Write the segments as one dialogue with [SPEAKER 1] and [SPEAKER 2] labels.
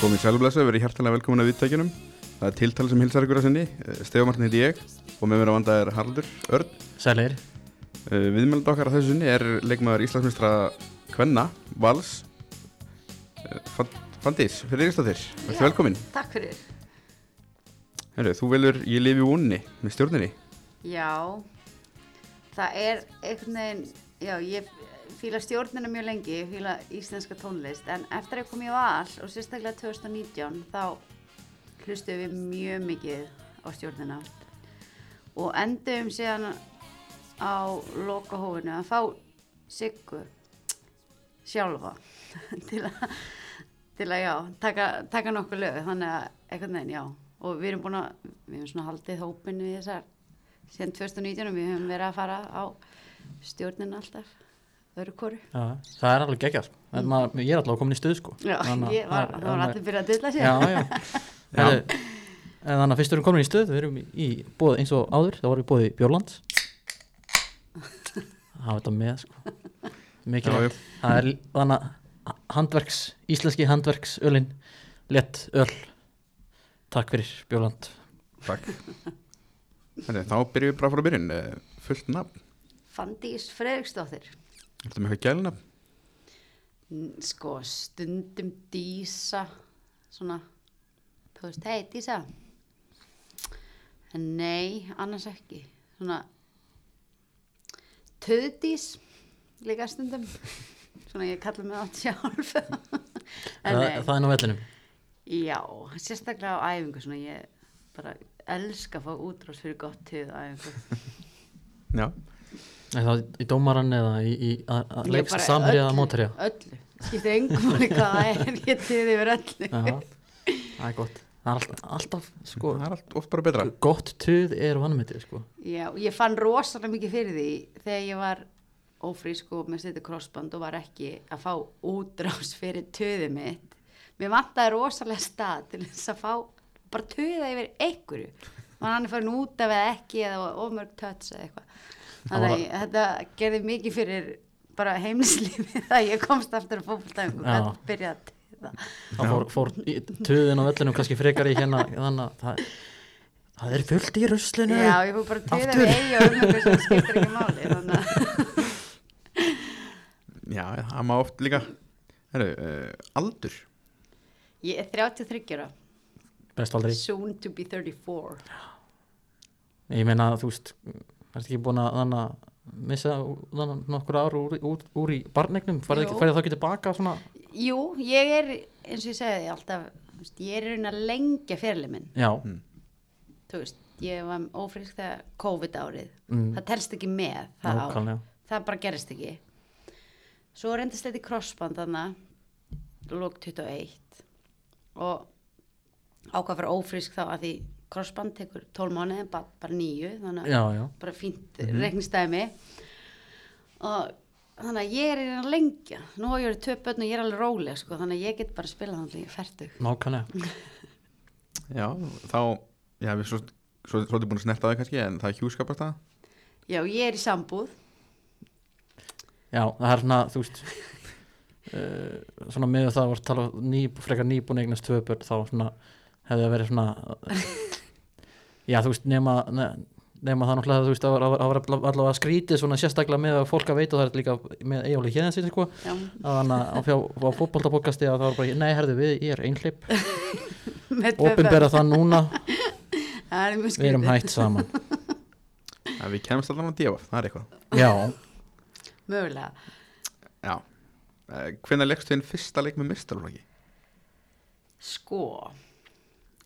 [SPEAKER 1] Komið sælumlesa, við erum hjartalega velkomin að viðtækjunum Það er tiltal sem hilsar ykkur að sinni Stefumartin heiti ég og með mér að vanda er Haraldur Örn
[SPEAKER 2] Sælir
[SPEAKER 1] Eh, Viðmjöld okkar að þessu sinni er leikmaður Íslandsmistra Kvenna, Vals Eh, Fan- Fandís, fyrir Íslandir Þetta
[SPEAKER 3] Já.
[SPEAKER 1] velkomin
[SPEAKER 3] Takk fyrir.
[SPEAKER 1] Heru, Þú velur Ég lifi vonni með stjórninni
[SPEAKER 3] Já, það er einhvern veginn, já, ég fíla stjórnina mjög lengi, ég fíla íslenska tónlist, en eftir að ég kom í val og sérstaklega 2019 þá hlustuðum við mjög mikið á stjórnina og endum síðan á lokahófinu að fá Siggu sjálfa til að, til að já, taka, taka nokkuð lög, þannig að einhvern veginn, já, og við erum búin að, við erum svona haldið hópinu í þessar, síðan 2019 og við höfum verið að fara á stjórnina alltaf, öru koru.
[SPEAKER 2] já, Það er alveg geggjað mm. maður, Ég er alltaf komin í stuð sko
[SPEAKER 3] Já,
[SPEAKER 2] Þannig að-
[SPEAKER 3] ég var, það var allir byrjað að dilla sér.
[SPEAKER 2] Já, já Herðu, en Þannig að fyrst erum komin í stuð Við erum í, í bóð eins og áður Það voru í bóði Björland Það var þetta með sko
[SPEAKER 1] Já, já.
[SPEAKER 2] Mikilvægt Það er þannig að handverks Íslenski handverks ölin Lett öl Takk fyrir Björland
[SPEAKER 1] Takk Heru, Þá byrjum við bara frá byrjun Eh, Fullt nafn,
[SPEAKER 3] Fandís Fredriksdóttir,
[SPEAKER 1] þetta með eitthvað gælnafn
[SPEAKER 3] Mm, sko, stundum Dísa, svona, þú veist, hei Dísa, en nei, annars ekki, svona, Töðdís, líka stundum, svona ég kalla mig átt sjálf, en
[SPEAKER 2] það,
[SPEAKER 3] nei.
[SPEAKER 2] það er nú vellinum
[SPEAKER 3] Já, sérstaklega á æfingu svona ég bara elska að fá útrás fyrir gott til æfingu.
[SPEAKER 1] Já,
[SPEAKER 2] Er það í dómaran eða í, í að- að
[SPEAKER 3] Ég
[SPEAKER 2] leikst
[SPEAKER 3] bara
[SPEAKER 2] samherja eða
[SPEAKER 3] öllu-
[SPEAKER 2] mótherja?
[SPEAKER 3] Öllu, skiptir engum máli hvað það er, ég til yfir öllu.
[SPEAKER 2] Já, það er gott Það er alltaf, alltaf sko,
[SPEAKER 1] það er allt oft bara betra
[SPEAKER 2] gott tuð er vannmyndið sko.
[SPEAKER 3] Já, ég fann rosalega mikið fyrir því þegar ég var ófrísk og með setja krossband og var ekki að fá útrás fyrir töðið mitt. Mér vantaði rosalega stað til þess að fá bara töða yfir einhverju. Man hann er farin út af eða ekki eða ofmörg töts eða eitthvað.
[SPEAKER 2] Það var-
[SPEAKER 3] Þannig að þetta gerði mikið fyrir bara heimlislífið að ég komst aftur að fókbaltæfingu
[SPEAKER 2] Já.
[SPEAKER 3] og gæti byrjað að töða.
[SPEAKER 2] Það fór, fór í- tuðin á vellinu kannski frekar í hérna þannig að það, það er fullt í ruslinu
[SPEAKER 3] Já, ég fór bara að töða
[SPEAKER 2] Aftur.
[SPEAKER 3] við eigi og um eitthvað sem skiptir ekki máli. Þannig að
[SPEAKER 1] Já, það má oft líka Heru, uh, Aldur
[SPEAKER 3] ég er 33 ára.
[SPEAKER 2] Best aldrei
[SPEAKER 3] Soon to be 34
[SPEAKER 2] Ég meina þú veist, ertu ekki búin að þannig að missa þannig nokkur ár úr, úr, úr í barnegnum færið
[SPEAKER 3] Jú.
[SPEAKER 2] færið þá ekki tilbaka svona
[SPEAKER 3] Jú, ég er, eins og ég segði alltaf, þú veist, ég er í raun að lengja fyrirlið minn
[SPEAKER 2] Já,
[SPEAKER 3] Þú veist, ég var ófrísk þegar COVID árið
[SPEAKER 2] Mm.
[SPEAKER 3] Það telst ekki með það ár
[SPEAKER 2] nákvæmlega
[SPEAKER 3] Það bara gerist ekki Svo reyndist þetta í crossband þannig Lók 21 Og ákvað fyrir ófrísk þá að því crossband tekur 12 mánuði, bara, bara nýju Þannig að
[SPEAKER 2] Já, já,
[SPEAKER 3] bara fínt
[SPEAKER 2] Mhm.
[SPEAKER 3] mm og þannig að ég er í hérna lengja nú á ég verið tvö börn og ég er alveg róleg sko, þannig að ég get bara að spila þannig að ég er fertug
[SPEAKER 2] nákvæmlega
[SPEAKER 1] Já, þá, já, við erum svo, svo, svolítið búin að snerta það kannski, en það er hjúskapast það.
[SPEAKER 3] já, ég er í sambúð
[SPEAKER 2] Já, það er svona, þú veist uh, svona með það var tala um ný, frekar nýbúin eignast tvö börn þá svona hefði það verið svona já, þú veist, nema ne, nema það náttúrulega, þú veist, að var, að var allavega skrítið svona sérstaklega með að fólk að veita það er líka með eigjálið hérna sér, sko
[SPEAKER 3] já,
[SPEAKER 2] að hann að á, fjá- á fótboltabókasti að það var bara, nei, herðu við, ég er einhleip
[SPEAKER 3] með tvö börn
[SPEAKER 2] opinbera það núna,
[SPEAKER 3] það er mjög
[SPEAKER 2] við erum
[SPEAKER 3] skrítið
[SPEAKER 2] hætt saman
[SPEAKER 1] Ja, við kemst allan að djöfa, það er eitthvað.
[SPEAKER 2] já,
[SPEAKER 3] mögulega
[SPEAKER 1] Já. Uh, hvenær leggstu þinn fyrsta leik með mistarflokki?
[SPEAKER 3] sko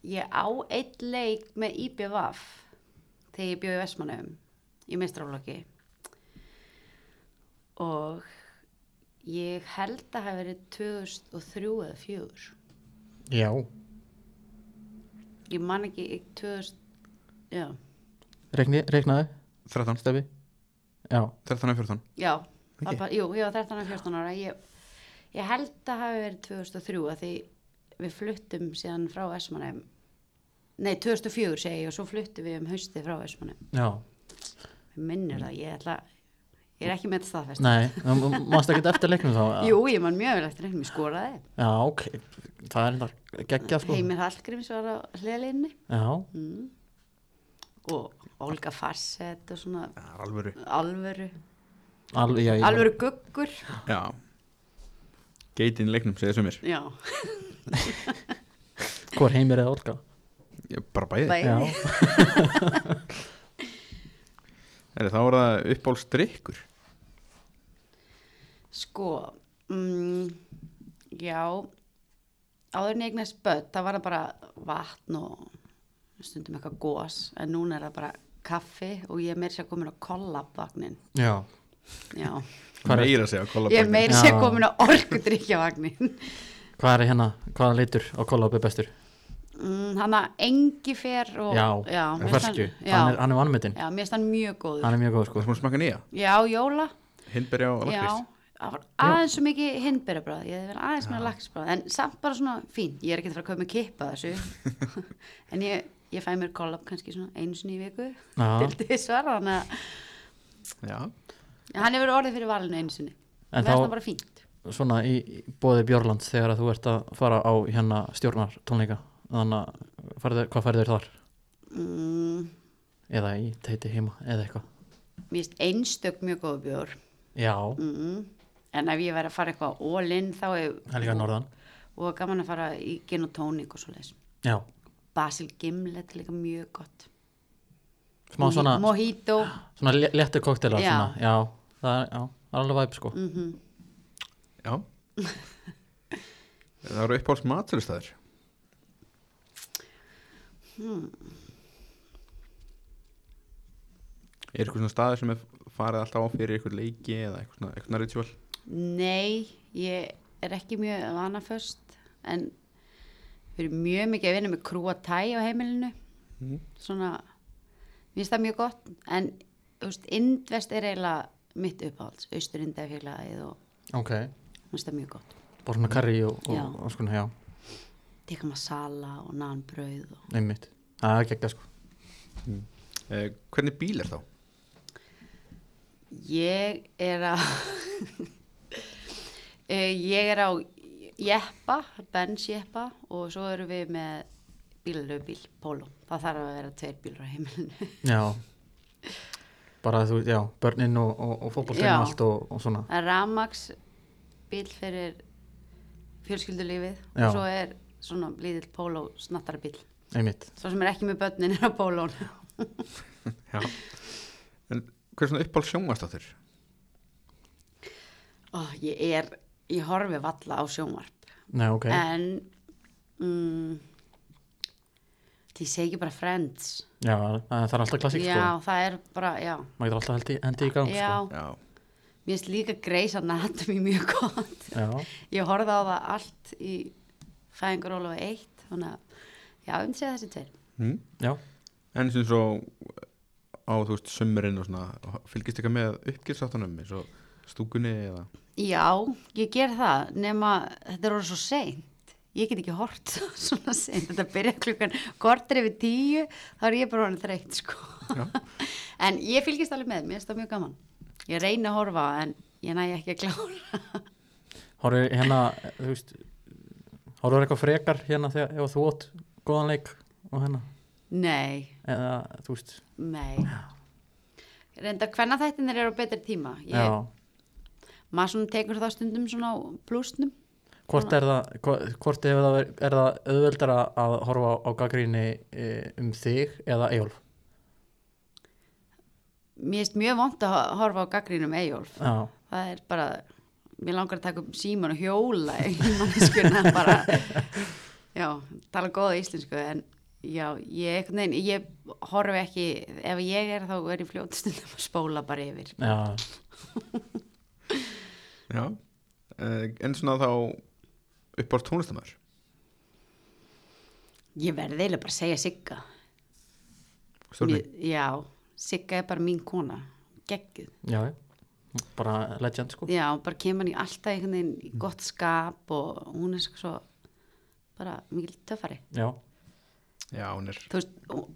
[SPEAKER 3] ég á eitt leik með IBVF þegar ég bjóði Vestmanum í meistraflokki og ég held að hafa verið 2003 eða 2004
[SPEAKER 2] já
[SPEAKER 3] ég man ekki ég- 2000 já,
[SPEAKER 2] Rekni, reiknaði,
[SPEAKER 1] 13,
[SPEAKER 2] stefi já,
[SPEAKER 1] 13 og 14.
[SPEAKER 3] já,
[SPEAKER 1] Ekki?
[SPEAKER 3] okay. bara, jú, ég var 13 og 14 ára ég, ég held að hafi verið 2003 að því við fluttum síðan frá Vestmanheim nei, 2004 segi ég og svo fluttum við um haustið frá Vestmanheim
[SPEAKER 2] já
[SPEAKER 3] við minnir það, ég ætla Ég er ekki með þetta staðfest.
[SPEAKER 2] Nei, mást ekki eftir leiknum þá? eða?
[SPEAKER 3] Jú, ég man mjög vel eftir einhverjum, ég skoraði.
[SPEAKER 2] Já, ok, það er enda geggjað sko
[SPEAKER 3] Heimir Hallgríms var á hliðleginni
[SPEAKER 2] Já,
[SPEAKER 3] mm. og Olga Farsett og svona
[SPEAKER 1] Það er alvöru
[SPEAKER 3] alvöru,
[SPEAKER 2] alveg, já, ég-
[SPEAKER 3] alvöru guggur.
[SPEAKER 1] Já Geitin í leiknum, segja sumir
[SPEAKER 3] Já,
[SPEAKER 2] hvor heimir eða orka
[SPEAKER 1] Ég Bara bæði
[SPEAKER 3] bæði.
[SPEAKER 2] Já,
[SPEAKER 1] Heyrðu, Þá var það uppbólstrykkur
[SPEAKER 3] Sko, mm, já, áður en ég eignast börn, það var það bara vatn og stundum eitthvað gos, en núna er það bara kaffi og ég er meira sér komin á kollabvagnin.
[SPEAKER 2] já,
[SPEAKER 3] Já,
[SPEAKER 2] Hvar er-
[SPEAKER 1] Meira að segja kollabagni.
[SPEAKER 3] ég er meira sér
[SPEAKER 2] Já.
[SPEAKER 3] komin á orkudrykkjavagnin.
[SPEAKER 2] hvað er hérna, hvaða litur á kollabbi bestur?
[SPEAKER 3] Mm, hann að engi fer og...
[SPEAKER 2] Já,
[SPEAKER 3] mér finnst
[SPEAKER 2] fersku,
[SPEAKER 3] hann- Já,
[SPEAKER 2] hann er, hann er vannmyndin,
[SPEAKER 3] já mér finnst hann mjög góður.
[SPEAKER 2] hann er mjög góð
[SPEAKER 1] Þú
[SPEAKER 2] sko
[SPEAKER 1] ert búin að smakka nýja
[SPEAKER 3] Já, jóla.
[SPEAKER 1] Hindberja og
[SPEAKER 3] Já,
[SPEAKER 1] lakrist
[SPEAKER 3] það var aðeins svo mikið hindberjabráð, ég hefði verið aðeins með laksbráð, en samt bara svona fín, ég er ekki að fara að kaupa með kippa þessu, en ég, ég fæ mér kollab kannski svona einu sinni í viku,
[SPEAKER 2] Já.
[SPEAKER 3] til þessar, þannig að
[SPEAKER 1] Já
[SPEAKER 3] hann hefur orðið fyrir valinu einu sinni,
[SPEAKER 2] En
[SPEAKER 3] það er
[SPEAKER 2] þá-
[SPEAKER 3] það bara fínt.
[SPEAKER 2] Svona í bóði Björlands þegar að þú ert að fara á hérna stjórnar tónleika Þannig að farðu, hvað færðu þér þar?
[SPEAKER 3] Mm,
[SPEAKER 2] Eða í teiti heima, eða eitthvað
[SPEAKER 3] mér finnst einstök mjög góð bjór,
[SPEAKER 2] Já,
[SPEAKER 3] mm, en ef ég verið að fara eitthvað all-in þá
[SPEAKER 2] það er líka
[SPEAKER 3] er
[SPEAKER 2] norðan
[SPEAKER 3] og gaman að fara í gin og tónik og svoleiðis.
[SPEAKER 2] Já,
[SPEAKER 3] Basil Gimlet er líka mjög gott.
[SPEAKER 2] smá svona,
[SPEAKER 3] Mojito.
[SPEAKER 2] svona lé- léttu koktelar
[SPEAKER 3] Já.
[SPEAKER 2] svona Já, það er, já, það er alveg væp sko
[SPEAKER 3] Mm
[SPEAKER 1] Já Það eru uppbóls maturistæður Hmm. Er eitthvað svona staður sem er farið alltaf á fyrir eitthvað leiki eða eitthvað svona, eitthvað svona ritual
[SPEAKER 3] Nei, ég er ekki mjög vanaföst en við erum mjög mikið að vinna með krúa tæ á heimilinu svona, mér finnst það mjög gott en, þú veist, Indvest er eiginlega mitt uppáhalds, austur Indafélagið og
[SPEAKER 2] Ok,
[SPEAKER 3] mér finnst það mjög gott
[SPEAKER 2] bara svona karri og,
[SPEAKER 3] Mm. Já.
[SPEAKER 2] og, og skona, já,
[SPEAKER 3] tikka masala og nanbrauð og
[SPEAKER 2] einmitt Það er geggjað sko
[SPEAKER 1] eh, Hvernig bíl er þá?
[SPEAKER 3] ég er að Eh, ég er á jeppa, Benz jeppa og svo erum við með bílalöfbíl, Polo, það þarf að vera tveir bílar á heimilinu
[SPEAKER 2] Já Bara þú, já, börnin og, og, og fótboltinn
[SPEAKER 3] Já.
[SPEAKER 2] og allt og, og svona
[SPEAKER 3] Það er ramags bíl fyrir fjölskyldulífið
[SPEAKER 2] Já.
[SPEAKER 3] og svo er svona lítill póló snattara bíl.
[SPEAKER 2] Einmitt,
[SPEAKER 3] Svo sem er ekki með börnin er á pólón.
[SPEAKER 1] Já En hver er svona uppbóls sjónvastáttur?
[SPEAKER 3] Ó, Oh, ég er, ég horfi valla á sjónvarp.
[SPEAKER 2] nei, ok
[SPEAKER 3] En, mm, ég segi ekki bara friends.
[SPEAKER 2] Já, það er alltaf klassík sko
[SPEAKER 3] Já, það er bara, já.
[SPEAKER 2] maður getur alltaf hendi, hendi í gang sko.
[SPEAKER 3] já,
[SPEAKER 1] Já
[SPEAKER 3] mér finnst líka Grey's Anatomy mjög gott.
[SPEAKER 2] sko. já,
[SPEAKER 3] Ég horfði á það allt í fæðingaróla og eitt, þannig að, já, ég myndi segja þessi tveir.
[SPEAKER 1] hm?
[SPEAKER 2] já,
[SPEAKER 1] En sem svo á þú veist sömurinn og svona fylgist eitthvað með uppgjörstáttunum eins og stúkunni eða
[SPEAKER 3] Já, ég ger það, nema þetta er orðið svo seint. Ég get ekki hort svona seint. Þetta byrja klukkan kortir yfir tíu, þá er ég bara orðin þreytt, sko. en ég fylgist alveg með, mér finnst það mjög gaman. Ég reyna að horfa, en ég næ ekki að klára.
[SPEAKER 2] horfðu hérna þú veist, horfðu eitthvað frekar hérna þegar ef þú ótt góðan leik og hérna,
[SPEAKER 3] nei,
[SPEAKER 2] eða þú veist
[SPEAKER 3] nei. Reynda, hvenna þættinir eru á betri tíma?
[SPEAKER 2] já,
[SPEAKER 3] Ég, maður svona tekur það stundum svona á plusnum.
[SPEAKER 2] hvort er það hvo- hvort er það, er það auðveldara að horfa á, á gaggríni e, um þig eða Eyjólf
[SPEAKER 3] Mér finnst mjög vond að horfa á gaggrínum Eyjólf.
[SPEAKER 2] já,
[SPEAKER 3] það er bara mér langar að taka upp síman og hjóla í manneskuna bara já, tala góða íslensku en já, ég, einhvern veginn, ég horfi ekki, ef ég er þá er ég fljótt stundum að spóla bara yfir
[SPEAKER 2] já,
[SPEAKER 1] Já eh, En svona þá uppbóls tónlistamæður
[SPEAKER 3] ég verði eiginlega bara að segja Sigga
[SPEAKER 1] Stjórni
[SPEAKER 3] Mér- já, Sigga er bara mín kona geggjuð,
[SPEAKER 2] já bara legend sko Mm.
[SPEAKER 3] já, hún bara kemur hann í alltaf einhvern veginn í gott skap og hún er svo bara mikil töffari
[SPEAKER 2] já,
[SPEAKER 1] Já, hún er
[SPEAKER 3] þú veist og,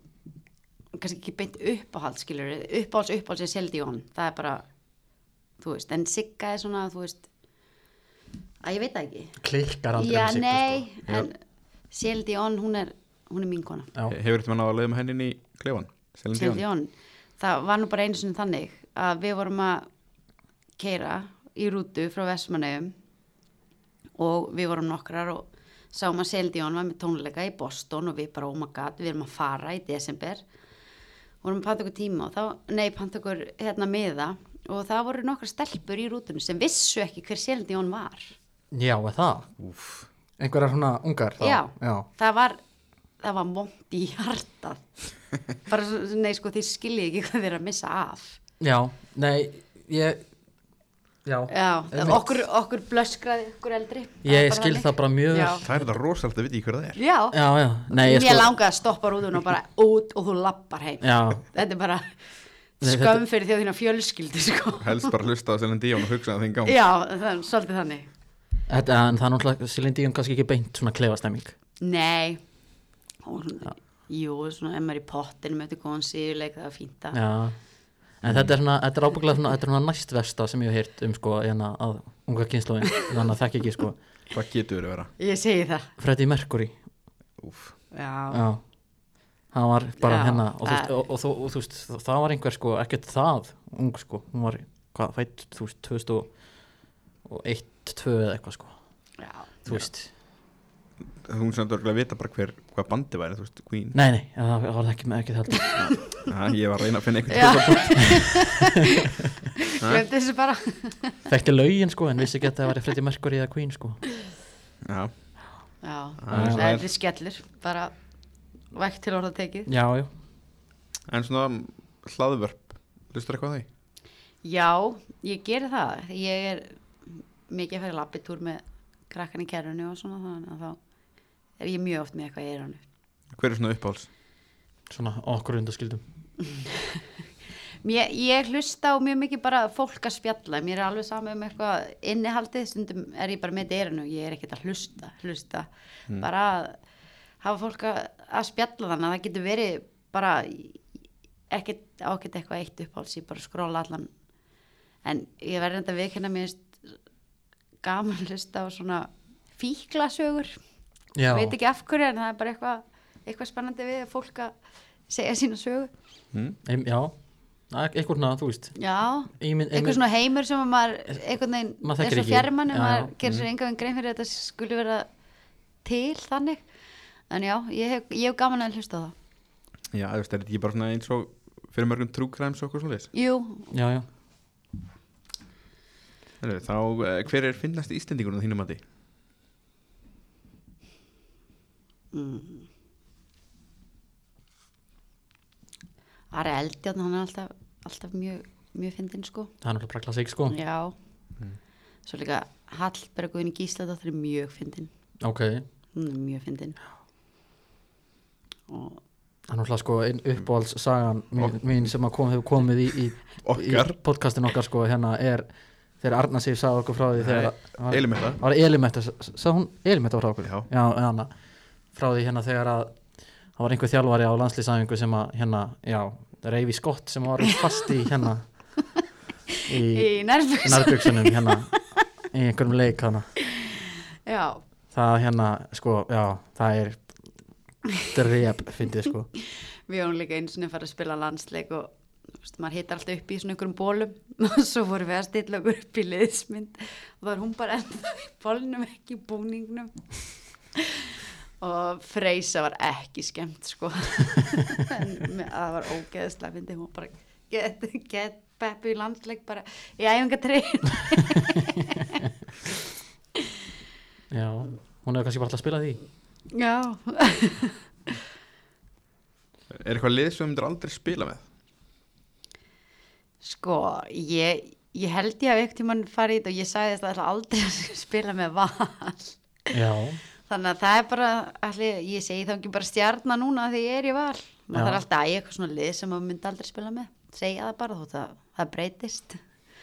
[SPEAKER 3] kannski ekki beint uppáhald skilur uppáhalds uppáhalds er Celine Dion það er bara þú veist, en Sigga er svona, þú veist, að ég veit það ekki.
[SPEAKER 2] klikkar aldrei
[SPEAKER 3] Já,
[SPEAKER 2] með Siggu,
[SPEAKER 3] nei,
[SPEAKER 2] sko.
[SPEAKER 3] en Sel Dion, hún er, hún er mín kona.
[SPEAKER 2] Já. Já.
[SPEAKER 1] Hefur þetta mann á að leiða með henni inn í klefan? Selin
[SPEAKER 3] Sel
[SPEAKER 1] Dion?
[SPEAKER 3] Dion, það var nú bara einu sinni þannig að við vorum að keira í rútu frá Vestmannaugum og við vorum nokkrar og sáum að Sel Dion var með tónleika í Boston og við bara, oh my god, við erum að fara í desember vorum að panta okkur tíma og þá, nei, panta okkur hérna miða og það voru nokkra stelpur í rútunum sem vissu ekki hver Sel Dion var.
[SPEAKER 2] Já, er það
[SPEAKER 1] Úf,
[SPEAKER 2] einhverjar svona ungar þá
[SPEAKER 3] Já.
[SPEAKER 2] Já.
[SPEAKER 3] það var það var vond í hjartað bara svo, nei sko þið skiljið ekki hvað þið er að missa af
[SPEAKER 2] Já, nei ég, já,
[SPEAKER 3] já, það,
[SPEAKER 2] einmitt.
[SPEAKER 3] okkur, okkur blöskraði okkur eldri
[SPEAKER 2] Ég
[SPEAKER 3] var bara
[SPEAKER 2] skil
[SPEAKER 3] þannig.
[SPEAKER 2] það bara mjög
[SPEAKER 3] já,
[SPEAKER 1] það er þetta rosalega að vita í hverða það er.
[SPEAKER 3] já.
[SPEAKER 2] já, já, nei, ég sko-
[SPEAKER 3] mér langaði að stoppa rúðun og bara út og þú lappar heim
[SPEAKER 2] Já,
[SPEAKER 3] þetta er bara
[SPEAKER 2] Nei, þetta-
[SPEAKER 3] skömm fyrir því að þína fjölskyldi sko.
[SPEAKER 1] Helst bara hlusta á Selin Dion og hugsa það þinn gang.
[SPEAKER 3] já, það er svolítið þannig
[SPEAKER 2] þetta, en það er náttúrulega Silindi um kannski ekki beint svona klefastemming
[SPEAKER 3] nei og, svona- jú, svona ef maður er í pottin með þetta góðan síðuleik það er fínt að
[SPEAKER 2] Já, en þetta er svona, þetta er ábygglega svona, þetta er svona næst versta sem ég hef heyrt um sko, en að unga kynnslóðin, þannig að þekki ekki sko,
[SPEAKER 1] Hvað getur verið að vera?
[SPEAKER 3] ég segi það
[SPEAKER 2] Freddie Mercury,
[SPEAKER 1] Úf,
[SPEAKER 3] já,
[SPEAKER 2] já, hann var bara
[SPEAKER 3] Já,
[SPEAKER 2] hennar og þú veist,
[SPEAKER 3] það-
[SPEAKER 2] og, og, og, og þú veist, það var einhver sko, ekkert það ung sko, hún var, hvað, fætt, þú veist, 2001, 2 eða eitthvað sko,
[SPEAKER 3] já.
[SPEAKER 2] þú veist,
[SPEAKER 1] hún sem dörgulega vita bara hver, hvað bandi væri, þú veist, Queen.
[SPEAKER 2] nei, nei, það var ekki með ekki það,
[SPEAKER 1] Næ, ég var að reyna að finna
[SPEAKER 3] Já.
[SPEAKER 1] einhvern tóka
[SPEAKER 3] Glemt þessu bara
[SPEAKER 2] þekkti lögin sko, en vissi ekki að það var Freddie Mercury eða Queen sko,
[SPEAKER 1] Já,
[SPEAKER 3] Já,
[SPEAKER 1] Ah,
[SPEAKER 3] það
[SPEAKER 1] já.
[SPEAKER 3] er við skellur bara vægt til orða tekið
[SPEAKER 2] já, já,
[SPEAKER 1] en svona hlaðvörp, hlustar eitthvað á því?
[SPEAKER 3] Já, ég geri það ég er mikið að fara lappitúr með krakkan í kerrunni og svona þannig að þá er ég mjög oft með eitthvað í erunni
[SPEAKER 1] Hver er svona uppáhalds?
[SPEAKER 2] svona okkur undaskildum,
[SPEAKER 3] Mér, ég hlusta á mjög mikið bara fólk að spjalla, mér er alveg sama um eitthvað innihaldið, stundum er ég bara með deyrinu og ég er ekkert að hlusta, hlusta bara að hafa fólk að, að spjalla þannig að það getur verið bara ekkert ákveð eitthvað eitt uppháls, ég bara skróla allan en ég verði þetta viðkynna hérna, mér finnst gaman að hlusta á svona fíklasögur
[SPEAKER 2] já,
[SPEAKER 3] veit ekki af hverju en það er bara eitthvað, eitthvað spennandi við fólk að segja sína sögu
[SPEAKER 1] Hm?
[SPEAKER 2] Ein, já, eitthvað svona, þú veist
[SPEAKER 3] Já,
[SPEAKER 2] Ímynd-
[SPEAKER 3] eitthvað
[SPEAKER 2] einmind-
[SPEAKER 3] svona heimur sem að maður einhvern veginn
[SPEAKER 2] Maður
[SPEAKER 3] er
[SPEAKER 2] þekkir
[SPEAKER 3] svo
[SPEAKER 2] ekki.
[SPEAKER 3] fjarmann
[SPEAKER 2] Já, mm.
[SPEAKER 3] og maður
[SPEAKER 2] já.
[SPEAKER 3] gerir sér enga veginn grein fyrir að þetta skuli vera til þannig en já, ég hef, ég hef gaman að hlusta á það
[SPEAKER 1] Já, þú veist, er þetta ekki bara svona eins og fyrir mörgum true crimes og okkur svona leys?
[SPEAKER 3] Jú,
[SPEAKER 2] Já, já,
[SPEAKER 1] Þá, eh, hver er finnast Íslendingurinn á þínum mati?
[SPEAKER 3] Mm. Ari Eldjón hann er alltaf, alltaf mjög, mjög fyndin sko
[SPEAKER 2] það er náttúrulega bara klassík sko
[SPEAKER 3] Já,
[SPEAKER 2] Mm.
[SPEAKER 3] svo líka Hallberguðin Gísladóttir er mjög fyndin
[SPEAKER 2] Ok, það
[SPEAKER 3] hún er mjög fyndin og
[SPEAKER 2] er náttúrulega sko einn
[SPEAKER 1] Mm.
[SPEAKER 2] uppáhalds sagan mín, mín sem að kom, hefur komið í, í, í
[SPEAKER 1] Okkar.
[SPEAKER 2] podcastin okkar sko hérna er þegar Arna Sif sagði okkur frá því þegar að- var-
[SPEAKER 1] Elimetta
[SPEAKER 2] var Elimetta, sagði hún Elimetta frá okkur?
[SPEAKER 1] Já.
[SPEAKER 2] Já, hana, frá því hérna þegar að það var einhver þjálfari á landslýsæfingu sem að hérna, já, Reyfi Scott sem var fast í hérna í
[SPEAKER 3] í nærfus
[SPEAKER 2] nærbjöksunum hérna í einhverjum leik hana
[SPEAKER 3] Já,
[SPEAKER 2] það hérna, sko, já, það er drep, fyndið, sko
[SPEAKER 3] Við vorum líka einu sinni að fara að spila landsleik og þú veist, maður hittar alltaf upp í svona einhverjum bólum og svo vorum við að stilla okkur upp í liðsmynd og það er hún bara ennþá í bólnum ekki í búningnum og Freysa var ekki skemmt sko en me- það var ógeðslega fyndi hún bara get, get Beppi í landsleik bara í æfinga trein
[SPEAKER 2] já, hún hefur kannski bara alltaf að spila því
[SPEAKER 3] Já,
[SPEAKER 1] Er eitthvað lið sem þú myndir aldrei spila með?
[SPEAKER 3] sko ég, ég held ég að einhvern tímann farið í þetta og ég sagði þess að það aldrei að spila með val
[SPEAKER 2] já,
[SPEAKER 3] Þannig að það er bara, allir, ég segi þá ekki bara stjarnar núna því ég er í val.
[SPEAKER 2] Já.
[SPEAKER 3] Maður þarf alltaf að ægja eitthvað svona lið sem maður myndi aldrei spila með. Segja það bara þótt að það breytist.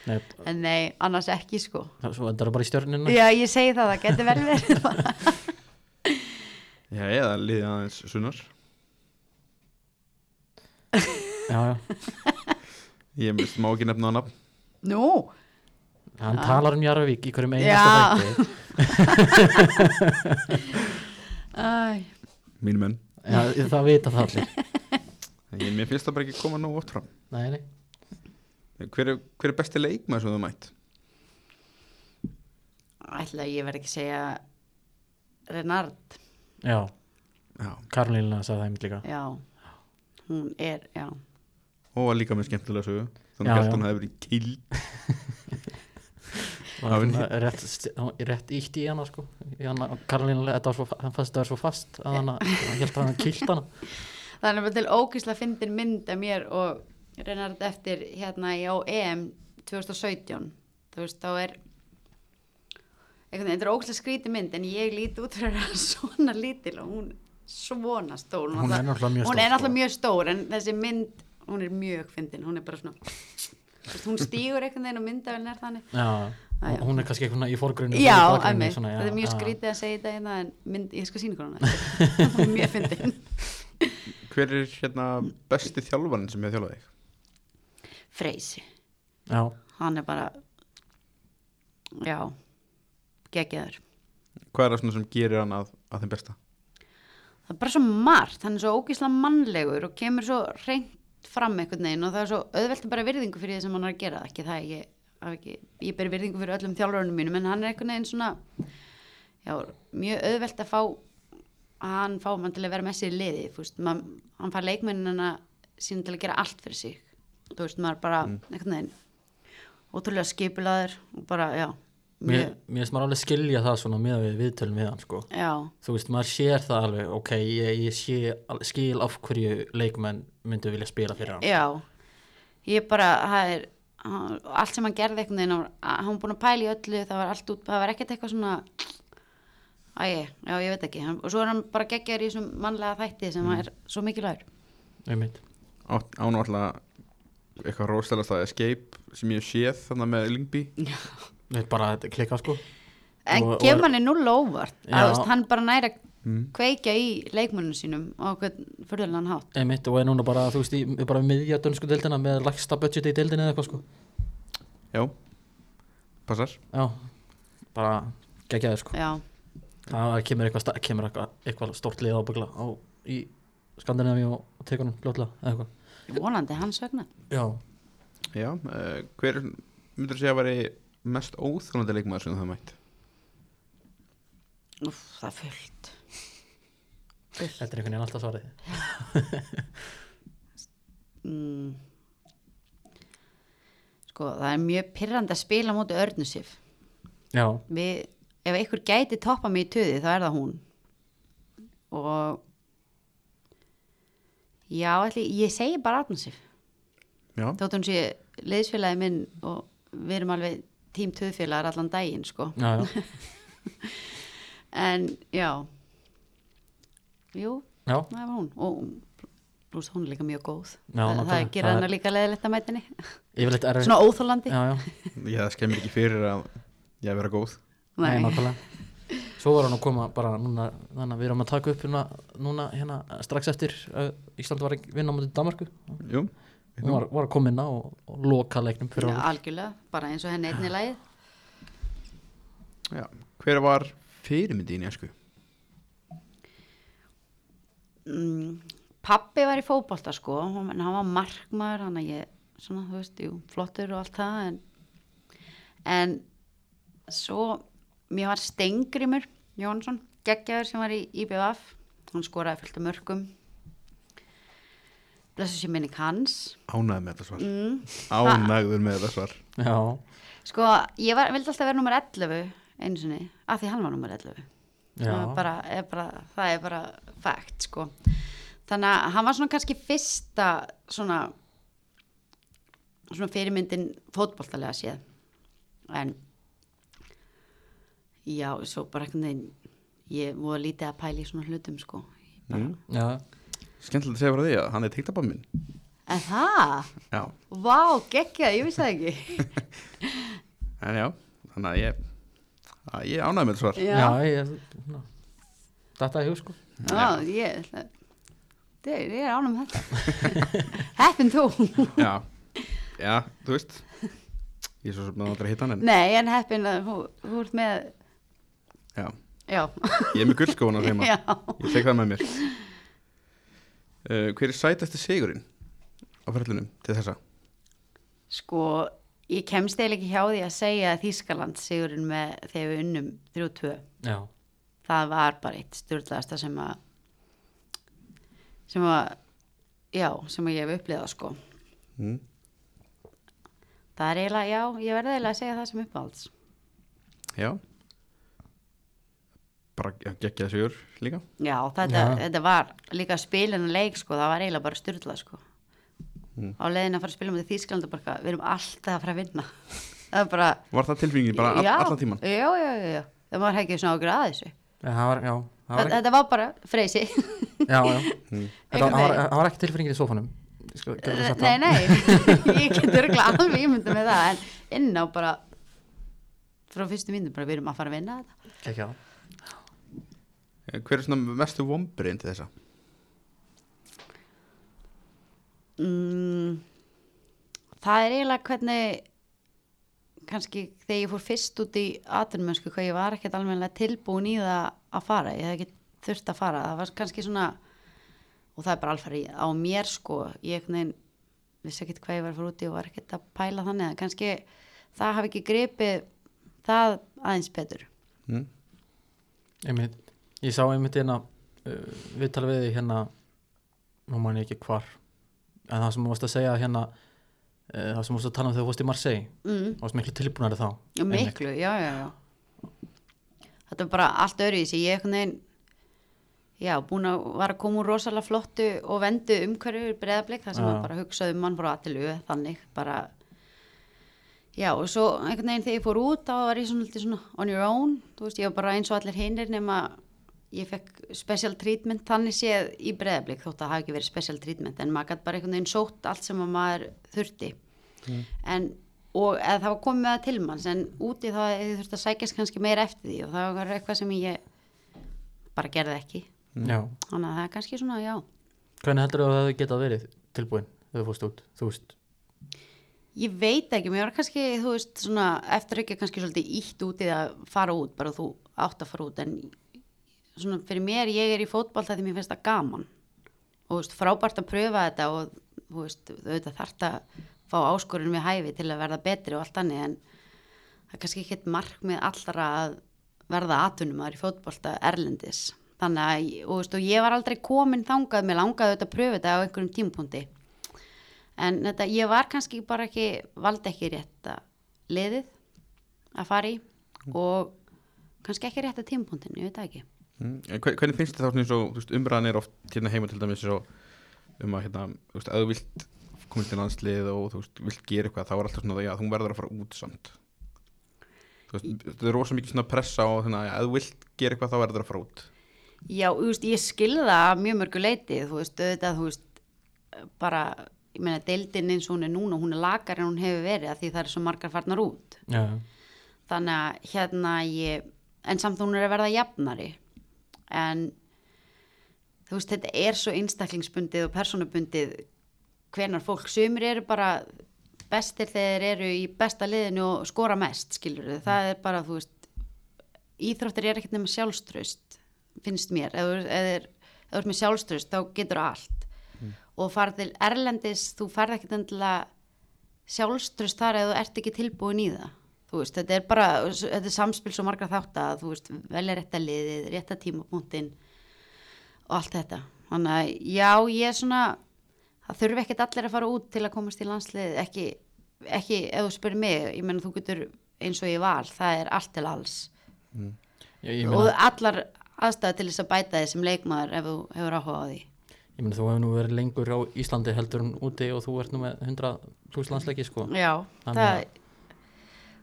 [SPEAKER 2] nei,
[SPEAKER 3] En nei, annars ekki sko.
[SPEAKER 2] það- svo endar það bara í stjörnina
[SPEAKER 3] Já, ég segi það, það getur vel verið.
[SPEAKER 1] Já, eða liðið aðeins sunnar
[SPEAKER 2] já, já,
[SPEAKER 1] Ég mist, má ekki nefna á nafn
[SPEAKER 3] Nú,
[SPEAKER 2] hann
[SPEAKER 3] Já.
[SPEAKER 2] talar um Jarvík í hverjum
[SPEAKER 3] Já.
[SPEAKER 2] einasta þætti
[SPEAKER 3] Æ,
[SPEAKER 1] mínu menn
[SPEAKER 2] Já, það vita það allir
[SPEAKER 1] Ég, mér finnst það bara ekki koma nógu oft fram
[SPEAKER 2] nei, nei.
[SPEAKER 1] hver er, hver er besti leikmaður sem þú mætt?
[SPEAKER 3] ætla að ég verð ekki að segja Renard,
[SPEAKER 2] Já,
[SPEAKER 1] Já.
[SPEAKER 2] Karolina sagði það einmitt líka
[SPEAKER 3] já hún er, já,
[SPEAKER 1] og var líka með skemmtilega sögu
[SPEAKER 2] Já,
[SPEAKER 1] þannig að
[SPEAKER 2] já.
[SPEAKER 1] hann hefði verið kild
[SPEAKER 2] Það var svona rétt, st- hún- rétt ítt í hana sko í hana, Karolina, þetta var svo, hann fannst þetta var svo fast að hana, hann held að hann kýlt hana
[SPEAKER 3] það er nefnilega til ógísla fyndin mynd af mér og Renard eftir hérna í á EM 2017, þú veist, þá er einhvern veginn, þetta er ógísla skríti mynd en ég líti út fyrir að vera svona lítil og hún svona stór
[SPEAKER 2] Hún er náttúrulega mjög
[SPEAKER 3] hún
[SPEAKER 2] stór,
[SPEAKER 3] er
[SPEAKER 2] sko.
[SPEAKER 3] náttúrulega mjög stór en þessi mynd, hún er mjög fyndin hún er bara svona þú veist, hún stígur einhvern veginn og myndavinn er þannig
[SPEAKER 2] Já,
[SPEAKER 3] Æ, já.
[SPEAKER 2] hún er kannski eitthvað í fórgrunni
[SPEAKER 3] Já, emmi, það er mjög skrítið að segja þetta hérna en mynd, ég skal sína ykkur hana mjög fyndin
[SPEAKER 1] hver er hérna besti þjálfarinn sem ég þjálfaði þig?
[SPEAKER 3] Freysi,
[SPEAKER 2] Já,
[SPEAKER 3] hann er bara já geggjaður,
[SPEAKER 1] hvað er það svona sem gerir hann að, að þeim besta?
[SPEAKER 3] það er bara svo margt hann er svo ógísla mannlegur og kemur svo reynt fram einhvern veginn og það er svo auðvelt að bara virðingu fyrir því sem hann er að gera ekki það, ég, hafi ekki, ég ber virðingu fyrir öllum þjálfurunum mínum en hann er einhvern veginn svona já, mjög auðvelt að fá að hann fá mann til að vera með sér í liði þú veist, man, hann fær leikmennina sín til að gera allt fyrir sig þú veist, maður bara, einhvern veginn ótrúlega skipulaður og bara, já
[SPEAKER 2] mér, mér finnst maður alveg skilja það svona með við viðtölum við hann sko
[SPEAKER 3] já,
[SPEAKER 2] þú veist, maður sér það alveg ok, ég, ég sé, al- skil af hverju leikmenn myndu vilja spila fyrir hann
[SPEAKER 3] já ég bara, það er hann- allt sem hann gerði einhvern veginn, hann var- hann var búin að pæla í öllu það var allt út, það var ekkert eitthvað svona æg, já, ég veit ekki hann, og svo er hann bara geggjaður í þessum mannlega þætti sem mm. er svo mikilvægur
[SPEAKER 2] einmitt,
[SPEAKER 1] Átt- án og alltaf eitthvað róstelast að Escape sem ég hef séð þannig með Lyngby
[SPEAKER 2] þetta er bara að klikka sko
[SPEAKER 3] En
[SPEAKER 2] Og- og-
[SPEAKER 3] gefur manni null á óvart
[SPEAKER 2] Já. Mm.
[SPEAKER 3] að þú veist, hann bara næra kveikja í leikmunum sínum og hvern fyrirlan hátt
[SPEAKER 2] einmitt og er núna bara, þú veist, í, er bara miðja dönsku deildina með lagsta budgeti í deildinni eða eitthvað sko
[SPEAKER 1] já, passar
[SPEAKER 2] já, bara geggjaði sko
[SPEAKER 3] Já,
[SPEAKER 2] það kemur eitthvað, sta- kemur eitthvað, eitthvað stort lið ábyggla á, í Skandinavíu og tekur hann fljótlega eða eitthvað
[SPEAKER 3] vonandi hans vegna
[SPEAKER 2] já,
[SPEAKER 1] já, uh, hver myndur þú segja að veri mest óþjónandi leikmaður sem þú hafði mætt?
[SPEAKER 3] Úf, það er fullt
[SPEAKER 2] þetta er einhvern veginn alltaf svarið
[SPEAKER 3] mm. Sko, það er mjög pirrandi að spila móti Örnusif
[SPEAKER 2] já,
[SPEAKER 3] Við, ef einhver gæti toppa mig í töði þá er það hún og Já, ætli, ég segi bara Örnusif
[SPEAKER 1] já,
[SPEAKER 3] þótt hún sé leiðsfélagi minn og við erum alveg tím töðfélagar allan daginn sko
[SPEAKER 2] já, já,
[SPEAKER 3] en já jú,
[SPEAKER 2] já.
[SPEAKER 3] það var hún og þú veist, hún er líka mjög góð
[SPEAKER 2] Já,
[SPEAKER 3] það, það
[SPEAKER 2] nákvæmlega.
[SPEAKER 3] gerir
[SPEAKER 2] Það
[SPEAKER 3] hana
[SPEAKER 2] er-
[SPEAKER 3] líka leðilegt að mætinni
[SPEAKER 2] yfirleitt erfið
[SPEAKER 3] svona óþólandi
[SPEAKER 2] já, já,
[SPEAKER 1] ég það skemmir ekki fyrir að ég vera góð
[SPEAKER 2] nei,
[SPEAKER 3] Nei.
[SPEAKER 2] nákvæmlega svo var hann að koma bara núna þannig að við erum að taka upp hérna, núna hérna strax eftir að Ísland var að vinna mútið Danmarku hún
[SPEAKER 1] jú,
[SPEAKER 2] var, var að koma inn á og, og loka leiknum fyrir
[SPEAKER 3] Já,
[SPEAKER 2] hann
[SPEAKER 3] algjörlega, bara eins og henni einni lægið
[SPEAKER 1] já, hver var fyrirmyndin í esku?
[SPEAKER 3] mm, pappi var í fótbolta sko en hann var markmaður hann að ég, svona, þú veist, jú, flottur og allt það en, en svo mér var Stengrimur Jónsson geggjaður sem var í IBF hann skoraði fullt af mörgum blessu sér minni hans
[SPEAKER 1] ánægður með þetta svar
[SPEAKER 3] mm.
[SPEAKER 1] ánægður með þetta svar
[SPEAKER 2] já,
[SPEAKER 3] sko, ég var, vildi alltaf vera nummer 11 einu sinni, af því hann var nummer 11
[SPEAKER 2] já,
[SPEAKER 3] Það er bara, er bara, það er bara fact sko þannig að hann var svona kannski fyrsta svona svona fyrirmyndin fótboltalega séð en já, svo bara einhvern veginn ég voða lítið að pæla í svona hlutum sko Ég bara,
[SPEAKER 1] Mm.
[SPEAKER 2] já,
[SPEAKER 1] skemmtilegt að segja frá því að hann er tengdabam minn
[SPEAKER 3] en það,
[SPEAKER 1] já,
[SPEAKER 3] vá, geggjað ég vissi það ekki
[SPEAKER 1] en já, þannig að ég að ég ánægður með þetta svar
[SPEAKER 2] já, ég hérna. svona, þetta er hug sko
[SPEAKER 3] Já, ég ætla- Þeir, ég er ánum þetta Heppin þú
[SPEAKER 1] já, já, þú veist Ég er svo sem að aldrei hitta hann en
[SPEAKER 3] Nei, en heppin að hú, hú ert með
[SPEAKER 1] já.
[SPEAKER 3] Já,
[SPEAKER 1] Ég er með gullskóna þeim
[SPEAKER 3] já
[SPEAKER 1] Ég tek það með mér uh, Hver er sætasti sigurinn á ferlunum til þessa?
[SPEAKER 3] Sko, ég kemst eða ekki hjá því að segja að Þískaland sigurinn með þegar við unnum 3-2
[SPEAKER 2] já,
[SPEAKER 3] það var bara eitt stjórnlegasta sem að sem að já, sem að ég hef upplifað sko
[SPEAKER 1] Mm.
[SPEAKER 3] það er eiginlega, já, ég verði eiginlega að segja það sem uppáhalds
[SPEAKER 1] Já Bara ja, geggjaði sigur líka
[SPEAKER 3] já, þetta,
[SPEAKER 2] Já.
[SPEAKER 3] þetta var líka spilin og leik sko, það var eiginlega bara stjórnlega sko
[SPEAKER 1] Mm.
[SPEAKER 3] á leiðin að fara að spila með Þískland og bara, eitthvað, við erum alltaf að fara að vinna það er bara,
[SPEAKER 1] Var það tilfengið bara all,
[SPEAKER 3] já,
[SPEAKER 1] allan tíman?
[SPEAKER 3] já, já, já, já það var ekki svona ágrað að þessu
[SPEAKER 2] já, það var, já, það var
[SPEAKER 3] það,
[SPEAKER 2] ekki,
[SPEAKER 3] þetta var bara freysi
[SPEAKER 2] já, já. Þetta,
[SPEAKER 3] Einhvern
[SPEAKER 2] það, var,
[SPEAKER 3] veginn.
[SPEAKER 2] það var ekki tilfinningin í sófanum Ég skal- get ekki sagt
[SPEAKER 3] nei,
[SPEAKER 2] það.
[SPEAKER 3] nei, ég getur alveg ímynda með það en inn á bara frá fyrstu myndum bara við erum að fara að vinna þetta
[SPEAKER 2] Geggjað.
[SPEAKER 1] Eh, Hver er svona mestu vombriðin til þessa?
[SPEAKER 3] mm, það er eiginlega hvernig kannski þegar ég fór fyrst út í atvinnumönsku hvað ég var ekkert alveg tilbúin í það að fara, ég hef ekki þurft að fara það var kannski svona og það er bara alfari á mér sko ég neginn, vissi ekkert hvað ég var að fara út í og var ekkert að pæla þannig að kannski það hafi ekki gripið það aðeins betur
[SPEAKER 1] Mm.
[SPEAKER 2] Einmitt, ég sá einmitt hérna uh, við tala við þig hérna nú man ég ekki hvar en það sem þú varst að segja hérna uh, það sem þú varst að tala um þegar þú varst í Marseille
[SPEAKER 3] mm.
[SPEAKER 2] þú varst miklu tilbúinari þá
[SPEAKER 3] Já,
[SPEAKER 2] Einmitt.
[SPEAKER 3] miklu, já, já, já. Þetta er bara allt öðru í sig. Ég einhvern veginn, já, búin að var að koma úr rosalega flottu og vendu umhverju breðablik, það sem
[SPEAKER 2] Já.
[SPEAKER 3] já. bara hugsaði um mann frá atilu, þannig, bara, já, og svo einhvern veginn þegar ég fór út, þá var ég svona, lítið svona on your own, þú veist, ég var bara eins og allir hinnir nema ég fekk special treatment, þannig séð í breðablik, þótt að það hafi ekki verið special treatment, en maður gætt bara einhvern veginn sótt allt sem að maður þurfti en og eða það var komið með það til manns en úti þá hefði þurft að sækjast kannski meira eftir því og það var eitthvað sem ég bara gerði ekki
[SPEAKER 2] Já,
[SPEAKER 3] þannig að það er kannski svona, já
[SPEAKER 2] hvernig heldur þú að það hefði getað verið tilbúin þegar þú fórst út, þú veist
[SPEAKER 3] ég veit ekki, mér var kannski, þú veist svona, eftir ekki kannski svolítið ítt úti að fara út, bara þú átt að fara út en svona fyrir mér ég er í fótbalta því mér finnst það gaman og þú veist, frábært að pröfa þetta og þú veist, auðvitað þarft að fá áskorunum í hæfi til að verða betri og allt annir en það er kannski ekkert markmið allra að verða atvinnumar í fótbolta erlendis þannig að, ég- og, þú veist, og ég var aldrei komin þangað, mér langaði auðvitað að pröfa þetta á einhverjum tímpúndi en þetta, ég var kannski bara ekki valdi ekki rétta liðið að fara í og kannski ekki rétta tímpúndinu, ég veit það ekki
[SPEAKER 1] Mm. En hve- Hvernig finnst þetta þá svona eins og þú veist, umræðan er oft hérna heima til dæmis eins og um að hérna, þú veist, að þú vilt komast í landslið og þú veist, vilt gera eitthvað þá er alltaf svona það, já, þú verður að fara út samt Þú veist, þetta er rosa mikið svona pressa á þannig að já, ef þú vilt gera eitthvað þá verður að fara út
[SPEAKER 3] Já, þú veist, ég skilða það mjög mörgu leiti, þú veist, auðvitað, þú veist, bara, ég meina, deildin eins og hún er núna, hún er lakar en hún hefur verið að því það er svo margar farnar út.
[SPEAKER 2] Já, já.
[SPEAKER 3] Þannig að hérna ég, en samt hún er að verða jafnari. En þú veist, þetta er svo einstaklingsbundið og persónubundið hvenar fólk. Sumir eru bara bestir þegar þeir eru í besta liðinu og skora mest, skilur þau. Það er bara, þú veist, íþróttir er ekkert nema sjálfströst, finnst mér. Ef þú- ef þeir- ef þú ert með sjálfströst, þá getur allt. Og farið til Erlendis, þú farið ekkert endilega sjálfströst þar eða þú ert ekki tilbúin í það þú veist, þetta er bara, þetta er samspil svo margra þátt að þú veist, velja rétta liðið rétta tímapunktin og allt þetta, þannig að já, ég er svona, það þurfi ekkert allir að fara út til að komast í landslið ekki, ekki, ef þú spyrir mig ég menna þú getur eins og ég val það er allt til alls
[SPEAKER 2] Ég, ég
[SPEAKER 3] og
[SPEAKER 2] meina,
[SPEAKER 3] allar aðstæða til þess að bæta þið sem leikmaður ef þú hefur áhuga á því
[SPEAKER 2] ég meina þú hefur nú verið lengur á Íslandi heldur en úti og þú ert nú með 100 pluss landsleiki sko
[SPEAKER 3] Já,
[SPEAKER 2] Þannig
[SPEAKER 3] það
[SPEAKER 2] að-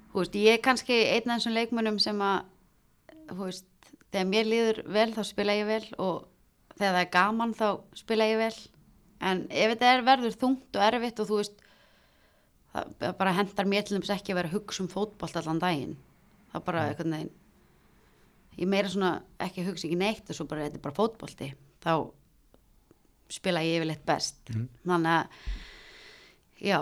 [SPEAKER 3] Þú veist, ég er kannski einn af þessum leikmönnum sem að þú veist, þegar mér líður vel þá spila ég vel og þegar það er gaman þá spila ég vel en ef þetta er verður þungt og erfitt og þú veist það það bara hendar mér til þess ekki að vera að hugsa um fótbolt allan daginn það bara einhvern veginn ég meira svona ekki að hugsa ekki neitt og svo bara þetta er bara fótbolti þá
[SPEAKER 2] Mhm.
[SPEAKER 3] spila ég yfirleitt best þannig að já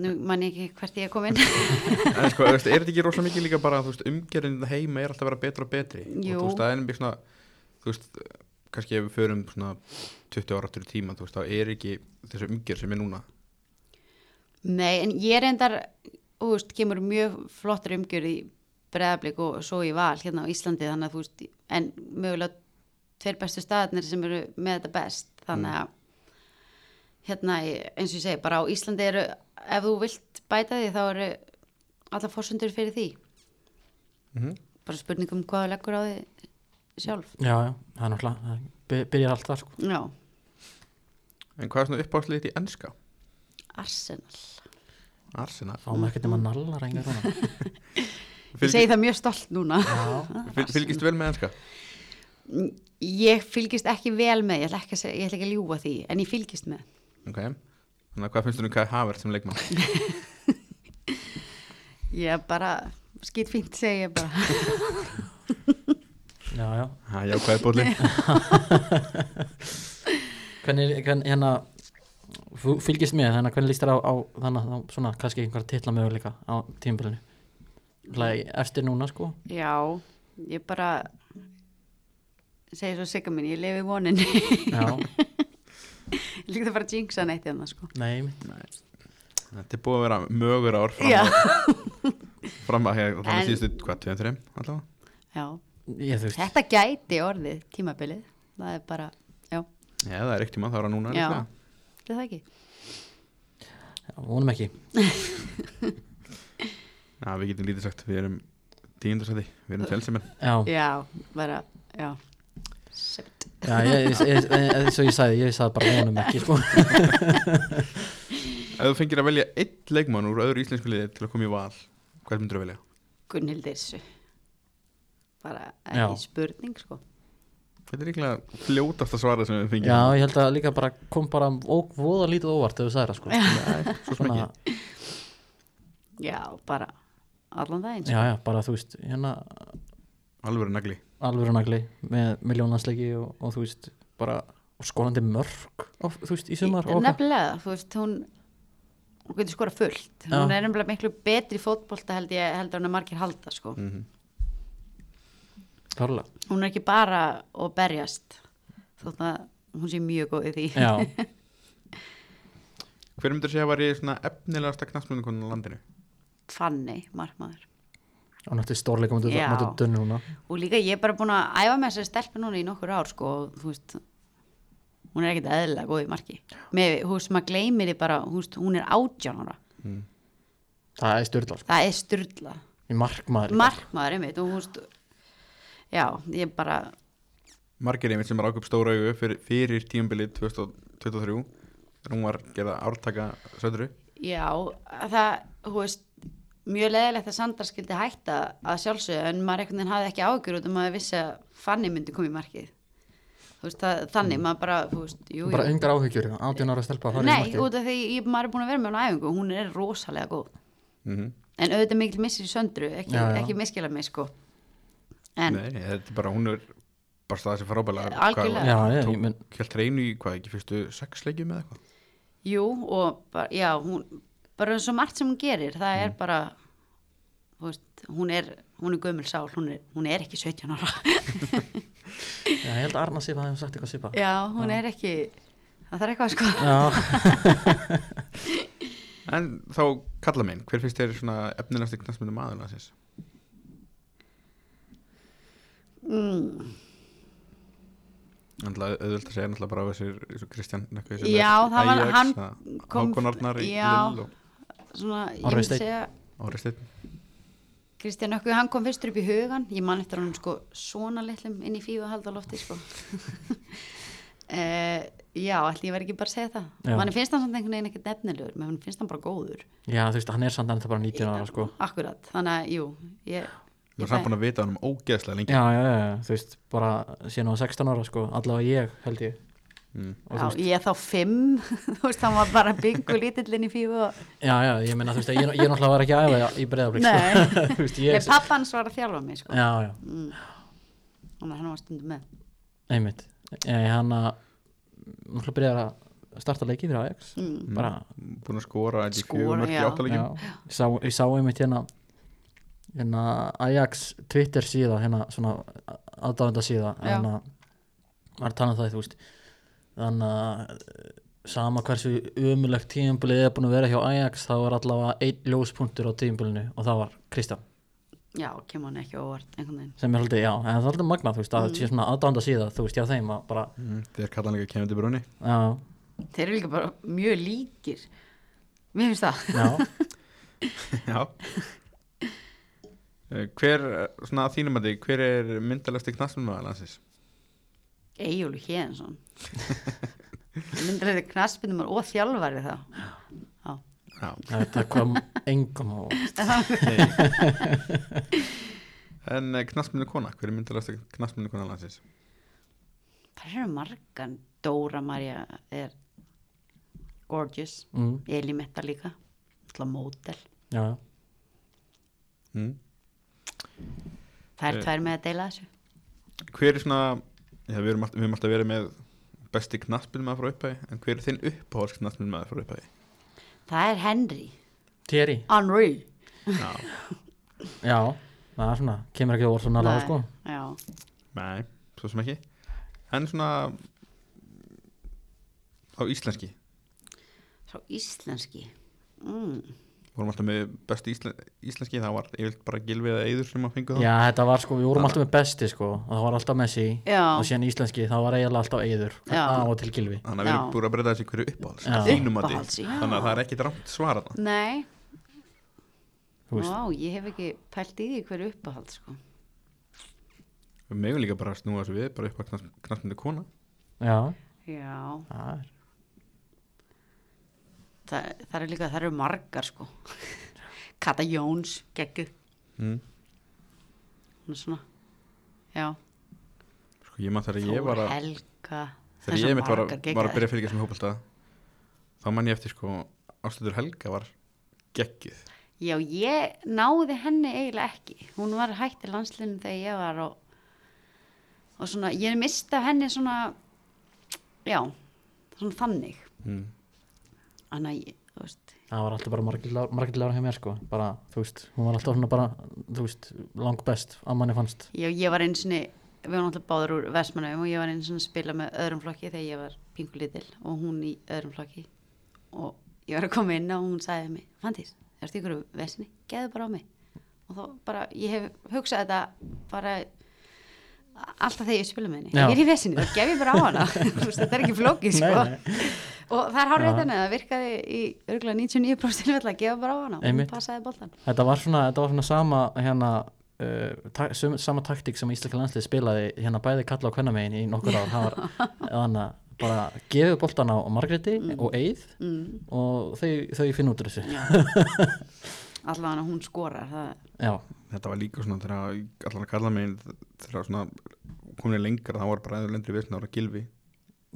[SPEAKER 3] nú man ég ekki hvert ég er komin
[SPEAKER 1] en sko, þú veist, er þetta ekki rosa mikið líka bara þú veist, umgjörðin þetta heima er alltaf að vera betra og betri
[SPEAKER 3] Jú.
[SPEAKER 1] og þú veist, það er einnig svona þú veist, kannski ef við förum svona 20 ára aftur í tíma, þú veist, þá er ekki þessu umgjörð sem er núna
[SPEAKER 3] Nei, en ég reyndar, þú veist, kemur mjög flottur umgjörð í breðablík og svo í val hérna á Íslandi þannig að þú veist, en mögulega tveir bestu staðarnir sem eru með þetta best þannig að hérna, ég- eins og ég segi, bara á Íslandi eru, ef þú vilt bæta því þá eru alla fórsundur fyrir því
[SPEAKER 1] mm -hmm.
[SPEAKER 3] bara spurning um hvað þú leggur á því sjálf
[SPEAKER 2] já, já, það er náttúrulega það by- byrjar allt það sko
[SPEAKER 3] Já,
[SPEAKER 1] en hvað er svona uppáðslið í enska?
[SPEAKER 3] Arsenal
[SPEAKER 1] Arsenal
[SPEAKER 3] Mhm.
[SPEAKER 2] fáum ekkert nema nallar enga svona
[SPEAKER 3] Ég segi það mjög stolt núna
[SPEAKER 2] já,
[SPEAKER 1] fyl, fylgist vel með enska?
[SPEAKER 3] Ég fylgist ekki vel með, ég ætla ekki að, seg- ég ætla ekki að ljúga því en ég fylgist með
[SPEAKER 1] ok, þannig að hvað finnst þú um Kai Havert sem leikmann?
[SPEAKER 3] Ég er bara skýt fínt segi ég bara
[SPEAKER 2] já, já
[SPEAKER 1] ha, já, hvað er bólinn?
[SPEAKER 2] hvernig, hvernig hérna þú fylgist með, þannig að hvernig líst þér á, á þannig að svona kannski einhverja titla möguleika á tímabilinu Þannig að eftir núna sko
[SPEAKER 3] Já, ég bara segi svo sigga mín, ég lifi í voninni
[SPEAKER 2] já,
[SPEAKER 3] líka það bara að jinxa neitt hérna sko
[SPEAKER 2] nei,
[SPEAKER 1] þetta er búið að vera mögur ár fram
[SPEAKER 3] Já.
[SPEAKER 1] að, fram að, hérna, fram að
[SPEAKER 3] En-
[SPEAKER 1] síðustu, hvað, 2-3 allavega?
[SPEAKER 3] Já,
[SPEAKER 2] ég þú veist
[SPEAKER 3] þetta gæti orðið tímabilið, það er bara já,
[SPEAKER 1] Já, það er eitt tíma, það er núna
[SPEAKER 3] Já.
[SPEAKER 1] líklega.
[SPEAKER 3] þetta er það ekki
[SPEAKER 2] já, vonum ekki,
[SPEAKER 1] Já, við getum lítið sagt, við erum tíundarsæti, við erum fjálsamenn
[SPEAKER 2] já
[SPEAKER 3] Já, bara, já Sept.
[SPEAKER 2] Já, ég, ég, ég, ég, eins og ég sagði, ég sagði bara vonum ekki sko.
[SPEAKER 1] Ef þú fengir að velja einn leikmann úr öðru íslensku liði til að koma í val Hvað myndur þú velja?
[SPEAKER 3] Gunnhildur þessu bara
[SPEAKER 2] Já.
[SPEAKER 3] ekki spurning sko
[SPEAKER 1] Þetta er líklega fljótasta svara sem við fengir
[SPEAKER 2] Já, ég held að líka bara kom bara ók voða lítið óvart ef þú sagði það sko.
[SPEAKER 1] Nei, Svo sem ekki
[SPEAKER 3] Já, bara allan daginn
[SPEAKER 2] já,
[SPEAKER 3] sko.
[SPEAKER 2] já, bara þú veist, hérna
[SPEAKER 1] Alvöru nagli
[SPEAKER 2] alvöru nagli með miljónansleiki og, og þú veist, bara og skorandi mörg, of, þú veist, í sumar og eitthvað.
[SPEAKER 3] Nefnilega, þú veist, hún hún getur skora fullt
[SPEAKER 2] Já.
[SPEAKER 3] hún er nefnilega miklu betri fótbolta held ég held að hún er margir halda sko
[SPEAKER 1] mm
[SPEAKER 2] Klárlega.
[SPEAKER 3] hún er ekki bara að berjast þótt að hún sé mjög góð í því
[SPEAKER 2] Já,
[SPEAKER 1] Hver myndur segja að væri svona efnilegasta knastmjöndukonu á landinu?
[SPEAKER 3] fanni markmaður
[SPEAKER 2] og náttúrulega stórleika mútið
[SPEAKER 3] Já.
[SPEAKER 2] dönnu núna
[SPEAKER 3] og líka ég er bara búin að æfa með þessari stelpu núna í nokkur ár sko og þú veist hún er ekkert eðlilega góð í marki með, þú veist maður gleymir því bara þú veist, hún er átján ára
[SPEAKER 2] Það er styrla, sko,
[SPEAKER 3] það er styrla
[SPEAKER 2] í markmaður líka.
[SPEAKER 3] markmaður einmitt og þú veist já ég bara
[SPEAKER 1] Margir einmitt sem er ákjöp stóra augu fyrir, fyrir tímabilið 2023 þegar hún var gerða ártaka söndru
[SPEAKER 3] já það þú veist mjög leðilegt að Sandra skildi hætta að sjálfsögðu en maður einhvern veginn hafði ekki ágjur út um að vissi að Fanny myndi koma í markið þú veist það, þannig maður bara þú veist jú, jú.
[SPEAKER 2] Mm. Bara engar áhyggjur, hérna, 18 ára stelpa það er í
[SPEAKER 3] Nei,
[SPEAKER 2] markið.
[SPEAKER 3] út af því ég, maður er búin að vera með hún á æfingu og hún er rosalega góð
[SPEAKER 1] mm
[SPEAKER 3] en auðvitað mikil missir í söndru ekki,
[SPEAKER 2] Já, já.
[SPEAKER 3] ekki miskila mig sko en
[SPEAKER 1] Nei, þetta er bara, hún er bara staðið sér frábælega
[SPEAKER 3] Algjörlega.
[SPEAKER 2] Já,
[SPEAKER 1] Hvað-
[SPEAKER 2] ég-
[SPEAKER 1] Tók
[SPEAKER 2] ég menn-
[SPEAKER 1] helt reynu í, hvað, ekki fyrstu sex leikjum eða eitthvað?
[SPEAKER 3] jú og bara, já, hún, bara svo margt sem hún gerir það
[SPEAKER 2] Mm.
[SPEAKER 3] er bara þú veist, hún er, hún er gömul sál hún er, hún er ekki 17 ára
[SPEAKER 2] Já, ég held að Arna Sipa hefði sagt eitthvað Sipa
[SPEAKER 3] já, hún er ekki það þarf eitthvað sko
[SPEAKER 2] Já,
[SPEAKER 1] En þá kalla minn, hver finnst þér svona efnilegasti knastmyndu maður landsins?
[SPEAKER 3] mm.
[SPEAKER 1] Náttúrulega auðvöld að segja náttúrulega bara á þessir eins og Kristján eitthvað sem
[SPEAKER 3] Já,
[SPEAKER 1] er
[SPEAKER 3] það var-
[SPEAKER 1] Ajax,
[SPEAKER 3] hann
[SPEAKER 1] það-
[SPEAKER 3] kom-
[SPEAKER 1] Hákon Arnar í
[SPEAKER 3] já.
[SPEAKER 1] Lill og
[SPEAKER 3] svona, ég
[SPEAKER 2] Orri
[SPEAKER 3] myndi
[SPEAKER 2] Steinn.
[SPEAKER 3] segja
[SPEAKER 1] Orri Steinn
[SPEAKER 3] Kristján Ökku, hann kom fyrstur upp í hugan ég man eftir honum sko svona litlum inn í fífu haldalofti sko uh, já, allir ég verð ekki bara að segja það
[SPEAKER 2] Já.
[SPEAKER 3] mann finnst hann samt einhvern veginn ekkert nefnilegur menn mann finnst hann bara góður
[SPEAKER 2] já, þú veist, hann er samt ennþá bara 19 ára, sko
[SPEAKER 3] akkurat, þannig að jú ég,
[SPEAKER 1] Við erum samt búin að vita hann um ógeðslega lengi
[SPEAKER 2] já, já, já, já, þú veist, bara síðan á 16 ára sko, allavega ég held ég
[SPEAKER 1] mm.
[SPEAKER 2] og þú
[SPEAKER 3] já, ég þá fimm þú veist, hann var bara bygg og lítill inn í fífu og...
[SPEAKER 2] já, já, ég meina, þú veist, ég, ég náttúrulega var ekki að æfa í breyðablík
[SPEAKER 3] Nei.
[SPEAKER 2] sko. þú veist,
[SPEAKER 3] ég,
[SPEAKER 2] ég já,
[SPEAKER 3] pappa hans var að þjálfa mig sko
[SPEAKER 2] já,
[SPEAKER 3] þannig að hann var stundum með
[SPEAKER 2] einmitt ég, hann að, náttúrulega byrjar að starta leiki fyrir Ajax
[SPEAKER 3] mm.
[SPEAKER 2] bara,
[SPEAKER 1] búin að skora ekki
[SPEAKER 3] Skora,
[SPEAKER 1] fjögur mörg í
[SPEAKER 3] já.
[SPEAKER 2] já,
[SPEAKER 1] áttaleggjum
[SPEAKER 2] ég sá, ég sá einmitt hérna hérna Ajax Twitter síða hérna svona aðdáðanda síða
[SPEAKER 3] Já.
[SPEAKER 2] hérna var að tala um það þú veist þannig að eh, sama hversu umulegt tímabilið er búin að vera hjá Ajax þá var allavega einn ljóspunktur á tímabilinu og það var Kristján
[SPEAKER 3] já, kemur hann ekki á óvart einhvern veginn
[SPEAKER 2] sem er haldið, já, en það er haldið magna þú veist,
[SPEAKER 3] Mm.
[SPEAKER 2] að þetta sé svona aðdánda síða, þú veist, hjá þeim að bara,
[SPEAKER 1] Mm, þeir kalla hann líka kemur til brunni
[SPEAKER 2] já,
[SPEAKER 3] þeir eru líka bara mjög líkir mér finnst það
[SPEAKER 2] já
[SPEAKER 1] Já Eh, Hver, eh, svona að þínum að því, hver er myndalegsti knastmennmaður landsins?
[SPEAKER 3] Egil Hjensson myndir þetta knaspinum og þjálfari þá já,
[SPEAKER 1] Já,
[SPEAKER 2] Það, það kom engum á óvart.
[SPEAKER 1] en knastmennu kona, hver er myndalegsti knastmennu kona landsins?
[SPEAKER 3] það eru margan Dóra Marja er gorgeous
[SPEAKER 2] mm,
[SPEAKER 3] Elimetta líka alltaf mótel,
[SPEAKER 2] já,
[SPEAKER 1] Mm.
[SPEAKER 3] það er
[SPEAKER 1] Eh.
[SPEAKER 3] tvær með að deila þessu
[SPEAKER 1] Hver er svona, já, við, erum alltaf, við erum alltaf verið með besti knastmennmaður frá upphæði En hver er þinn uppáhalds knastmennmaður frá upphæði?
[SPEAKER 3] það er Henry,
[SPEAKER 2] Thierry,
[SPEAKER 3] Henry
[SPEAKER 1] Já,
[SPEAKER 2] já það er svona, kemur ekki á orð svona alveg
[SPEAKER 3] Nei,
[SPEAKER 2] sko
[SPEAKER 3] já,
[SPEAKER 1] nei, svo sem ekki En svona á íslenski
[SPEAKER 3] svo íslenski mm.
[SPEAKER 1] vorum alltaf með besti íslen, íslenski það var yfirlt bara gilfið eða eyður sem að fengu það
[SPEAKER 2] Já, þetta var sko, við vorum alltaf með besti sko og það var alltaf Messi
[SPEAKER 3] Já.
[SPEAKER 2] og síðan íslenski, það var eiginlega alltaf Eiður
[SPEAKER 3] Já.
[SPEAKER 2] á og til Gilvi
[SPEAKER 1] þannig að við erum
[SPEAKER 3] Já.
[SPEAKER 1] búin að breyta þessi hverju uppáhalds
[SPEAKER 2] Já.
[SPEAKER 1] þínum að
[SPEAKER 3] Uppáhalds,
[SPEAKER 1] því,
[SPEAKER 3] já.
[SPEAKER 1] þannig að það er ekkit rámt svara það
[SPEAKER 3] nei,
[SPEAKER 2] Þú veist.
[SPEAKER 3] Vá, ég hef ekki pælt í því hverju uppahald sko.
[SPEAKER 1] við megum líka bara að snúa þessu við, bara upp að knastmyndu kona
[SPEAKER 2] Já,
[SPEAKER 3] Já,
[SPEAKER 2] það er
[SPEAKER 3] það, það eru líka, það eru margar sko. Kata Jóns, geggu,
[SPEAKER 1] mm.
[SPEAKER 3] hún er svona, já.
[SPEAKER 1] sko ég mann þegar ég var
[SPEAKER 3] Þór
[SPEAKER 1] að
[SPEAKER 3] Helga,
[SPEAKER 1] þegar ég mitt var, að- var að byrja að fylgja sem hópulta þá mann ég eftir sko Áslutur Helga var geggið
[SPEAKER 3] Já, ég náði henni eiginlega ekki. Hún var hætt í landslinu þegar ég var og, og svona, ég misti af henni svona, já, svona þannig.
[SPEAKER 1] mm.
[SPEAKER 3] Þannig að ég, þú veist,
[SPEAKER 2] Það var alltaf bara margindlega hjá mér sko bara, þú veist, hún var alltaf svona bara þú veist, lang best að manni fannst
[SPEAKER 3] Já, ég var einu sinni, við varum alltaf báður úr Vestmannum og ég var einu sinni að spila með öðrum flokki þegar ég var pingulitil og hún í öðrum flokki og ég var að koma inn og hún sagði við mig, Fandís, ertu ykkur vesinni, geðu bara á mig og þá bara, ég hef hugsað þetta bara alltaf þegar ég spila með henni,
[SPEAKER 2] Já.
[SPEAKER 3] ég er í vesinni, þá gef ég bara á hana Þú veist, þetta er ekki flókið sko.
[SPEAKER 2] Nei, nei,
[SPEAKER 3] og það er hárið
[SPEAKER 2] Já.
[SPEAKER 3] þannig að það virkaði í örgulega 99% tilfella að gefa bara á hana og
[SPEAKER 2] Einmitt.
[SPEAKER 3] hún passaði boltan
[SPEAKER 2] Þetta var svona, þetta var svona sama hérna Uh, ta sum, sama taktík sem íslenska landslið spilaði hérna bæði kalla á kvennamegin í nokkur ár það var þannig að bara gefið boltan á Margréti og Eið
[SPEAKER 3] mm.
[SPEAKER 2] og þau, þau finn út úr þessu
[SPEAKER 3] allavega hún skorar það
[SPEAKER 2] já,
[SPEAKER 1] þetta var líka svona þegar allan að kalla mig þegar svona komin lengra það var bara eður lendri vissin, það var gilfi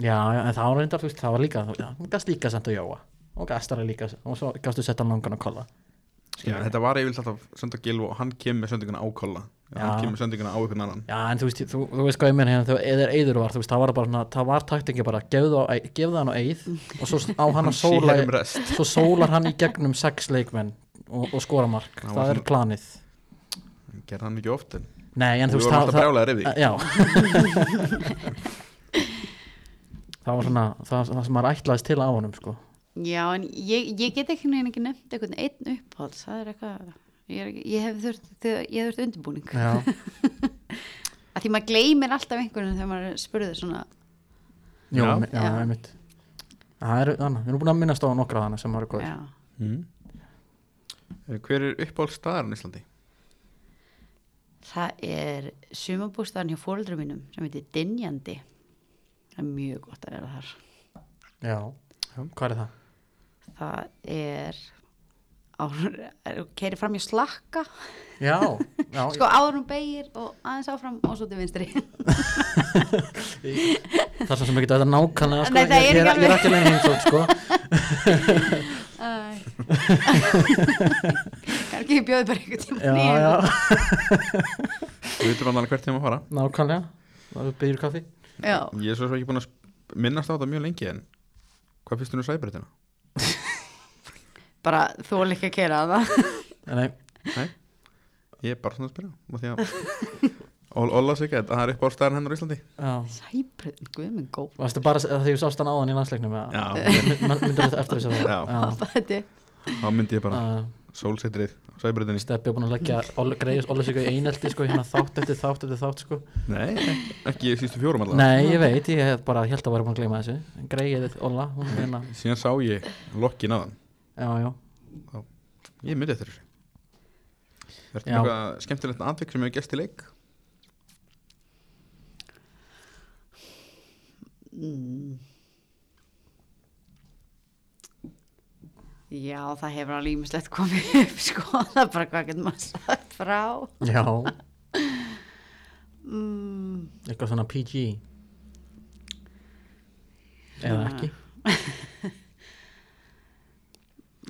[SPEAKER 2] já, já, en það var reyndar þú veist, það var líka, já, hún gast líka samt að jóa og gast aðra líka, og svo gastu sett hann langan að kolla
[SPEAKER 1] Já, þetta var yfirlega alltaf senda gilv og hann kemur með sendinguna á kolla
[SPEAKER 2] Já.
[SPEAKER 1] hann kemur með sendinguna á einhvern annan
[SPEAKER 2] já, en þú veist, þú, þú veist hvað ég meina hérna þegar eður eður var, þú veist, það var bara svona, það var taktingi bara, gefðu, á, gefðu hann á eið og svo á hann að sóla
[SPEAKER 1] sér um rest
[SPEAKER 2] svo sólar hann í gegnum sex leikmenn og, og skora mark,
[SPEAKER 1] Það
[SPEAKER 2] það,
[SPEAKER 1] var
[SPEAKER 2] er
[SPEAKER 1] svona-
[SPEAKER 2] planið
[SPEAKER 1] gerði hann ekki oft en
[SPEAKER 2] nei, en
[SPEAKER 1] við
[SPEAKER 2] þú veist,
[SPEAKER 1] vorum alltaf
[SPEAKER 2] það,
[SPEAKER 1] brjálæðar yfir því
[SPEAKER 2] það já það var svona, það, það sem maður ætlaðist til á honum, sko
[SPEAKER 3] Já, en ég, ég get ekki nefn ekki nefnt einhvern einn uppáhalds, það er eitthvað, ég, er, ekki- ég hef þurft, þegar- ég hef þurft undirbúning.
[SPEAKER 2] já,
[SPEAKER 3] Að því maður gleymir alltaf einhvern þegar maður spurði svona,
[SPEAKER 2] Jú,
[SPEAKER 1] Já.
[SPEAKER 2] já, já,
[SPEAKER 3] Já.
[SPEAKER 2] einmitt Það eru, þannig, við erum búin að minnast á nokkra þannig sem eru góðir
[SPEAKER 3] já,
[SPEAKER 1] mm. Eh, hver er uppáhald staðarinn í Íslandi?
[SPEAKER 3] það er sumabústaðan hjá fóreldrum mínum sem heitir Dinjandi. Það er mjög gott að vera þar.
[SPEAKER 2] Já, hvað er það?
[SPEAKER 3] Það er, á, keiri fram hjá slakka,
[SPEAKER 2] Já, já,
[SPEAKER 3] sko áður um beigir og aðeins áfram og svo til vinstri.
[SPEAKER 2] það er svo sem ekki þetta nákvæmlega sko.
[SPEAKER 3] Nei, það er
[SPEAKER 2] ég, ég,
[SPEAKER 3] ekki
[SPEAKER 2] ég er ekki alveg heimsótt sko.
[SPEAKER 3] Æ. Kannski ég bjóði bara einhvern tíma
[SPEAKER 2] Já, já,
[SPEAKER 1] við veitum alveg hvert þeim að fara
[SPEAKER 2] nákvæmlega Það er byrjur kaffi
[SPEAKER 3] Já,
[SPEAKER 1] ég er svo sem ekki búin að sp- minnast á þetta mjög lengi en Hvað finnst um þú nú sæbreytina?
[SPEAKER 3] bara þú er líka að kera það
[SPEAKER 2] Nei,
[SPEAKER 1] Nei, ég er bara svona að spyrja og því að Ól Óla sig að það er upp á staðan hennar á Íslandi
[SPEAKER 2] já
[SPEAKER 3] Sæbröðin, guðminn góð
[SPEAKER 2] Varstu bara að því þú sást hann áðan í landsleiknum eða?
[SPEAKER 1] Já,
[SPEAKER 2] Mynd- Myndir þetta eftir þessu
[SPEAKER 1] Já.
[SPEAKER 3] Þetta er
[SPEAKER 1] þá myndi ég bara
[SPEAKER 2] Uh,
[SPEAKER 1] sólsetrið á sæbreytinni
[SPEAKER 2] Steppi er búin að leggja greiðis Ólusíku í einelti sko, hérna þátt eftir þátt eftir þátt sko.
[SPEAKER 1] Nei, ekki í sístu fjórum allavega
[SPEAKER 2] Nei, ég veit, ég hef bara held að vera búin að gleyma þessu Greiðið Óla, hún er hérna
[SPEAKER 1] Síðan sá ég lokkin aðan
[SPEAKER 2] Já, já,
[SPEAKER 1] Ég myndi eftir þessu Ertu
[SPEAKER 2] Já.
[SPEAKER 1] með eitthvað skemmtilegt atvik sem hefur gæst í leik?
[SPEAKER 3] Mm. Já, það hefur alveg ímislegt komið upp sko, það er bara hvað getur maður sagt frá
[SPEAKER 2] já
[SPEAKER 3] mm.
[SPEAKER 2] Eitthvað svona PG Eða
[SPEAKER 3] Svona-
[SPEAKER 2] ekki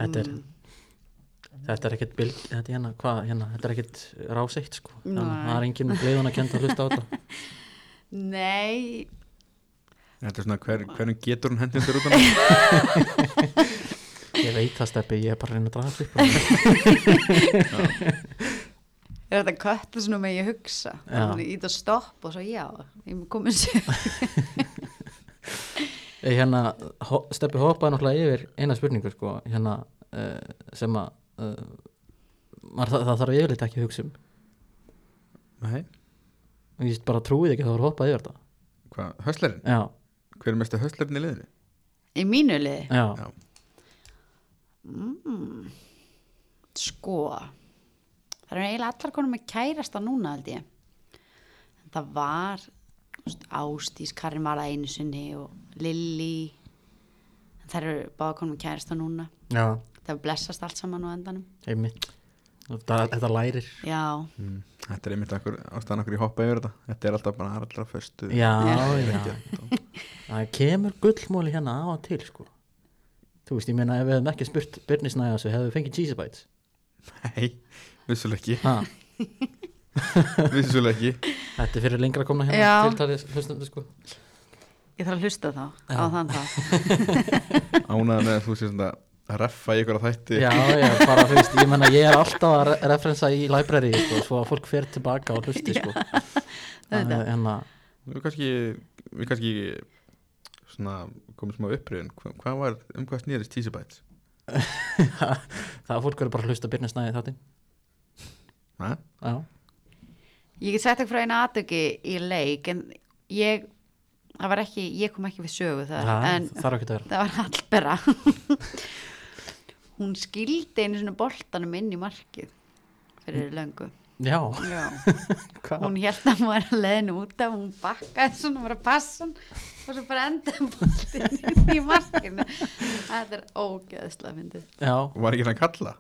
[SPEAKER 2] Þetta er
[SPEAKER 3] Mm.
[SPEAKER 2] Þetta er ekkert bild, þetta er hérna, hvað, hérna, þetta er ekkert ráseitt sko, Þannig að
[SPEAKER 3] Nei.
[SPEAKER 2] það er enginn gleiðan að kenda að hlusta á þetta.
[SPEAKER 3] Nei,
[SPEAKER 1] Þetta er svona hver, hvernig getur hún hendin þér út af
[SPEAKER 2] Ég veit það steppi, ég er bara að reyna að draga þetta upp.
[SPEAKER 3] er þetta köttu svona með ég hugsa
[SPEAKER 2] Já.
[SPEAKER 3] Þannig ít að stopp og svo já, ég er komin sér
[SPEAKER 2] Ég hérna, ho- steppi hoppaði náttúrulega yfir eina spurningu sko, hérna, uh, sem að, uh, maður, það, það þarf yfirleitt ekki að hugsa um.
[SPEAKER 1] Nei,
[SPEAKER 2] Ég veist bara trúið ekki að það var hoppað yfir þetta.
[SPEAKER 1] hvað, höstlerinn?
[SPEAKER 2] Já,
[SPEAKER 1] Hver er mestu höstlerinn í liðinu?
[SPEAKER 3] Í mínu liði
[SPEAKER 2] já,
[SPEAKER 1] Já.
[SPEAKER 3] mm. Sko Það eru eiginlega allar konum með kærasta núna held ég En það var þú veist, Ástís, Karin Mara einu sinni og Lilly En það eru báða konum með kærasta núna
[SPEAKER 2] já,
[SPEAKER 3] Það blessast allt saman á endanum
[SPEAKER 2] einmitt. Þetta, þetta lærir.
[SPEAKER 3] Já,
[SPEAKER 2] Hmm.
[SPEAKER 1] Mm. Þetta er einmitt akkur, ástæðan okkur í hoppa yfir þetta Þetta er alltaf bara allra föstu
[SPEAKER 2] Já,
[SPEAKER 1] Ég
[SPEAKER 2] já.
[SPEAKER 1] veit ekki.
[SPEAKER 2] Það kemur gullmóli hérna á og til sko. Þú veist, ég meina ef við hefum ekki spurt Byrnisnæði á þessu, hefðu við fengið cheese bites.
[SPEAKER 1] Nei, vissulega
[SPEAKER 2] Ha,
[SPEAKER 1] ekki Vissulega ekki
[SPEAKER 2] þetta er fyrir lengra komna hérna
[SPEAKER 3] Já.
[SPEAKER 2] tiltalið hlustum sko.
[SPEAKER 3] ég þarf að hlusta þá
[SPEAKER 2] Já.
[SPEAKER 3] á þann þá
[SPEAKER 1] ánægða með að þú sé svona að reffa í ykkur að þætti
[SPEAKER 2] Já, já, bara þú veist, ég menna ég er alltaf að re- referensa í library sko, svo að fólk fer tilbaka og hlusti sko. hérna,
[SPEAKER 3] auðvitað.
[SPEAKER 2] en að,
[SPEAKER 1] við kannski, við kannski svona komum smá uppröðun hvað, hvað var, um hvað snýrist Cheesy Bites
[SPEAKER 2] það að fólk verður bara að hlusta Birnir Snæði þáttinn
[SPEAKER 1] ha?
[SPEAKER 2] Já,
[SPEAKER 3] Ég get sagt ekki frá einu aðtöki í leik en ég, það var ekki, ég kom ekki við sögu það,
[SPEAKER 2] það
[SPEAKER 3] en
[SPEAKER 2] þarf ekki að vera
[SPEAKER 3] það var Hallbera. Hún skildi einu svona boltanum inn í markið fyrir löngu.
[SPEAKER 2] Já,
[SPEAKER 3] Já.
[SPEAKER 2] hvað?
[SPEAKER 3] Hún held að hún var að leiðin út af, hún bakkaði svona, hún var að passa hann og svo bara endaði boltin inn í markinu. Þetta er ógeðslega myndið.
[SPEAKER 2] Já,
[SPEAKER 1] var ekki hann að kalla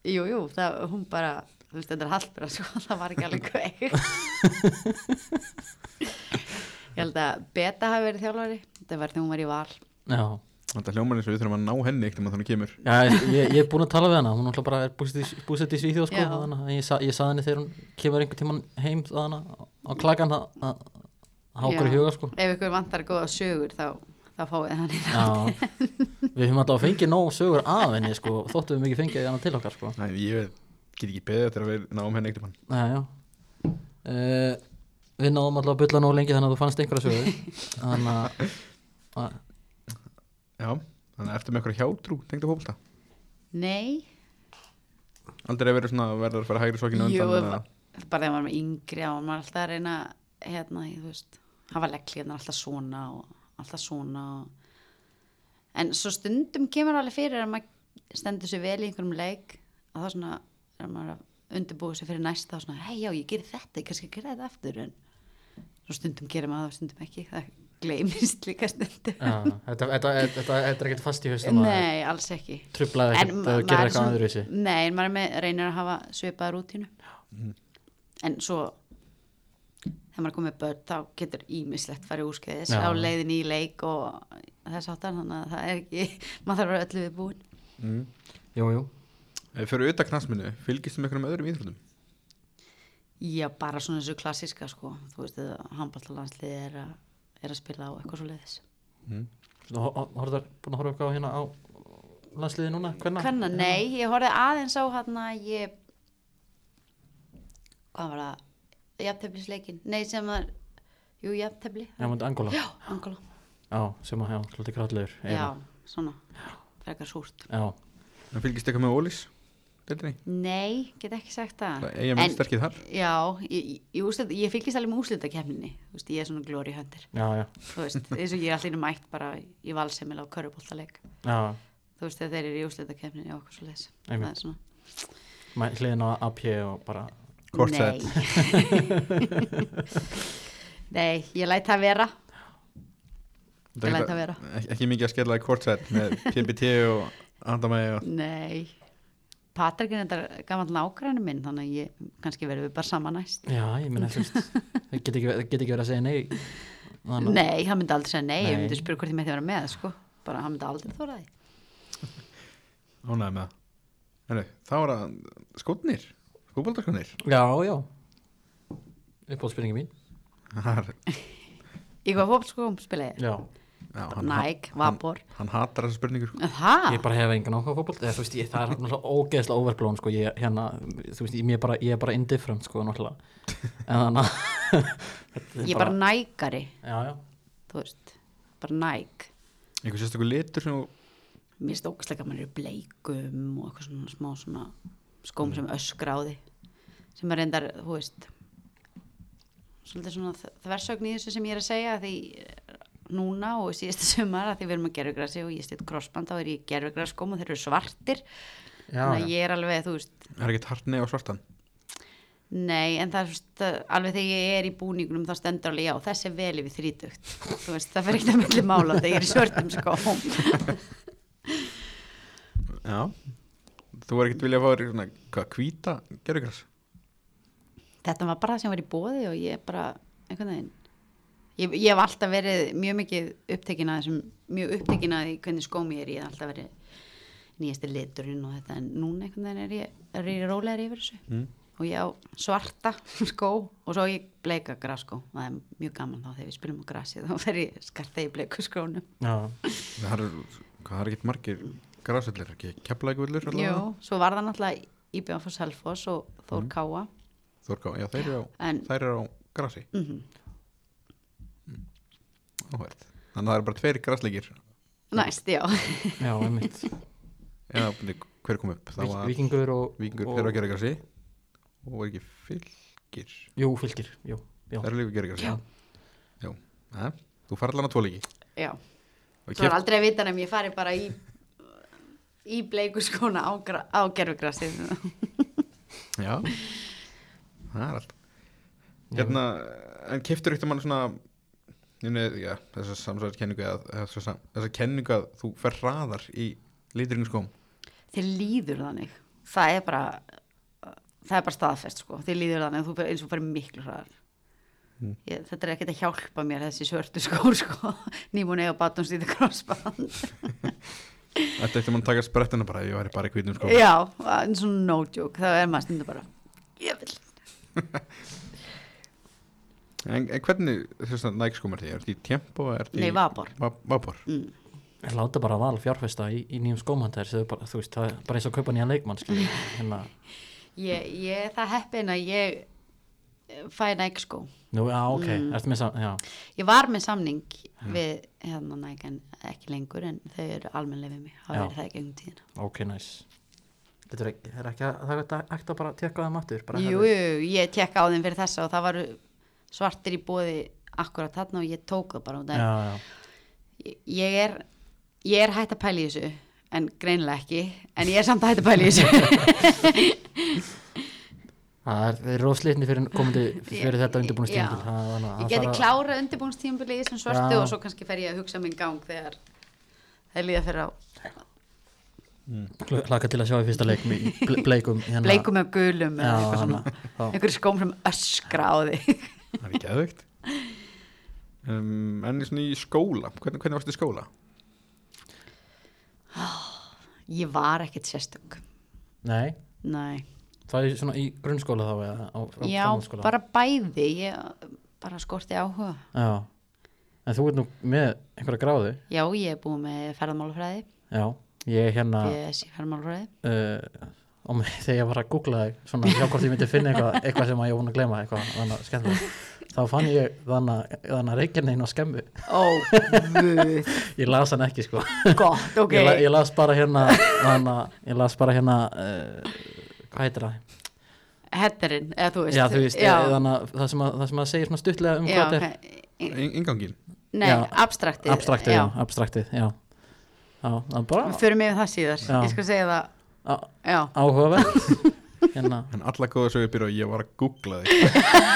[SPEAKER 3] Jú, jú, það, hún bara, þú veist, þetta er hallbera sko, það var ekki alveg kveik. Ég held að Beta hafi verið þjálfari, þetta var þegar hún var í val.
[SPEAKER 2] já
[SPEAKER 1] þetta hljómar eins og við þurfum að ná henni ekkert um að þannig kemur
[SPEAKER 2] Já, ég, ég er búin að tala við hana, hún náttúrulega bara er búsett í- búsett í Svíþjóð sko,
[SPEAKER 3] Já.
[SPEAKER 2] þannig að ég, sa, ég saði henni þegar hún kemur einhvern tímann heim þannig að á klakan að að- að hafa okkur í
[SPEAKER 3] Já.
[SPEAKER 2] huga sko
[SPEAKER 3] Ef ykkur vantar góða sögur þá, þá fáið hann í það.
[SPEAKER 2] Já, við höfum alltaf fengið nóg sögur af henni sko, þóttum við mikið fengið hana til okkar sko
[SPEAKER 1] Nei, ég veit, get ekki beðið eftir að við náum henni ekkert um hann
[SPEAKER 2] Já, já. Uh, við náðum alltaf að bylla nóg lengi þannig að þú fannst einhverja sögur. þannig að, að,
[SPEAKER 1] já, þannig að ertu með eitthvað hjátrú tengd að fókbalta
[SPEAKER 3] Nei,
[SPEAKER 1] aldrei verið svona að verða að fara hægri sokkinu
[SPEAKER 3] jú,
[SPEAKER 1] undan
[SPEAKER 3] ef-
[SPEAKER 1] eða-
[SPEAKER 3] bara þegar maður var yngri og maður alltaf að reyna, hérna, ég, þú veist, hafa leggli hérna alltaf svona og alltaf svona. Og... En svo stundum kemur alveg fyrir að maður stendur sér vel í einhverjum leik að það svona, þegar maður er að undirbúið sér fyrir næsta og svona, hei já, ég gerir þetta, ég kannski gerir þetta aftur en svo stundum gerir maður það og stundum ekki, það gleymist líka stundum.
[SPEAKER 2] já, þetta, þetta, þetta, þetta er ekkert fast í haustum að
[SPEAKER 3] Nei, alls ekki.
[SPEAKER 2] trublaði ekkert að þú gerir
[SPEAKER 3] er
[SPEAKER 2] eitthvað
[SPEAKER 3] svona-
[SPEAKER 2] aður þessi.
[SPEAKER 3] Nei, en maður er með, reynir að hafa svipaða rútínu En svo þegar maður er komið börn þá getur ímislegt farið úrskeiðis
[SPEAKER 2] Já.
[SPEAKER 3] á leiðin í leik og þess áttan þannig að það er ekki, maður þarf að vera öllu við búin
[SPEAKER 1] Mm.
[SPEAKER 2] Jú, jú.
[SPEAKER 1] Ef við Eh, fyrir auðvitað knastminu, fylgist þú með einhverjum öðrum íþróttum?
[SPEAKER 3] Já, bara svona þessu klassíska sko, þú veist, handballtalanslið er, að- er að spila á eitthvað svo leiðis
[SPEAKER 1] mm.
[SPEAKER 2] Horfðar búin að horfa eitthvað á hérna á landsliði núna? Hvenna?
[SPEAKER 3] Hvenna, nei, ég horfði aðeins á hann að ég hvað var það, jafnteflisleikin nei sem var, jú jafntefli
[SPEAKER 2] Já, múndi Angola.
[SPEAKER 3] já, Angola
[SPEAKER 2] Já, sem að, já, svolítið krátlegur.
[SPEAKER 3] já, svona, frekar súrt
[SPEAKER 2] Já,
[SPEAKER 1] En fylgist eitthvað með Ólís? Deildinni?
[SPEAKER 3] nei, get ekki sagt Ah, það
[SPEAKER 1] Eða minn sterkið þar?
[SPEAKER 3] já, ég, ég, úslit, ég fylgist alveg með úslitakefninni veist, ég er svona glóri höndir
[SPEAKER 2] já, já.
[SPEAKER 3] þú veist, eins og ég er allir mætt bara í valsemil á körubóltaleik
[SPEAKER 2] já.
[SPEAKER 3] þú veist, þegar þeir eru í úslitakefninni og okkur svo leis það
[SPEAKER 2] Einmitt.
[SPEAKER 3] er svona,
[SPEAKER 2] Mæ- Hliðin á AP og bara,
[SPEAKER 1] Hvort
[SPEAKER 3] nei nei, ég læt það vera Ég læt það vera.
[SPEAKER 1] Ekki, ekki mikið að skella í kortsett með PBT og Andamæði og
[SPEAKER 3] Nei, Patrik er þetta gaman nágræni minn, þannig að ég, kannski verðum við bara saman næst.
[SPEAKER 2] já, ég minna, þú veist, það get ekki, það get ekki verið að segja nei. Þannig,
[SPEAKER 3] Nei, hann myndi aldrei segja nei, ég
[SPEAKER 2] Nei.
[SPEAKER 3] myndi spyrja hvort ég mætti vera með, sko. Bara hann myndi aldrei þóra því.
[SPEAKER 1] ánæði með það. Heru, það var að skotnir, skóbaldarkonir.
[SPEAKER 2] Já, já. Uppáðspurningi mín.
[SPEAKER 1] Já,
[SPEAKER 3] Í hvað fólk sko spila ég?
[SPEAKER 2] Já.
[SPEAKER 1] hann,
[SPEAKER 3] Næk, Vapor.
[SPEAKER 1] hann, hann hatar þessar spurningur.
[SPEAKER 3] Það?
[SPEAKER 2] Ég bara hef engan áhuga á fótbolt. Eða, þú veist, ég, það er náttúrulega ógeðslega overblown, sko. Ég, hérna, þú veist, ég, mér er bara, ég er bara indifferent, sko, náttúrulega. En þannig að... þetta
[SPEAKER 3] Ég er bara nækari,
[SPEAKER 2] Já, já.
[SPEAKER 3] þú veist. Bara næk.
[SPEAKER 1] Einhver sérstaklega litur sem þú-
[SPEAKER 3] Mér finnst ógæslega að mann eru bleikum og eitthvað svona smá svona skóm
[SPEAKER 2] Mm.
[SPEAKER 3] sem öskra á því. Sem er reyndar, þú veist, svolítið svona þ- þversögn í þessu sem ég er að segja því eh, núna og síðasta sumar að því við erum að gerfugrasi og ég stýtt krossband þá er ég gerfugrasskóm og þeir eru svartir.
[SPEAKER 2] Já, já.
[SPEAKER 3] Þannig að ég er alveg, þú veist,
[SPEAKER 1] það er ekkert hart neð á svartan.
[SPEAKER 3] Nei, en það er svona, alveg þegar ég er í búningunum þá stendur alveg já, þessi er vel yfir þrítugt. Þú veist, það fer ekkert að myndi mála þegar ég er í svörtum skóm.
[SPEAKER 1] Já. Þú var ekkert viljað að fá þér svona, hvað, hvíta gerugras?
[SPEAKER 3] Þetta var bara það sem var í bóði og ég bara, einhvern veginn, ég, ég hef alltaf verið mjög mikið upptekin að þessum, mjög upptekin að því hvernig skóm ég er í, ég hef alltaf verið nýjasti liturinn og þetta, en núna einhvern veginn er ég, er ég rólegar yfir þessu.
[SPEAKER 1] Mm.
[SPEAKER 3] Og ég á svarta skó og svo á ég bleika graskó, það er mjög gaman þá þegar við spilum á grasi, þá fer ég skarta í bleiku skónum.
[SPEAKER 2] Já.
[SPEAKER 1] Það er, hvað, það er ekkert margir grasvellir, ekki keflækvöllur?
[SPEAKER 3] Jú, svo var það náttúrulega IBF og Selfoss og Þór Káa
[SPEAKER 1] Þorká, já, þeir eru á,
[SPEAKER 3] en Mhm.
[SPEAKER 1] þær eru á grasi. Mm Þannig að það eru bara tveir grasleikir.
[SPEAKER 3] næst, já
[SPEAKER 2] Já, einmitt
[SPEAKER 1] Eða, byrju, hver kom upp? Það var
[SPEAKER 2] Vikingur og
[SPEAKER 1] Víkingur,
[SPEAKER 2] og-
[SPEAKER 1] þeir eru á gerugasi og var ekki fylgir.
[SPEAKER 2] Jú, fylgir, jú, já
[SPEAKER 1] Þeir eru líka gerugasi. Jú, Jæja, þú farið allan að tvo leiki.
[SPEAKER 3] Já,
[SPEAKER 1] Og
[SPEAKER 3] svo
[SPEAKER 1] kef-
[SPEAKER 3] var aldrei að vita nefn ég fari bara í í bleiku skóna á, gra- á gerfugrassi
[SPEAKER 1] Já, það er allt. Hérna, en keftur eittum mann svona Inni, já, þessa samsvæðiskenningu að, þessa, þessa kenningu að þú fer hraðar í liturinn sko. skóm
[SPEAKER 3] Þeir líður þannig það er bara það er bara staðfest sko, þeir líður þannig þú fer- eins og fyrir miklu hraðar Ég, þetta er ekkert að hjálpa mér þessi svörtu skór sko, nýmúni eða batnumstýti krossband
[SPEAKER 1] Þetta eittum mann taka sprettina bara ef ég væri bara í hvítum sko. skóm
[SPEAKER 3] Já, en svona no joke þá er maður stundu bara ég vil
[SPEAKER 1] en, en hvernig þess að næg skóm er því? sko, Er því tempo? Er því
[SPEAKER 3] Nei, vapor.
[SPEAKER 1] Va- Vapor
[SPEAKER 2] Ég láta bara val fjárfesta í, í nýjum skómhandar bara, Þú veist, það er bara eins og að kaupa nýjan leikmann skilur við. Hérna,
[SPEAKER 3] Ég, ég er það heppin að ég eh, fæ Nike sko.
[SPEAKER 2] nú, já, ok,
[SPEAKER 3] Mm.
[SPEAKER 2] ertu með saman Já,
[SPEAKER 3] Ég var með samning við hérna Nike en ekki lengur en þau eru almennlega við mig. Það
[SPEAKER 2] Já.
[SPEAKER 3] verður það í gegnum tíðina.
[SPEAKER 2] ok, næs Þetta er ekki, það er ekki að, það er ekki að, ekki að bara tekka þeim aftur bara,
[SPEAKER 3] Jú, jú, ég tekka á þeim fyrir þessa og það var svartir í bóði akkurat þarna og ég tók það bara út
[SPEAKER 2] Já,
[SPEAKER 3] af.
[SPEAKER 2] já,
[SPEAKER 3] Ég- Ég er, ég er hægt að pæla í þessu en greinilega ekki, en ég er samt hægt að pæla í þessu.
[SPEAKER 2] það er, er róslitni fyrir komandi fyrir þetta undirbúinu
[SPEAKER 3] Já.
[SPEAKER 2] stíðan
[SPEAKER 3] Ég geti klára undirbúinstíðanbili í þessum svartu
[SPEAKER 2] Já.
[SPEAKER 3] og svo kannski fer ég að hugsa minn gang þegar það líða fyrir á
[SPEAKER 2] Laka til að sjá í fyrsta leikum í ble- bleikum hérna.
[SPEAKER 3] bleikum með gulum
[SPEAKER 2] Já, hérna.
[SPEAKER 3] eða eitthvað
[SPEAKER 2] hana,
[SPEAKER 3] svona
[SPEAKER 2] já.
[SPEAKER 3] einhverju skóm sem öskra á þig
[SPEAKER 1] Það er ekki aðveikt um, En svona í skóla Hvernig, hvernig varstu í skóla?
[SPEAKER 3] ég var ekkert sérstök
[SPEAKER 2] Nei,
[SPEAKER 3] Nei.
[SPEAKER 2] það er svona í grunnskóla þá eða á, á
[SPEAKER 3] já,
[SPEAKER 2] framhaldsskóla?
[SPEAKER 3] bara bæði ég bara skorti áhuga
[SPEAKER 2] Já, en en þú ert nú með einhverja gráðu
[SPEAKER 3] Já, ég er búin með ferðamálafræði
[SPEAKER 2] já, ég er hérna
[SPEAKER 3] BS í ferðamálafræði
[SPEAKER 2] uh, og með, þegar ég var að googla þig svona hjá hvort ég myndi finna eitthvað, eitthvað sem að ég var búin að glema eitthvað þannig að skemmu þá fann ég þannig að reikinnein á skemmu
[SPEAKER 3] Ó, guð,
[SPEAKER 2] ég las hann ekki sko
[SPEAKER 3] gott, ok
[SPEAKER 2] ég, la, ég las bara hérna, hana, ég las bara hérna uh, hvað heitir það?
[SPEAKER 3] Hedderinn, eða þú veist
[SPEAKER 2] já, þú veist,
[SPEAKER 3] já,
[SPEAKER 2] ég, þannig, að það, sem að, það sem að segir svona stuttlega um
[SPEAKER 3] já,
[SPEAKER 2] hvað þetta er
[SPEAKER 3] ok.
[SPEAKER 1] Ingangin
[SPEAKER 3] Nei,
[SPEAKER 2] Já.
[SPEAKER 3] abstraktið
[SPEAKER 2] abstraktið, já, abstraktið, já já, það er bara
[SPEAKER 3] Við förum yfir það síðar,
[SPEAKER 2] Já.
[SPEAKER 3] ég skal segja það
[SPEAKER 2] á-
[SPEAKER 3] Já,
[SPEAKER 2] áhugavert hérna,
[SPEAKER 1] En alla góða sögur byrja og ég var að googla þig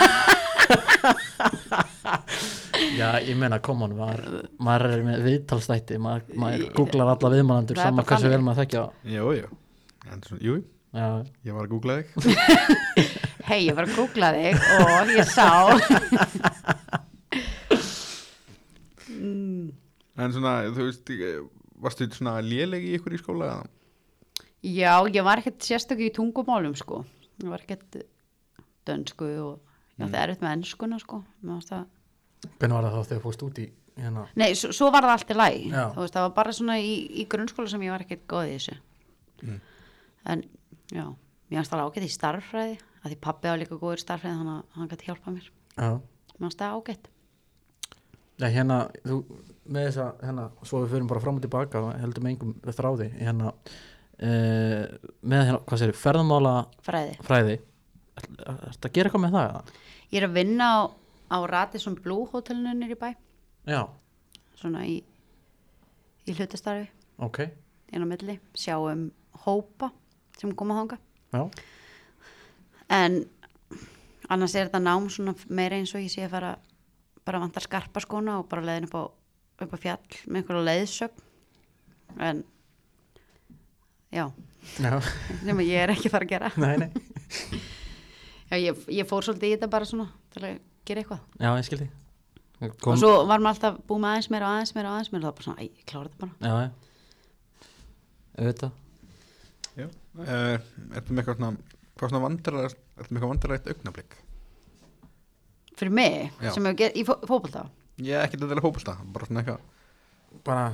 [SPEAKER 2] já, ég meina koma hann, maður, maður er með viðtalstætti maður, maður googlar alla viðmælandur
[SPEAKER 3] Það er
[SPEAKER 2] saman
[SPEAKER 3] bara
[SPEAKER 2] hversu
[SPEAKER 3] þannig.
[SPEAKER 2] vel maður þekkja þá.
[SPEAKER 1] Jú, jú En svona, jú,
[SPEAKER 2] já,
[SPEAKER 1] ég var að googla þig
[SPEAKER 3] hei, ég var að googla þig og ég sá Mm.
[SPEAKER 1] En svona, þú veist, eh, varstu svona léleg í ykkur í skóla? eða?
[SPEAKER 3] Já, ég var ekkert sérstaklega í tungumálum sko Ég var ekkert dönsku og ég átti erfitt með ennskuna sko Mér fannst það
[SPEAKER 2] hvernig var það þá þegar þú fórst út í hérna,
[SPEAKER 3] Nei, svo, svo var það allt í læg
[SPEAKER 2] Já.
[SPEAKER 3] þú veist, það var bara svona í, í grunnskóla sem ég var ekkert góð í þessu en, já, mér fannst það ágætt í starffræði að því pabbi var líka góður í starffræði þannig að hann gæti hjálpað mér
[SPEAKER 2] já,
[SPEAKER 3] mér fannst það ágætt
[SPEAKER 2] já, hérna þú, með þess að, hérna, svo við förum bara fram og tilbaka og heldum engum þráði hérna, uh, með hérna, hvað sér, ferðamála
[SPEAKER 3] fræði.
[SPEAKER 2] fræði Er þetta að gera eitthvað með það? eða?
[SPEAKER 3] Ég er að vinna á, á Radisson Blue hótelinu nýri bæ
[SPEAKER 2] Já,
[SPEAKER 3] svona í, í hlutastarfi
[SPEAKER 2] ok
[SPEAKER 3] inn á milli, sjá um hópa sem koma þanga
[SPEAKER 2] Já,
[SPEAKER 3] en annars er þetta nám svona meira eins og ég sé að fara bara vantar skarpa skóna og bara leiðin upp á, upp á fjall með einhverja leiðsögn en já,
[SPEAKER 2] já,
[SPEAKER 3] sem að ég er ekki að fara að gera
[SPEAKER 2] nei, nei
[SPEAKER 3] já, ég, ég fór svolítið í þetta bara svona til að gera eitthvað
[SPEAKER 2] Já, ég skildi
[SPEAKER 3] og svo var maður alltaf búið með aðeins meira og aðeins meira og aðeins meira og það var bara svona, æ, ég klára þetta bara
[SPEAKER 2] Já, já Auðvitað
[SPEAKER 1] Já uh, Ertu með eitthvað svona, hvað svona vandrarætt Ertu með eitthvað vandrarætt augnablik?
[SPEAKER 3] fyrir mig,
[SPEAKER 1] Já.
[SPEAKER 3] sem hefur gerð í fó, fótbolta
[SPEAKER 1] Ég er ekki þetta að hópa þetta Bara svona eitthvað,
[SPEAKER 2] Bara,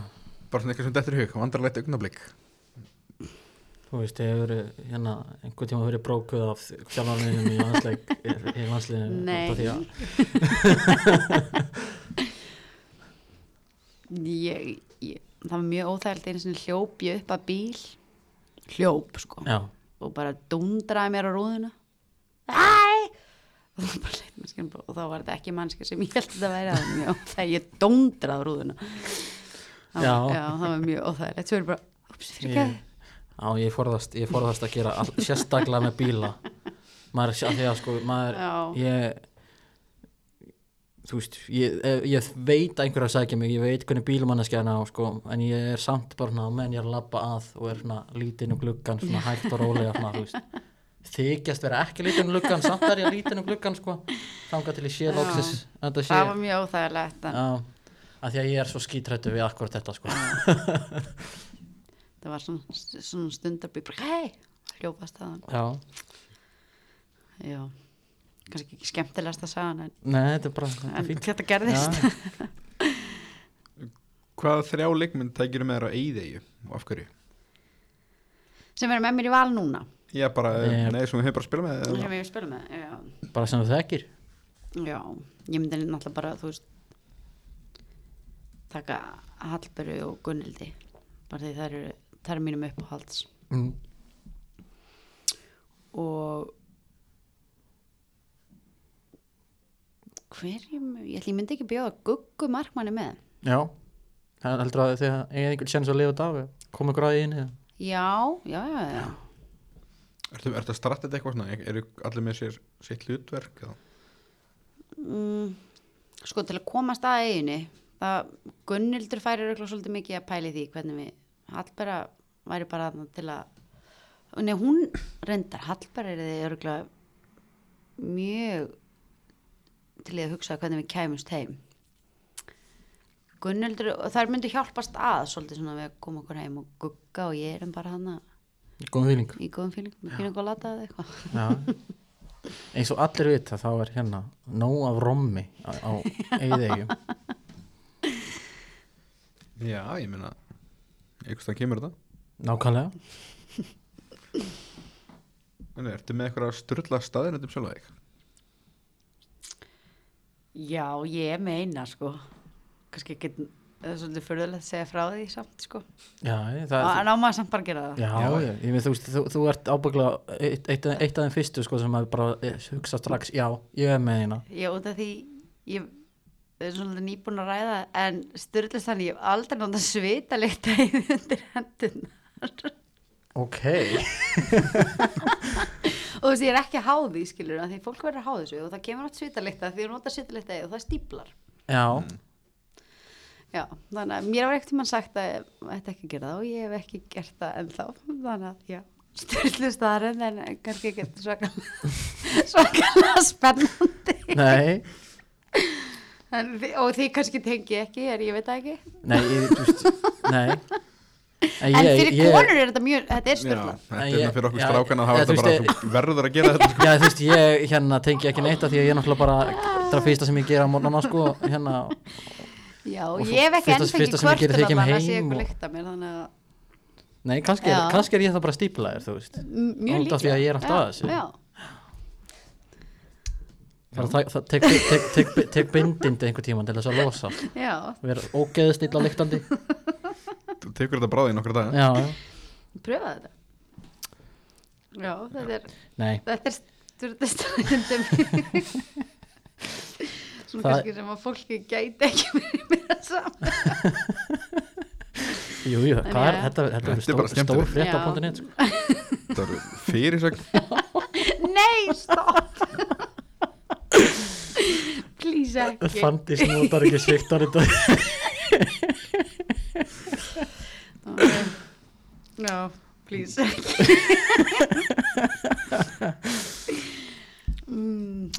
[SPEAKER 1] bara svona eitthvað sem dettur í hug Vandrarætt augnablik
[SPEAKER 2] þú veist, ég hefur verið hérna, einhvern tíma verið brókuð af sjálfarninum í landsleik í landsleik
[SPEAKER 3] Nei. ég, ég, það var mjög óþægild einu sinni hljóp ég upp að bíl hljóp sko
[SPEAKER 2] Já,
[SPEAKER 3] og bara dundraði mér á rúðuna Æ! og þá bara leit mannskjan bara- og þá var þetta ekki mannska sem ég held að þetta væri að mjög óþæg ég dundraði á rúðuna það
[SPEAKER 2] Já.
[SPEAKER 3] Var, já, það var mjög óþægilegt svo er bara, ups, fyrir
[SPEAKER 2] ég, á, ég forðast ég forðast að gera all, sérstaklega með bíla maður, sjá- því að sko maður,
[SPEAKER 3] Já.
[SPEAKER 2] ég þú veist, ég, ef- ég veit að einhverja sækja mig, ég veit hvernig bílumanneskjana á sko, en ég er samt bara svona menn ég er að labba að og er svona lítinn um gluggan svona hægt og rólega svona, þú veist þykjast vera ekki lítinn um gluggan samt er ég lítinn um gluggan sko þangað til ég sé
[SPEAKER 3] Já.
[SPEAKER 2] lóksins að þetta sé
[SPEAKER 3] það var mjög óþægilegt en
[SPEAKER 2] já, að því að ég er svo skítrættu við akkurat þetta sko
[SPEAKER 3] það var svona, svona stundarbí bara, hei, hljópast það
[SPEAKER 2] já,
[SPEAKER 3] já, kannski ekki skemmtilegast að sagja en,
[SPEAKER 2] nei, þetta er bara þetta er
[SPEAKER 3] en
[SPEAKER 2] fínt
[SPEAKER 3] þetta gerðist
[SPEAKER 2] Já.
[SPEAKER 1] Hvað þrjá leikmynd tækir með þér á eigðegju og af hverju?
[SPEAKER 3] sem er með mér í val núna
[SPEAKER 1] Ég bara,
[SPEAKER 2] Ég-
[SPEAKER 1] nei, sem við hefur bara að spila með
[SPEAKER 3] sem
[SPEAKER 1] eða-
[SPEAKER 3] ég vil spila með já.
[SPEAKER 2] bara sem þú þekkir
[SPEAKER 3] Já, ég myndi náttúrulega bara, þú veist, taka Hallberu og Gunnildi, bara því það eru, það eru mínum uppáhalds
[SPEAKER 2] mm.
[SPEAKER 3] og hverjum, ég ætla, ég myndi ekki bjóða Guggu Markmanni með.
[SPEAKER 2] Já, það heldur að þegar eigið einhvern séns að lifa þetta af koma ykkur að því inn eða?
[SPEAKER 3] Já, já, já, já.
[SPEAKER 1] Ertu, ertu að stratta þetta eitthvað svona? E-, Eru allir með sér sitt hlutverk? eða?
[SPEAKER 3] Mm, sko, til að komast að eiginu, það Gunnildur færi röglega svolítið mikið að pæli því hvernig við Hallbera væri bara þarna til að Nei, hún reyndar, Hallbera er þið röglega mjög til í að hugsa hvernig við kæmumst heim. Gunnildur, og þær myndu hjálpast að svolítið svona við að koma okkur heim og gugga og ég erum bara hana
[SPEAKER 2] Góðum fíling
[SPEAKER 3] í góðum fíling, með fíling og lata eða eitthvað.
[SPEAKER 2] Já Eins og allir vita þá er hérna nóg af rommi á, á eigið eigum
[SPEAKER 1] Já, ég meina einhvers það kemur þetta
[SPEAKER 2] Nákvæmlega
[SPEAKER 1] En ertu með eitthvað að strulla staðirnöndum sjálf að þig?
[SPEAKER 3] Já, ég meina sko kannski ekki það er svolítið fyrðulegt að segja frá því samt sko
[SPEAKER 2] Já, ég- það
[SPEAKER 3] en á maður samt bara að gera það
[SPEAKER 2] Já,
[SPEAKER 1] Já,
[SPEAKER 2] já, ég meina þú veist, þú, þú ert ábygglega eitt, eitt, eitt af þeim fyrstu sko sem að bara eh, hugsa strax, já, ég er með hérna
[SPEAKER 3] ég út af því ég er svolítið nýbúin að ræða en styrlust hann, ég hef aldrei nátt að svita leita í undir hendun
[SPEAKER 2] Ok,
[SPEAKER 3] og þú veist, ég er ekki að há því skilur því fólk verður að há þessu og það kemur átt svita leita því þú notar svita leita og það stíplar
[SPEAKER 2] já,
[SPEAKER 3] Já, þannig að mér var ekkert mann sagt að ég ætti ekki að gera það og ég hef ekki gert það ennþá, þannig að já, styrlu staðarinn en kannski ekki svakalega, svakalega spennandi
[SPEAKER 2] nei
[SPEAKER 3] en, þi- og því kannski tengi ekki, er, ég veit það ekki.
[SPEAKER 2] Nei, ég, þú veist, nei En,
[SPEAKER 3] en fyrir konur er þetta mjög, þetta er
[SPEAKER 1] Já,
[SPEAKER 3] styrla.
[SPEAKER 1] þetta
[SPEAKER 2] Nei,
[SPEAKER 1] er
[SPEAKER 2] ég-
[SPEAKER 1] það fyrir okkur
[SPEAKER 2] já,
[SPEAKER 1] strákan að
[SPEAKER 2] já,
[SPEAKER 1] hafa
[SPEAKER 2] þú
[SPEAKER 1] þetta bara
[SPEAKER 2] veist,
[SPEAKER 1] þú verður að gera þetta sko.
[SPEAKER 2] Já, þú veist, ég hérna tengi ekki neitt af því að ég er náttúrulega bara það er fyrsta sem ég gera á morgnana sko hérna,
[SPEAKER 3] Já,
[SPEAKER 2] Og svo
[SPEAKER 3] ég hef ekki
[SPEAKER 2] fyrsta-
[SPEAKER 3] enn fengið
[SPEAKER 2] fyrsta sem ég geri þegar
[SPEAKER 3] kvörtun
[SPEAKER 2] ég kem
[SPEAKER 3] að það sé
[SPEAKER 2] heim
[SPEAKER 3] ykkur
[SPEAKER 2] og-
[SPEAKER 3] líkt að mér, þannig að
[SPEAKER 2] nei, kannski er,
[SPEAKER 3] Já.
[SPEAKER 2] kannski er ég það bara stíplaðir, þú veist
[SPEAKER 3] m- mjög
[SPEAKER 2] Út
[SPEAKER 3] líklega.
[SPEAKER 2] af því að ég er alltaf
[SPEAKER 3] Já,
[SPEAKER 2] að þessu.
[SPEAKER 3] Já,
[SPEAKER 2] bara það, það tek, tek, tek, tek, tek bindindi einhver tíma til þess að losa
[SPEAKER 3] já,
[SPEAKER 2] vera ógeðist illa lyktandi já,
[SPEAKER 1] Þú tekur þetta bráði í nokkra daga
[SPEAKER 2] já,
[SPEAKER 3] pröfa þetta. Já, þetta er...
[SPEAKER 2] nei
[SPEAKER 3] Þetta er stjórnastæðindum Svona
[SPEAKER 2] Það-
[SPEAKER 3] kannski sem að fólki gæti ekki verið meira saman
[SPEAKER 2] Jú, jú,
[SPEAKER 3] En
[SPEAKER 2] hvað er
[SPEAKER 3] já.
[SPEAKER 2] þetta? Þetta er
[SPEAKER 1] Þetta er bara
[SPEAKER 2] stór, stór
[SPEAKER 1] skemmtilegt.
[SPEAKER 2] frétt á
[SPEAKER 3] Já.
[SPEAKER 2] punktinni sko.
[SPEAKER 1] Þetta er fyrirsögn
[SPEAKER 3] Nei, stopp Please ekki
[SPEAKER 2] Fandís notar ekki sviktar þetta
[SPEAKER 3] okay. No, please ekki mm,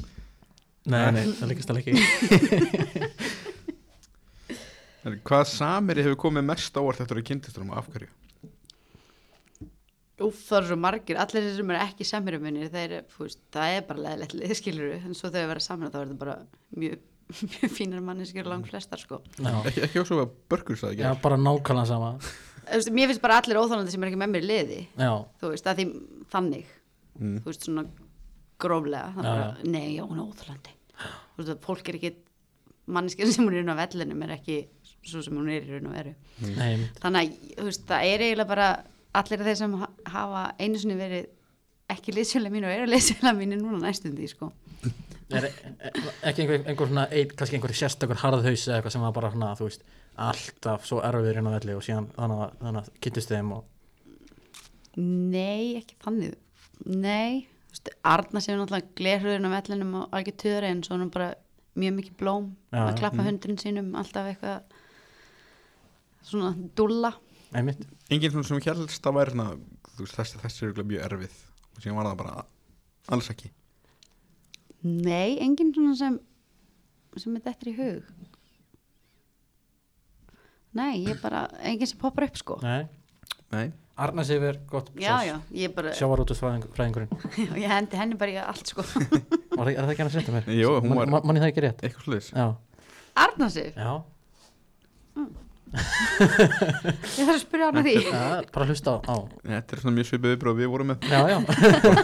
[SPEAKER 2] Nei, nei, það líkast alveg ekki
[SPEAKER 1] En Hvað samiri hefur komið mest ávart eftir að kynntist um af hverju?
[SPEAKER 3] Úf, það eru svo margir, allir þeir sem eru ekki samir um minni, þeir, eru, þú veist, það er bara leðilegt liðskilur, en svo þegar þeir vera saman þá er það bara mjög, mjög fínar manneskjur langt flestar, sko.
[SPEAKER 2] Já,
[SPEAKER 1] Ekki, ekki ásöfu að börgur sagði
[SPEAKER 2] já
[SPEAKER 1] ekki
[SPEAKER 2] bara nákvæmlega sama
[SPEAKER 3] Þú veist, mér finnst bara allir óþálandi sem er ekki með mér í liði
[SPEAKER 2] Já,
[SPEAKER 3] þú veist, að því þannig þú veist, svona gróflega það
[SPEAKER 2] Já,
[SPEAKER 3] bara, nei, já, hún er óþálandi þú veist, að fólk er ekki manneskjur sem hún er inn á vellinum er ekki svo sem hún er í raun og veru
[SPEAKER 2] nei, einmitt.
[SPEAKER 3] þannig að, þú veist, það er eiginlega bara allir þeir sem ha- hafa einu sinni verið ekki liðsfélag mín og eru liðsfélag mín núna næstum því, sko
[SPEAKER 2] er, er, ekki einhver, einhver svona ein, kannski einhver sérstakur harðhaus eða eitthvað sem var bara svona, þú veist, alltaf svo erfiður inn á velli og síðan þannig að, þannig að kynntist þeim og
[SPEAKER 3] Nei, ekki þannig Nei, þú veist, Arna sem er náttúrulega glerhruðin á vellinum og algjör töður en svo er hann bara mjög mikið blóm
[SPEAKER 2] Já,
[SPEAKER 3] að klappa hundurinn sínum alltaf eitthvað svona dúlla
[SPEAKER 2] einmitt,
[SPEAKER 1] Engin svona sem helst að væri svona, þú veist, þessi, þessi er örugglega mjög erfið og síðan var það bara alls ekki
[SPEAKER 3] Nei, enginn svona sem sem er dettur í hug Nei, ég bara enginn sem poppar upp sko
[SPEAKER 2] nei
[SPEAKER 1] Nei,
[SPEAKER 2] Arna Sifir, gott
[SPEAKER 3] Já, já, ég bara já,
[SPEAKER 2] sjávarútusfræðingurinn
[SPEAKER 3] ég hendi henni bara í allt sko
[SPEAKER 2] var, er það ekki hann að setja mér?
[SPEAKER 1] Jú, hún var-
[SPEAKER 2] Man- man- manni það ekki rétt?
[SPEAKER 1] eitthvað sluðis
[SPEAKER 2] Já,
[SPEAKER 3] Arna sig,
[SPEAKER 2] já,
[SPEAKER 3] ég þarf að spyrja hana því
[SPEAKER 2] já bara hlusta á, á.
[SPEAKER 1] Þetta er svona mjög svipið viðbröð við vorum með
[SPEAKER 2] Já, já,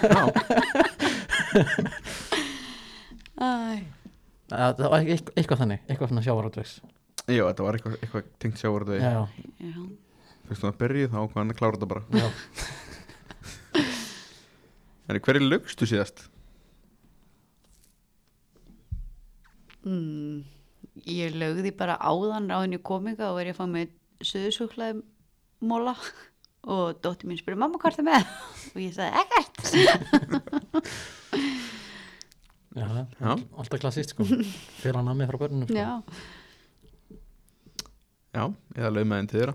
[SPEAKER 1] Já,
[SPEAKER 3] Æ,
[SPEAKER 2] Að það var eitthvað, eitthvað þannig, eitthvað svona sjávarútvegs
[SPEAKER 1] já þetta var eitthvað, eitthvað tengt sjávarðu
[SPEAKER 2] Já,
[SPEAKER 3] já
[SPEAKER 1] Þú veist, það berrið þá ákvað hann að klára þetta bara
[SPEAKER 2] já
[SPEAKER 1] En hverju lögstu síðast?
[SPEAKER 3] Mm, ég lögði bara áðan á henni kominga og er ég að fá með söðusúklaði móla og dóttir mín spurði mamma hvað er það með og ég sagði ekkert
[SPEAKER 2] Já,
[SPEAKER 1] Já.
[SPEAKER 2] alltaf klassist sko Fyrir hann að mig frá börnunum sko.
[SPEAKER 3] já,
[SPEAKER 1] Já, eða laumaðin til þeirra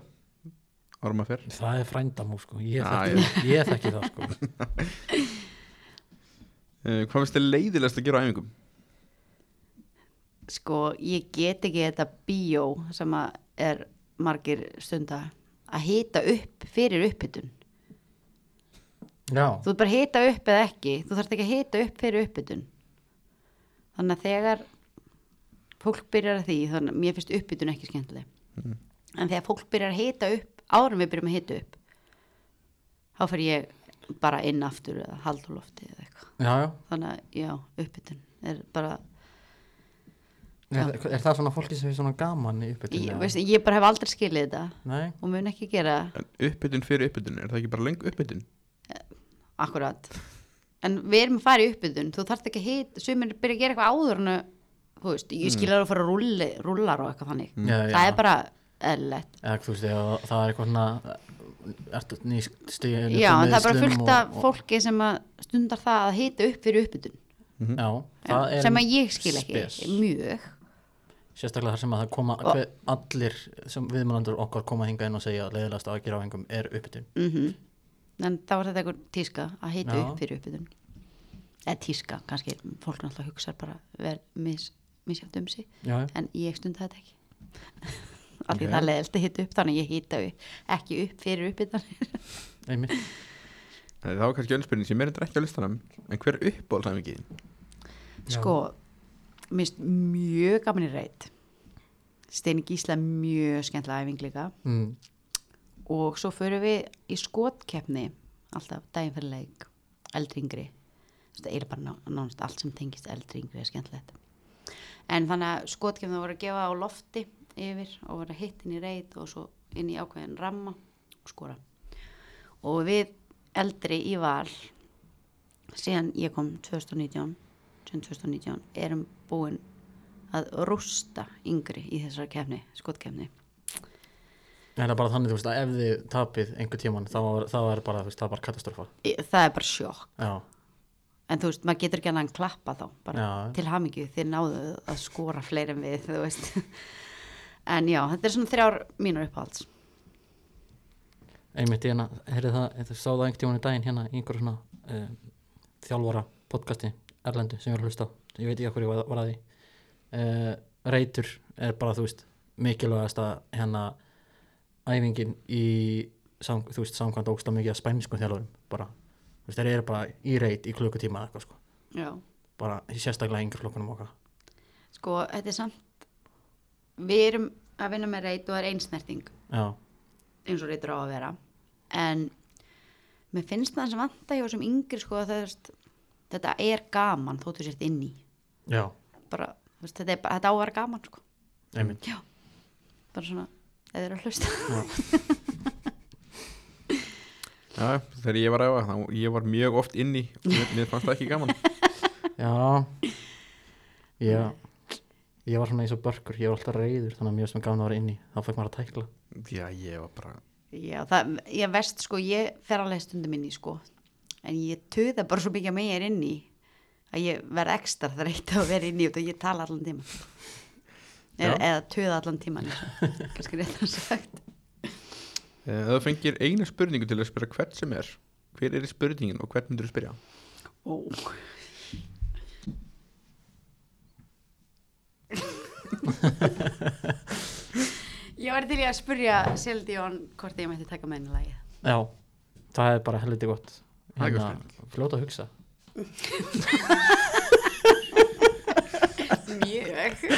[SPEAKER 1] Árum að fer
[SPEAKER 2] Það er frændamú sko, ég
[SPEAKER 1] Já,
[SPEAKER 2] þekki, ég þekki það sko
[SPEAKER 1] uh, Hvað finnst þið leiðilegst að gera á æfingum?
[SPEAKER 3] sko ég get ekki þetta bíó sem að er margir stunda að hita upp fyrir uppbytun
[SPEAKER 2] Já,
[SPEAKER 3] þú ert bara að hita upp eða ekki þú þarft ekki að hita upp fyrir uppbytun þannig að þegar fólk byrjar að því þannig að mér finnst uppbytun ekki skemmtileg en þegar fólk byrjar að hita upp árum við byrjum að hita upp þá fer ég bara inn aftur eða haldur lofti eða eitthvað
[SPEAKER 2] já, já.
[SPEAKER 3] þannig að já, uppbytun er bara,
[SPEAKER 2] Er, er það svona fólki sem er svona gaman í uppbytun?
[SPEAKER 3] ég, veist, ég bara hef aldrei skilið þetta
[SPEAKER 2] Nei,
[SPEAKER 3] og mun ekki gera það
[SPEAKER 1] En uppbytun fyrir uppbytun, er það ekki bara leng uppbytun?
[SPEAKER 3] akkurat en við erum að fara í uppbytun, þú þarft ekki að hita sumir byrja að gera eitthvað áður en að, þú veist, ég skilja það að fara rulli, rullar og eitthvað þannig,
[SPEAKER 2] Mm. Já, já.
[SPEAKER 3] það er bara eðlilegt,
[SPEAKER 2] eða þú veist, eða það er eitthvað svona ertu nýst stíðin
[SPEAKER 3] já, en það er bara fullt af fólki sem að stundar það að hita upp fyrir uppbytun,
[SPEAKER 2] Mhm. Já, það er
[SPEAKER 3] sem að ég skil ekki
[SPEAKER 2] spes.
[SPEAKER 3] mjög,
[SPEAKER 2] Sérstaklega þar sem að það koma hver, allir sem viðmælandur okkar koma hingað inn og segja að leiðilegast að gera á engum er uppbytun
[SPEAKER 3] mm en þá var þetta eitthvað tíska að hita
[SPEAKER 2] Já.
[SPEAKER 3] upp fyrir uppbytun eða tíska, kannski fólk náttúrulega hugsa bara verð mis, misjátt um sig
[SPEAKER 2] Já, já.
[SPEAKER 3] en ég stundi þetta ekki af því
[SPEAKER 1] Ok.
[SPEAKER 3] það er leðilt að hita upp þannig að ég hita upp, ekki upp fyrir uppbytun
[SPEAKER 2] einmitt
[SPEAKER 1] Það var kannski önnspyrning sem er endur ekki á listanum En hver er uppbólsæmingið?
[SPEAKER 3] sko, minnst mjög gaman í reyt Steini Gísla er mjög skemmtilega æfing líka
[SPEAKER 2] mm.
[SPEAKER 3] og svo förum við í skotkeppni alltaf daginn fyrir leik eldringri það er bara ná- nánast allt sem tengist eldringri er skemmtilegt en þannig að skotkeppni voru að gefa á lofti yfir og voru að hitt inn í reit og svo inn í ákveðin ramma og skora og við eldri í val síðan ég kom 2019 síðan 2019 erum búin að rústa yngri í þessari keppni, skotkefni
[SPEAKER 2] Það er bara þannig, þú veist, að ef þið tapið einhver tíman, þá er, þá er bara, þú veist, það er bara katastrofa.
[SPEAKER 3] það er bara sjokk
[SPEAKER 2] Já,
[SPEAKER 3] en þú veist, maður getur ekki annan klappa þá bara
[SPEAKER 2] Já.
[SPEAKER 3] til hamingju, þið náðu að skora fleiri en við, þú veist en já, þetta er svona þrjár mínur uppáhalds
[SPEAKER 2] einmitt, ég hérna, heyrið það, þú sá það einhvern tíman í daginn hérna í einhverju svona uh, þjálfara podcasti, Erlendu, sem ég var að hlusta á. Ég veit ekki að hverju var, var að því. Uh, reytur er bara, þú veist, mikilvægasta hérna æfingin í, sam, þú veist, samkvæmt ógsta mikið að spænskum þjálfurum, bara. Þú veist, þeir eru bara í reyt í klukkutíma eða eitthvað, sko.
[SPEAKER 3] já,
[SPEAKER 2] Bara sérstaklega yngur klukkunum okkar.
[SPEAKER 3] sko, þetta er samt við erum að vinna með reyt og það er einsnerting
[SPEAKER 2] Já,
[SPEAKER 3] eins og reytur á að vera en mér finnst það sem vanta hjá sem yngri sko að það er þetta er gaman þóttu sért inn í
[SPEAKER 2] já,
[SPEAKER 3] bara, þú veist, þetta, er, bara- þetta á að vera gaman sko
[SPEAKER 2] einmitt.
[SPEAKER 3] já, bara svona eða þeir eru að hlusta
[SPEAKER 1] Já, þegar ég var að æfa, þá ég var mjög oft inni og mér, mér fannst það ekki gaman
[SPEAKER 2] Já Já Ég var svona eins og börkur, ég var alltaf reyður þannig að mér sem gafn að vera inni, þá fekk maður að tækla
[SPEAKER 1] Já, ég var bara
[SPEAKER 3] Já, það, ég veist sko, ég fer alveg stundum inn í sko, en ég töða bara svo mikið að mig er inn í að ég verð ekstra þreytt að vera inn í og ég tala allan tíman
[SPEAKER 1] Já.
[SPEAKER 3] eða, eða töða allan tíman kannski rétt að sagt
[SPEAKER 1] Eh, Ef þú fengir eina spurningu til að spyrja hvert sem er Hver er í spurningin og hvern myndur þú spyrja?
[SPEAKER 3] Ó, Ég var til í að spurja Sildjón hvort ég mætti taka með henni lagið
[SPEAKER 2] Já, það er bara helviti gott
[SPEAKER 1] Það er
[SPEAKER 2] Hérna,
[SPEAKER 1] gott
[SPEAKER 2] fljóta að hugsa
[SPEAKER 3] Mjög
[SPEAKER 1] Átir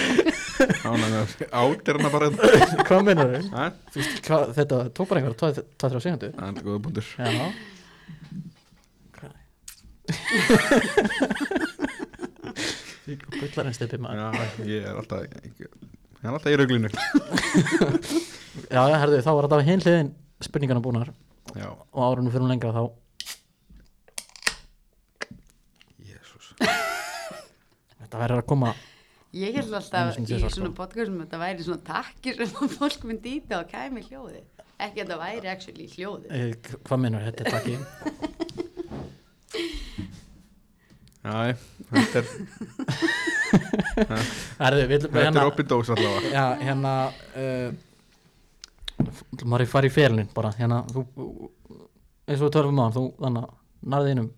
[SPEAKER 1] hana hérna bara
[SPEAKER 2] Hvað meinar þau?
[SPEAKER 1] Ha?
[SPEAKER 2] Hvað, þetta tók bara einhverja 2-3 segundu
[SPEAKER 1] Það er góða búndur
[SPEAKER 2] Já Hvað? Gullar en stippi maður
[SPEAKER 1] Já, ég er alltaf Ég er alltaf í rauglinu
[SPEAKER 2] Já, já, herðu, þá var þetta á hinliðin spurningana búnar
[SPEAKER 1] Já,
[SPEAKER 2] og árunum fyrir hún lengra þá
[SPEAKER 1] jésús
[SPEAKER 2] Þetta verður að koma
[SPEAKER 3] Ég held alltaf
[SPEAKER 2] Einu sinni
[SPEAKER 3] í
[SPEAKER 2] tvisvar,
[SPEAKER 3] svona
[SPEAKER 2] sko.
[SPEAKER 3] podcastum að þetta væri svona takkir sem að fólk myndi í það og kæmi hljóði. Ekki að það væri actually hljóði.
[SPEAKER 2] Eh, Hvað meinar þetta er takki?
[SPEAKER 1] Já, þetta er,
[SPEAKER 2] Herðu, við, hérna- við
[SPEAKER 3] Hérna-
[SPEAKER 1] þetta er opið dós allavega
[SPEAKER 2] Já, hérna uh, maður er farið í félinn bara hérna, þú eins og við tölum á hann, þú þannig að nærðið einum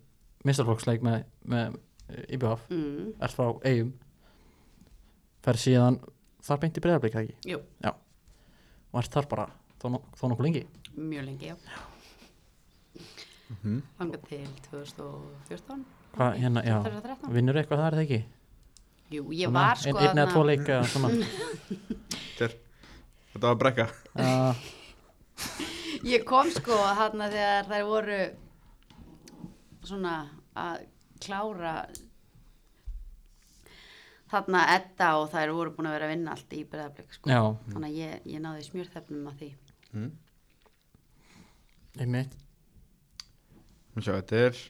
[SPEAKER 2] mistarflokksleik með, með eh, IBF,
[SPEAKER 3] Mm.
[SPEAKER 2] ert frá eigum fer síðan þar beint í breyðarblik, eða ekki?
[SPEAKER 3] Jú,
[SPEAKER 2] Já, og ert þar bara þó, nok- þó nokkuð lengi
[SPEAKER 3] mjög lengi, já.
[SPEAKER 1] Mhm.
[SPEAKER 3] Þangað til 2014,
[SPEAKER 2] Hvað, hérna, já,
[SPEAKER 3] 2013.
[SPEAKER 2] vinnur eitthvað þar, eða ekki?
[SPEAKER 3] Jú, ég var sko
[SPEAKER 2] Einn eða
[SPEAKER 3] þarna-
[SPEAKER 2] tvo leika, svona
[SPEAKER 1] Þetta er Þetta var brekka
[SPEAKER 2] uh,
[SPEAKER 3] Ég kom sko þarna þegar þær voru svona að klára þarna Edda og þær voru búin að vera að vinna allt í breðablik sko.
[SPEAKER 2] já,
[SPEAKER 3] Þannig að ég, ég náði smjörþefnum að því.
[SPEAKER 1] mm.
[SPEAKER 2] einmitt
[SPEAKER 1] Sjá, þetta er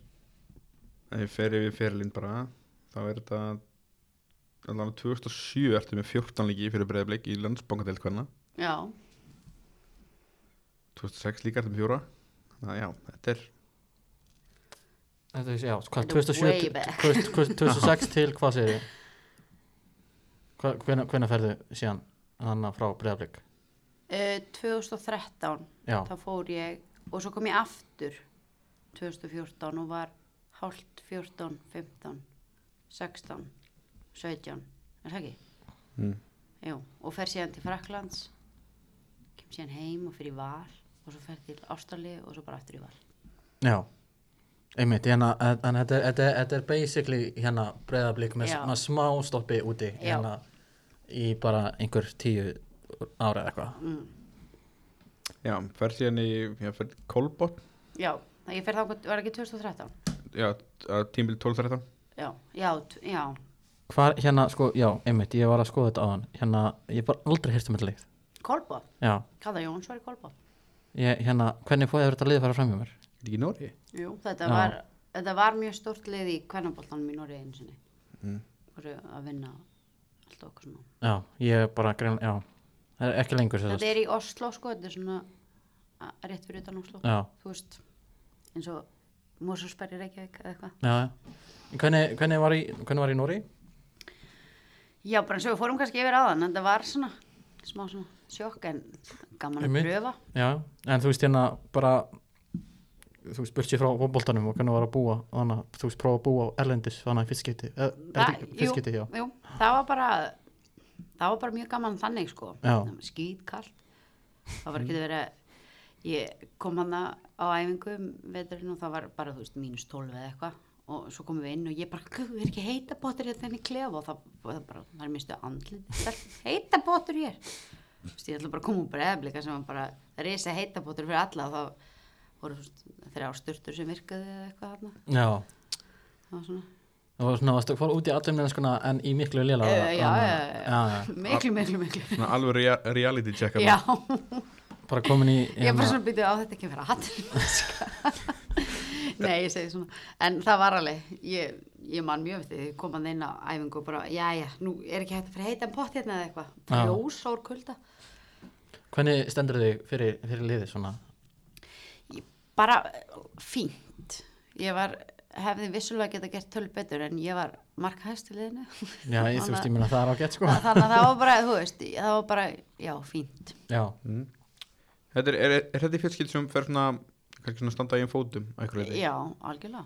[SPEAKER 1] Ef ég fer yfir fyrirlinn bara Þá er þetta Allan 2007 ertu með 14 leiki fyrir breyðblik í landsbankadeild hverna
[SPEAKER 3] Já,
[SPEAKER 1] 2006 líka ertu með fjóra Þannig að já, þetta er
[SPEAKER 2] Þetta er, já, hvað,
[SPEAKER 3] Þetta er
[SPEAKER 2] 2007
[SPEAKER 3] way
[SPEAKER 2] til-
[SPEAKER 3] back.
[SPEAKER 2] 2000 2006 til, hvað segir ég? Hvena, hvena ferðu síðan þannig frá Breiðablík?
[SPEAKER 3] uh, 2013
[SPEAKER 2] Já,
[SPEAKER 3] þá fór ég og svo kom ég aftur 2014 og var hálft 14, 15, 16, 17, er það ekki?
[SPEAKER 1] mm.
[SPEAKER 3] Jú, og fer síðan til Fraklands kem síðan heim og fyrir val og svo fer til Ástali og svo bara aftur í val
[SPEAKER 2] já Einmitt, hérna, en en þetta er, þetta er, þetta er basically hérna Breiðablík með
[SPEAKER 3] Já.
[SPEAKER 2] svona smá stoppi úti
[SPEAKER 3] Já.
[SPEAKER 2] hérna í bara einhver tíu ára eða eitthvað
[SPEAKER 3] mm.
[SPEAKER 1] Já, fer síðan í Já, fer Kolbott
[SPEAKER 3] Já, það ég fer þá, var ekki 2013?
[SPEAKER 1] Já, tímbil 12-13
[SPEAKER 3] Já, já, t- já,
[SPEAKER 2] Hvar, hérna, sko, já, einmitt, ég var að skoða þetta á hann hérna, ég bara aldrei hýrst um þetta leið
[SPEAKER 3] Kolbó
[SPEAKER 2] Já,
[SPEAKER 3] Kallar Jóns var í Kolbó
[SPEAKER 2] ég, hérna, hvernig fóðið þetta leið að fara fram hjá mér?
[SPEAKER 1] Þetta ekki í Nóri?
[SPEAKER 3] Jú, þetta
[SPEAKER 2] Já.
[SPEAKER 3] var, þetta var mjög stórt lið í kvennaboltanum í Noregi einu sinni
[SPEAKER 1] Mm.
[SPEAKER 3] voru að vinna allt okkur svona
[SPEAKER 2] Já, ég bara grein, já Það er ekki lengur sem
[SPEAKER 3] Þetta er í Oslo sko, þetta er svona a- rétt fyrir utan Oslo
[SPEAKER 2] Já,
[SPEAKER 3] þú veist, eins og Mósusberg í Reykjavík eða eitthvað
[SPEAKER 2] já, já. En Hvernig, hvernig var í, hvernig var í Nóri?
[SPEAKER 3] Já, bara eins og við fórum kannski yfir aðan, en það var svona, smá svona sjokk, en gaman að
[SPEAKER 2] Einmitt.
[SPEAKER 3] pröfa.
[SPEAKER 2] Já, en þú veist hérna bara þú veist burt sér frá fótboltanum og hvernig var að búa þannig að þú veist prófa að búa á erlendis þannig að fyrstskiti, eða eh, er þetta ekki
[SPEAKER 3] jú,
[SPEAKER 2] fyrstskiti, já
[SPEAKER 3] jú, það var bara, það var bara mjög gaman þannig, sko.
[SPEAKER 2] Já.
[SPEAKER 3] Skýtkallt, það var ekki að vera, ég kom hann á æfingu um veturinn og það var bara, þú veist, mínus 12 eða eitthvað og svo komum við inn og ég bara, guð, er ekki heita bóttur hérna í klefa og það, það bara, það er mistu andlið, heita bóttur ég er. Þú veist, ég ætla bara að koma úr breðablika sem var bara reysa heitabótur fyrir alla og þá voru þú veist, þrjá styrtur sem virkaði eða eitthvað þarna.
[SPEAKER 2] Já,
[SPEAKER 3] Það var svona,
[SPEAKER 2] það var svona varstu að fór út í allir mennskuna en í miklu lélega
[SPEAKER 3] Eh, já, já, já,
[SPEAKER 2] já, já,
[SPEAKER 3] miklu, miklu, miklu.
[SPEAKER 1] Svona alveg rea reality check hérna.
[SPEAKER 3] Já,
[SPEAKER 2] bara komin í
[SPEAKER 3] ég bara
[SPEAKER 2] hérna,
[SPEAKER 3] svona byrjuði á þetta ekki að vera hattur. Nei, ég segi svona, en það var alveg, ég, ég man mjög eftir, því, ég kom að inn á æfingu og bara, já, já, nú er ekki hægt að fyrir heitan pott hérna eða eitthvað,
[SPEAKER 2] Já.
[SPEAKER 3] ljós úr kulda.
[SPEAKER 2] hvernig stendur þig fyrir, fyrir liði svona
[SPEAKER 3] Ég- bara eh, fínt ég var, hefði vissulega geta gert tölu betur en ég var markahæst í liðinu
[SPEAKER 2] Já, ég, þú veist, ég meina það er ágætt sko
[SPEAKER 3] Þannig að- þannig að það var bara, þú veist, það var bara já, fínt
[SPEAKER 2] Já,
[SPEAKER 1] mm. Þetta er, er, er þetta í fyrstskilt sem fer svona kannski svona standa í einn fótum að einhverju leyti?
[SPEAKER 3] já, algjörlega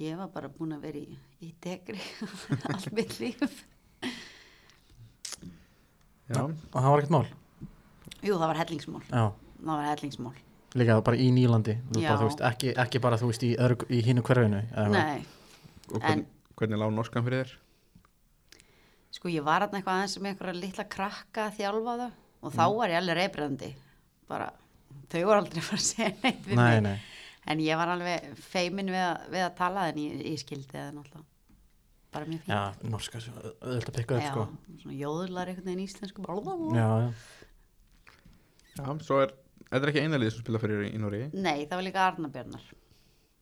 [SPEAKER 3] ég var bara búin að vera í, í degri allt mitt líf
[SPEAKER 1] Já.
[SPEAKER 2] og það var ekkert mál
[SPEAKER 3] jú, það var hellingsmól,
[SPEAKER 2] Já,
[SPEAKER 3] það var hellingsmól
[SPEAKER 2] líka bara í nýlandi Þú
[SPEAKER 3] Já.
[SPEAKER 2] bara, þú veist, ekki, ekki bara þú veist í, öðru, í hínu hverfinu eða-
[SPEAKER 3] nei,
[SPEAKER 1] Og hvern, hvernig lág norskan fyrir þér?
[SPEAKER 3] sko ég var þarna eitthvað aðeins með einhverja litla krakka að þjálfa þau og
[SPEAKER 2] Mm.
[SPEAKER 3] þá var ég alveg reybrandi bara, þau voru aldrei að fara að segja neitt við mig
[SPEAKER 2] Nei, nei
[SPEAKER 3] En ég var alveg feimin við að, við að tala en ég, ég skildi það náttúrulega. Bara mjög fín.
[SPEAKER 2] Já, norska, svo auðvitað að pikka upp sko
[SPEAKER 3] svona jóðlar einhvern veginn íslensku. Blablabla.
[SPEAKER 2] Já, já.
[SPEAKER 1] Já, svo er, þetta er ekki eina liðið sem spila fyrir í Nóri
[SPEAKER 3] Nei, það var líka Arnabjörnar,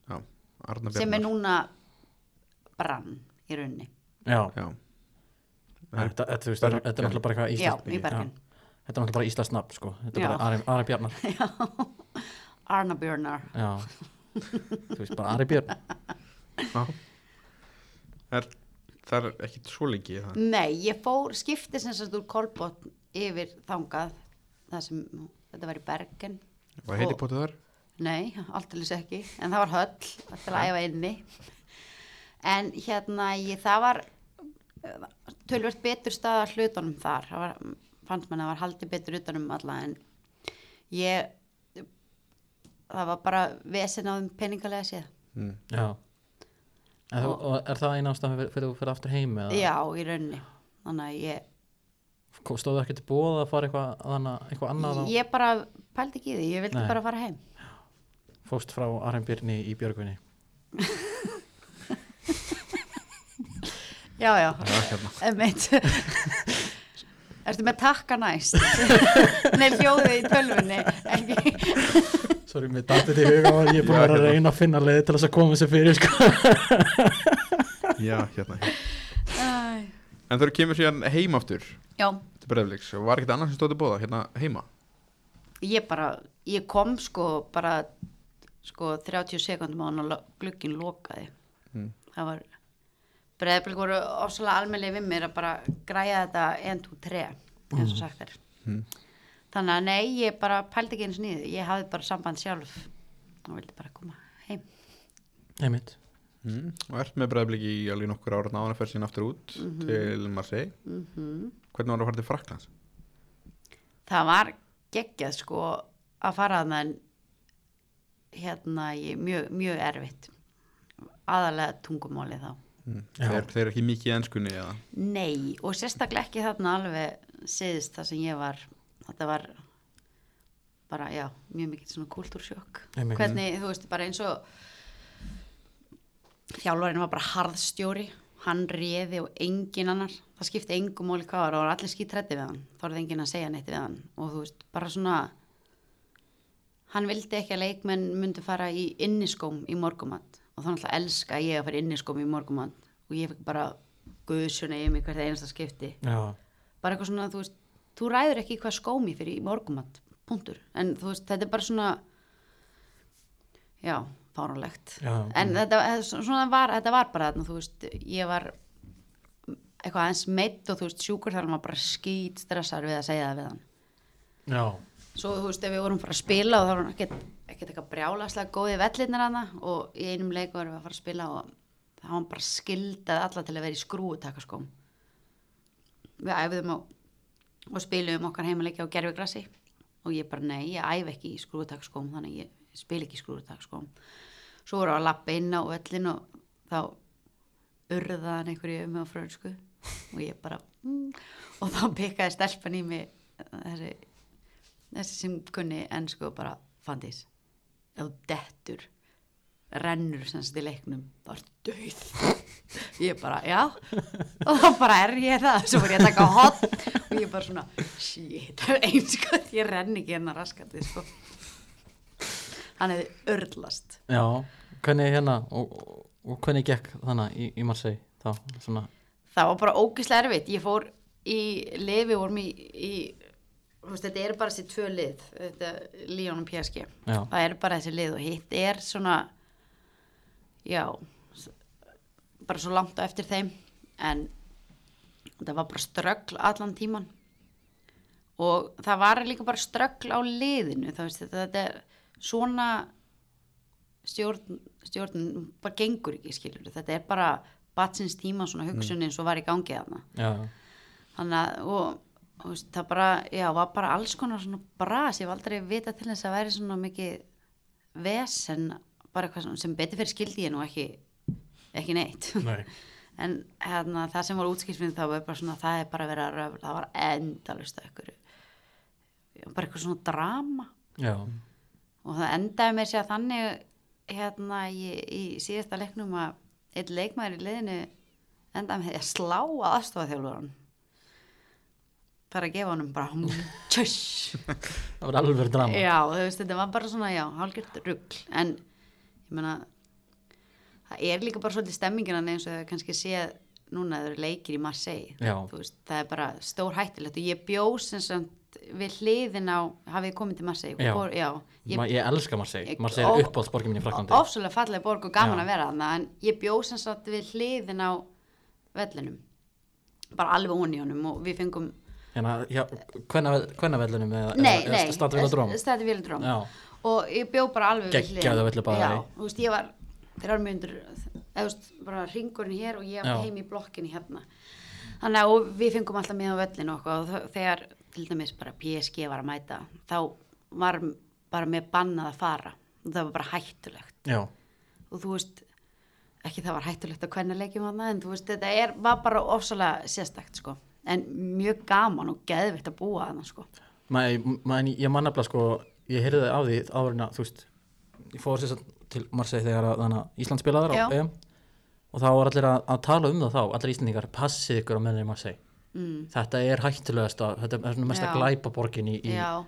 [SPEAKER 1] Já, Arna
[SPEAKER 3] sem er
[SPEAKER 1] Bjarnar
[SPEAKER 3] núna brann í rauninni.
[SPEAKER 2] já.
[SPEAKER 1] Já,
[SPEAKER 2] Þetta, þetta, þú veist, þetta er þetta er náttúrulega bara eitthvað
[SPEAKER 3] Já,
[SPEAKER 2] íslenskt
[SPEAKER 3] í Bergen.
[SPEAKER 2] Já. Þetta er náttúrulega bara íslenskt nafn sko. Þetta er
[SPEAKER 3] Já.
[SPEAKER 2] bara Ari, Ari Bjarnar
[SPEAKER 3] Arnabjörnar.
[SPEAKER 2] Já Þú veist bara Ari Bjarn
[SPEAKER 1] Já. Er, það er ekki svo lengi í það
[SPEAKER 3] Nei, ég fór, skipti sem sagt úr Kolbotn yfir þangað, það sem, þetta var í Bergen.
[SPEAKER 1] Var heiti potið þar?
[SPEAKER 3] Nei, alltaf ekki, en það var höll til að æfa inni. En hérna, ég, það var eh, tölvört betur staða hlutunum þar. Það var, fannst mann að það var haldið betur utanum alla, en ég, það var bara vesen á þeim peningalega séð.
[SPEAKER 1] Mm.
[SPEAKER 2] Já En þú, og er það eina ástæðan fyrir, fyrir þú fyrir aftur heim eða
[SPEAKER 3] Já, í rauninni. Þannig að ég
[SPEAKER 2] Kom- stóðu ekki til bóða að fara eitthvað, að hana, eitthvað annað á,
[SPEAKER 3] Ég bara pældi ekki í því, ég vildi
[SPEAKER 2] Nei.
[SPEAKER 3] bara fara heim
[SPEAKER 2] fóst frá Arnbjörni í Björgvinni
[SPEAKER 3] Já, já,
[SPEAKER 1] Já, hérna.
[SPEAKER 3] emmeit Ertu með takka næst? Nei, hljóðið í tölvunni ekki.
[SPEAKER 2] Sorry, mér datið í huga og ég er búin að
[SPEAKER 1] Já,
[SPEAKER 2] vera að
[SPEAKER 1] hérna.
[SPEAKER 2] reyna að finna leið til þess að koma sér fyrir sko.
[SPEAKER 1] Já, hérna, hérna.
[SPEAKER 3] Æ,
[SPEAKER 1] En þegar þú kemur síðan heim aftur
[SPEAKER 3] Já,
[SPEAKER 1] til Breiðabliks og var ekkert annars sem stóði bóða hérna heima
[SPEAKER 3] ég bara ég kom sko bara sko 30 sekundum á hann og lo- glugginn lokaði
[SPEAKER 1] Mm.
[SPEAKER 3] það var breyðblik voru ofsalega almennið við mér að bara græja þetta 1, 2, 3 eins og sagt er
[SPEAKER 1] Mm.
[SPEAKER 3] þannig að nei, ég bara pældi ekki eins nýð ég hafði bara samband sjálf og vildi bara koma heim
[SPEAKER 2] Einmitt
[SPEAKER 1] mm. og ert með Breiðablik í alveg nokkur ára náðan að fer síðan aftur út
[SPEAKER 3] Mhm.
[SPEAKER 1] til Marseille
[SPEAKER 3] mm
[SPEAKER 1] Hvernig var það að fara til Fraklands?
[SPEAKER 3] það var geggjað sko að fara þarna en hérna ég, mjög, mjög erfitt aðalega tungumáli þá
[SPEAKER 1] Mm.
[SPEAKER 2] Já.
[SPEAKER 1] Þeir, þeir eru ekki mikið í enskunni eða
[SPEAKER 3] nei og sérstaklega ekki þarna alveg seðist það sem ég var þetta var bara já, mjög mikill svona kultúrsjokk
[SPEAKER 2] Einmitt.
[SPEAKER 3] hvernig, þú veist, bara eins og þjálfarinn var bara harðstjóri hann réði og engin annar það skipti engum móli hvað var og það voru allir skítrætti við hann þá voruð enginn að segja neitt við hann og þú veist, bara svona hann vildi ekki að leikmenn myndu fara í inniskóm í morgumann og þá náttúrulega elska ég að fara í inniskóm í morgumann og ég fikk bara guðsuna í mig hvert einasta skipti
[SPEAKER 2] Já,
[SPEAKER 3] bara eitthvað svona, þú veist, þú ræður ekki hvað skómi fyrir í morgumat, punktur en þú veist, þetta er bara svona já, fáránlegt
[SPEAKER 2] Já,
[SPEAKER 3] en þetta, eh, svona var, þetta var bara þarna, þú veist, ég var eitthvað aðeins meitt og þú veist, sjúkur þar maður bara skýt stressar við að segja það við hann
[SPEAKER 2] já,
[SPEAKER 3] svo þú veist ef við vorum að fara að spila og þá vorum ekkert ekkert eitthvað brjálaslega góði vellirnir hana og í einum leik vorum við að fara að spila og það var bara skildað alla til að vera í skrúu takaskóm við æfðum og, og spilum okkar heimaleiki á gerfugrassi og ég bara nei, ég æf ekki í skrúu takaskóm þannig ég spil ekki í skrúu takaskóm svo vorum við að lappa inn á vellin og þá urðaðan einhverju um mig á frönsku og ég bara mm. og þá pikkaði stelpan í mig þessi þessi sem kunni ennsku og bara fandís, ef þú dettur rennur sem sagt í leiknum þá er döið ég bara, já og þá bara er ég það, svo var ég að taka hot og ég bara svona, shit það er einskott, ég renn ekki hennar raskandi sko hann hefði örlast
[SPEAKER 2] já Hvernig hérna og, og, og hvernig gekk þannig í, í Marseille þá, svona,
[SPEAKER 3] það var bara ógislega erfitt ég fór í lið, við vorum í, í þú veist, þetta eru bara þessi tvö lið þetta Líón og PSG
[SPEAKER 2] Já.
[SPEAKER 3] það eru bara þessi lið og hitt er svona já s- bara svo langt á eftir þeim en það var bara ströggl allan tíman og það var líka bara ströggl á liðinu þá veist þetta, þetta er svona stjórn, stjórn bara gengur ekki skilur þetta er bara batsins tíma svona hugsunin svo var í gangi þarna
[SPEAKER 2] já,
[SPEAKER 3] þannig að og, og veist, það bara, já, var bara alls konar svona bras, ég var aldrei vita til þess að væri svona mikið vesen, bara eitthvað svona, sem betur fyrir skildi ég nú ekki ekki neitt
[SPEAKER 2] nei
[SPEAKER 3] en hérna, það sem var útskýrsminn þá var bara svona það er bara verið að röfla, það var endalust eitthvað, bara eitthvað svona drama
[SPEAKER 2] Já,
[SPEAKER 3] og það endaði með sér þannig hérna í, í síðasta leiknum að eitt leikmaður í liðinu endaði með því að slá að aðstofa þjálfur bara að gefa honum bara tjöss
[SPEAKER 2] það var alveg drama
[SPEAKER 3] já, þú veist, þetta var bara svona, já, hálgjört rugl en ég meina það er líka bara svolítið stemmingina eins og það kannski sé núna að það eru leikir í Marseille
[SPEAKER 2] Já.
[SPEAKER 3] Þú veist, það er bara stór hættilegt og ég bjó sem sagt við hliðin á hafið þið komið til Marseille
[SPEAKER 2] Já.
[SPEAKER 3] Fór- já
[SPEAKER 2] Ég, ég elska Marseille,
[SPEAKER 3] Ég-
[SPEAKER 2] Marseille er
[SPEAKER 3] ó-
[SPEAKER 2] uppáhaldsborgin mín í Fraklandi
[SPEAKER 3] ofsvöldlega fallega borg og gaman
[SPEAKER 2] Já.
[SPEAKER 3] að vera þannig en ég bjóð sem sagt við hliðin á vellinum bara alveg onni honum og við fengum
[SPEAKER 2] Hérna, já, hvenna vellunum eða,
[SPEAKER 3] nei,
[SPEAKER 2] eða,
[SPEAKER 3] nei,
[SPEAKER 2] eða statur við að dróm
[SPEAKER 3] Stadið Vélindróm.
[SPEAKER 2] Já,
[SPEAKER 3] og ég bjóð bara alveg
[SPEAKER 2] Geggjaðu velli bara
[SPEAKER 3] já,
[SPEAKER 2] í.
[SPEAKER 3] þú veist, ég var þrjár myndur, eða þú veist, bara ringurinn hér og ég
[SPEAKER 2] Já.
[SPEAKER 3] var heim í blokkinni hérna þannig að og við fengum alltaf með á vellinu og eitthvað og þ- þegar til dæmis bara PSG var að mæta þá var bara með bannað að fara og það var bara hættulegt
[SPEAKER 2] já,
[SPEAKER 3] og þú veist ekki það var hættulegt að hvernig leikjum hana en þú veist þetta er, var bara ofsalega sérstakt sko en mjög gaman og geðvitt að búa þannig sko
[SPEAKER 2] maður, maður, ég man nefnilega sko ég heyrði af því áverðina þú veist, ég fór sér til Marseille þegar að, þannig að Ísland spilaðar á
[SPEAKER 3] Já.
[SPEAKER 2] EM og þá var allir að, að tala um það þá allir Íslandingar, passið ykkur á meðan í Marseille
[SPEAKER 3] mm.
[SPEAKER 2] þetta er hættulegast að, þetta er svona mesta
[SPEAKER 3] Já.
[SPEAKER 2] glæpa borgin í, í,
[SPEAKER 3] já,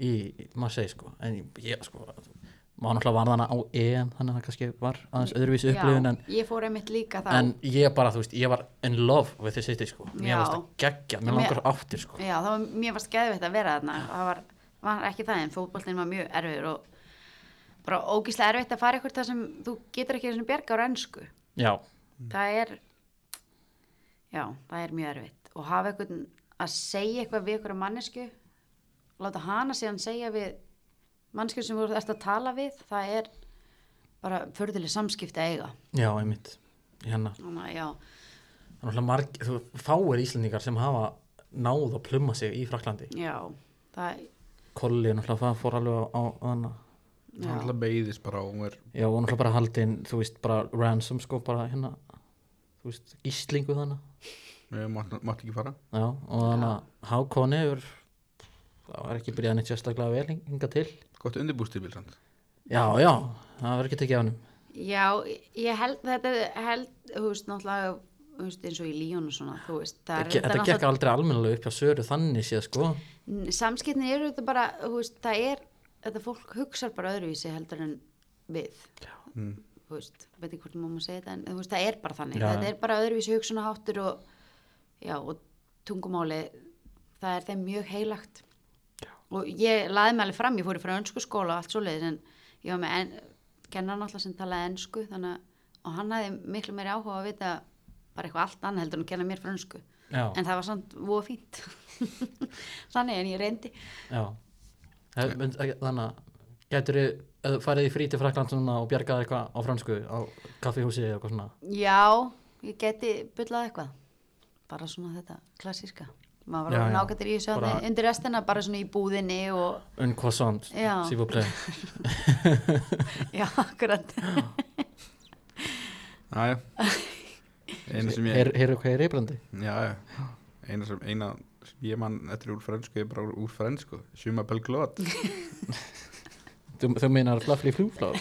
[SPEAKER 2] í Marseille sko, en ég sko maður náttúrulega var þannig á EM þannig að það kannski var aðeins öðruvísi upplifun
[SPEAKER 3] já,
[SPEAKER 2] en,
[SPEAKER 3] ég fór einmitt líka þá
[SPEAKER 2] en ég bara, þú veist, ég var in love við þessi city sko, mér
[SPEAKER 3] Já.
[SPEAKER 2] varst að gegja mér
[SPEAKER 3] Mér-
[SPEAKER 2] langar áttir sko
[SPEAKER 3] Já, það var, mér varst geðveitt að vera þarna það var, var ekki það en fótboltinn var mjög erfiður og bara ógíslega erfitt að fara ykkur það sem þú getur ekki þessum bjargar á ennsku
[SPEAKER 2] já, Mm.
[SPEAKER 3] það er já, það er mjög erfitt og hafa ykkur að segja eitthvað við ykkur mannesku láta hana síðan segja við mannesku sem þú ert að tala við það er bara förðileg samskipti að eiga
[SPEAKER 2] já, einmitt hérna,
[SPEAKER 3] þannig að já,
[SPEAKER 2] það er náttúrulega marg, þú fáir Íslandingar sem hafa náð að pluma sig í Fraklandi
[SPEAKER 3] já það,
[SPEAKER 2] Kolli er náttúrulega, það fór alveg á, á hana
[SPEAKER 1] hann alltaf beigðist bara og hún er
[SPEAKER 2] já, og náttúrulega bara haldin, þú veist, bara ransom sko, bara hérna þú veist, gíslingu þannig
[SPEAKER 1] eh, mátt mátt ekki fara
[SPEAKER 2] já, og þannig að Hákon hefur það var ekki byrjað neitt sérstaklega vel hing- hingað til
[SPEAKER 1] gott undirbústibil samt
[SPEAKER 2] já, já, það verður ekki tekið af hennum
[SPEAKER 3] Já, ég held þetta held, þú veist, náttúrulega þú veist, eins og í Líón og svona, þú veist það er-
[SPEAKER 2] þetta gekk aldrei almennilega upp hjá Söru þannig séð sko
[SPEAKER 3] N- samskiptin eru þetta bara, þú veist, það er þetta fólk hugsar bara öðruvísi heldur en við
[SPEAKER 1] Mm.
[SPEAKER 3] þú veist, veit ekki hvort maður má segja þetta en þú veist, það er bara þannig,
[SPEAKER 2] Já,
[SPEAKER 3] þetta
[SPEAKER 2] já.
[SPEAKER 3] er bara öðruvísi hugsunaháttur og já, og tungumáli það er þeim mjög heilagt já. og ég laði mig alveg fram, ég fór í frá önsku skóla og allt svo leiðis en ég var með en, kennan alltaf sem talaði ensku þannig að og hann hafði miklu meiri áhuga að vita bara eitthvað allt annað heldur en að kenna mér frá önsku
[SPEAKER 2] já,
[SPEAKER 3] en það var samt voða fínt þannig en ég reyndi
[SPEAKER 2] já Það- mynd- þannig að getur þið farið í frí til Frakland svona og bjargað eitthvað á fransku á kaffihúsi eða eitthvað svona
[SPEAKER 3] já, ég geti byllað eitthvað bara svona þetta klassíska maður
[SPEAKER 2] Já,
[SPEAKER 3] var
[SPEAKER 2] já.
[SPEAKER 3] alveg ágættir í þessu
[SPEAKER 2] Bara-
[SPEAKER 3] bara... undir restina bara svona í búðinni og
[SPEAKER 2] un croissant,
[SPEAKER 3] Já.
[SPEAKER 2] s'il vous plaît
[SPEAKER 3] já, akkurat
[SPEAKER 1] aðja eina sem ég
[SPEAKER 2] Heyr- heyrðu hvað er reybrandi
[SPEAKER 1] já, já. eina sem, eina sem ég mann eftir úr frensku er bara úr- úr frensku sjúma belglót
[SPEAKER 2] þú, þú meinar flafli flúflá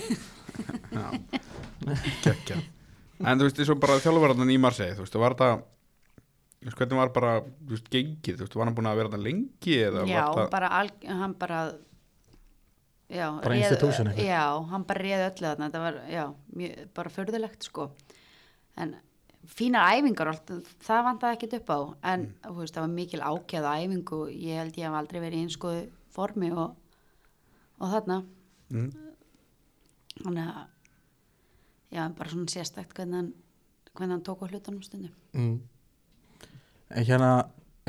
[SPEAKER 1] gekkja en þú veist, eins og bara þjálfverðan í Marseille þú veist, var það þú veist, hvernig var bara, þú veist, gengið þú veist, var hann búin að vera það lengi eða
[SPEAKER 3] já,
[SPEAKER 1] var það,
[SPEAKER 3] bara alg, hann bara já,
[SPEAKER 2] Bara institution eitthvað.
[SPEAKER 3] já, hann bara réð öllu þarna þetta var, já, mjög, bara förðulegt sko en fínar æfingar og allt, það vantaði ekkert upp á en
[SPEAKER 2] Mm.
[SPEAKER 3] þú veist, það var mikil ákjæða æfingu ég held ég hef aldrei verið í einskoðu formi og, og þarna
[SPEAKER 1] mm,
[SPEAKER 3] þannig að já, en bara svona sérstakt hvernig hann hvernig hann tók á hlutunum stundum
[SPEAKER 2] mm. en hérna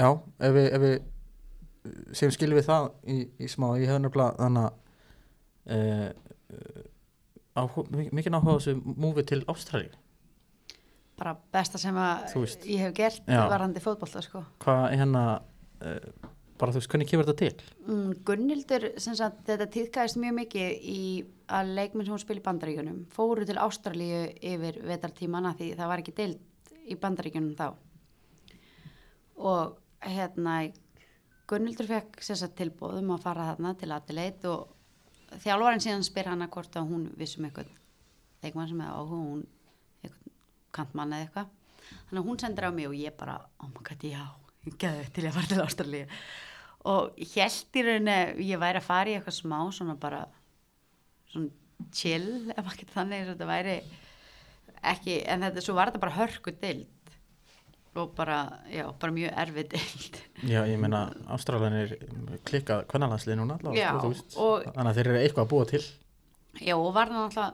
[SPEAKER 2] já, ef við, ef við eh, sem skilum við það í, í smá ég hef nefnilega þannig eh, að uh, mikið náhuga á þessu múfi til Ástralíu
[SPEAKER 3] bara besta sem að
[SPEAKER 2] Þú veist.
[SPEAKER 3] ég hef gert
[SPEAKER 2] Já.
[SPEAKER 3] varandi fótbolta sko
[SPEAKER 2] hvað er hérna uh, bara þú veist, hvernig kemur þetta til
[SPEAKER 3] mm, Gunnildur, sem sagt, þetta týðkaðist mjög mikið í að leikmenn sem hún spil í bandaríkjunum fóru til Ástralíu yfir vetartímana því það var ekki deilt í bandaríkjunum þá og hérna Gunnildur fekk sem sagt tilbúð um að fara þarna til aðtileit og þjálfarinn síðan spyr hana hvort að hún vissum eitthvað leikmann sem hefði áhuga hún eitthvað kantmann eða eitthvað þannig að hún sendir á mig og ég bara oh my god, já, ég geði til ég að fara til Ástralíu og held í rauninni að ég væri að fara í eitthvað smá svona bara svona chill ef ekki þannig eins og þetta væri ekki, en þetta, svo var þetta bara hörku deild og bara, já, bara mjög erfið deild
[SPEAKER 2] já, ég meina Ástralanir klikkað kvennalandslið núna
[SPEAKER 3] Já,
[SPEAKER 2] allavega, sko, þú veist.
[SPEAKER 3] og-
[SPEAKER 2] þannig að þeir eru eitthvað að búa til
[SPEAKER 3] Já, og var það náttúrulega,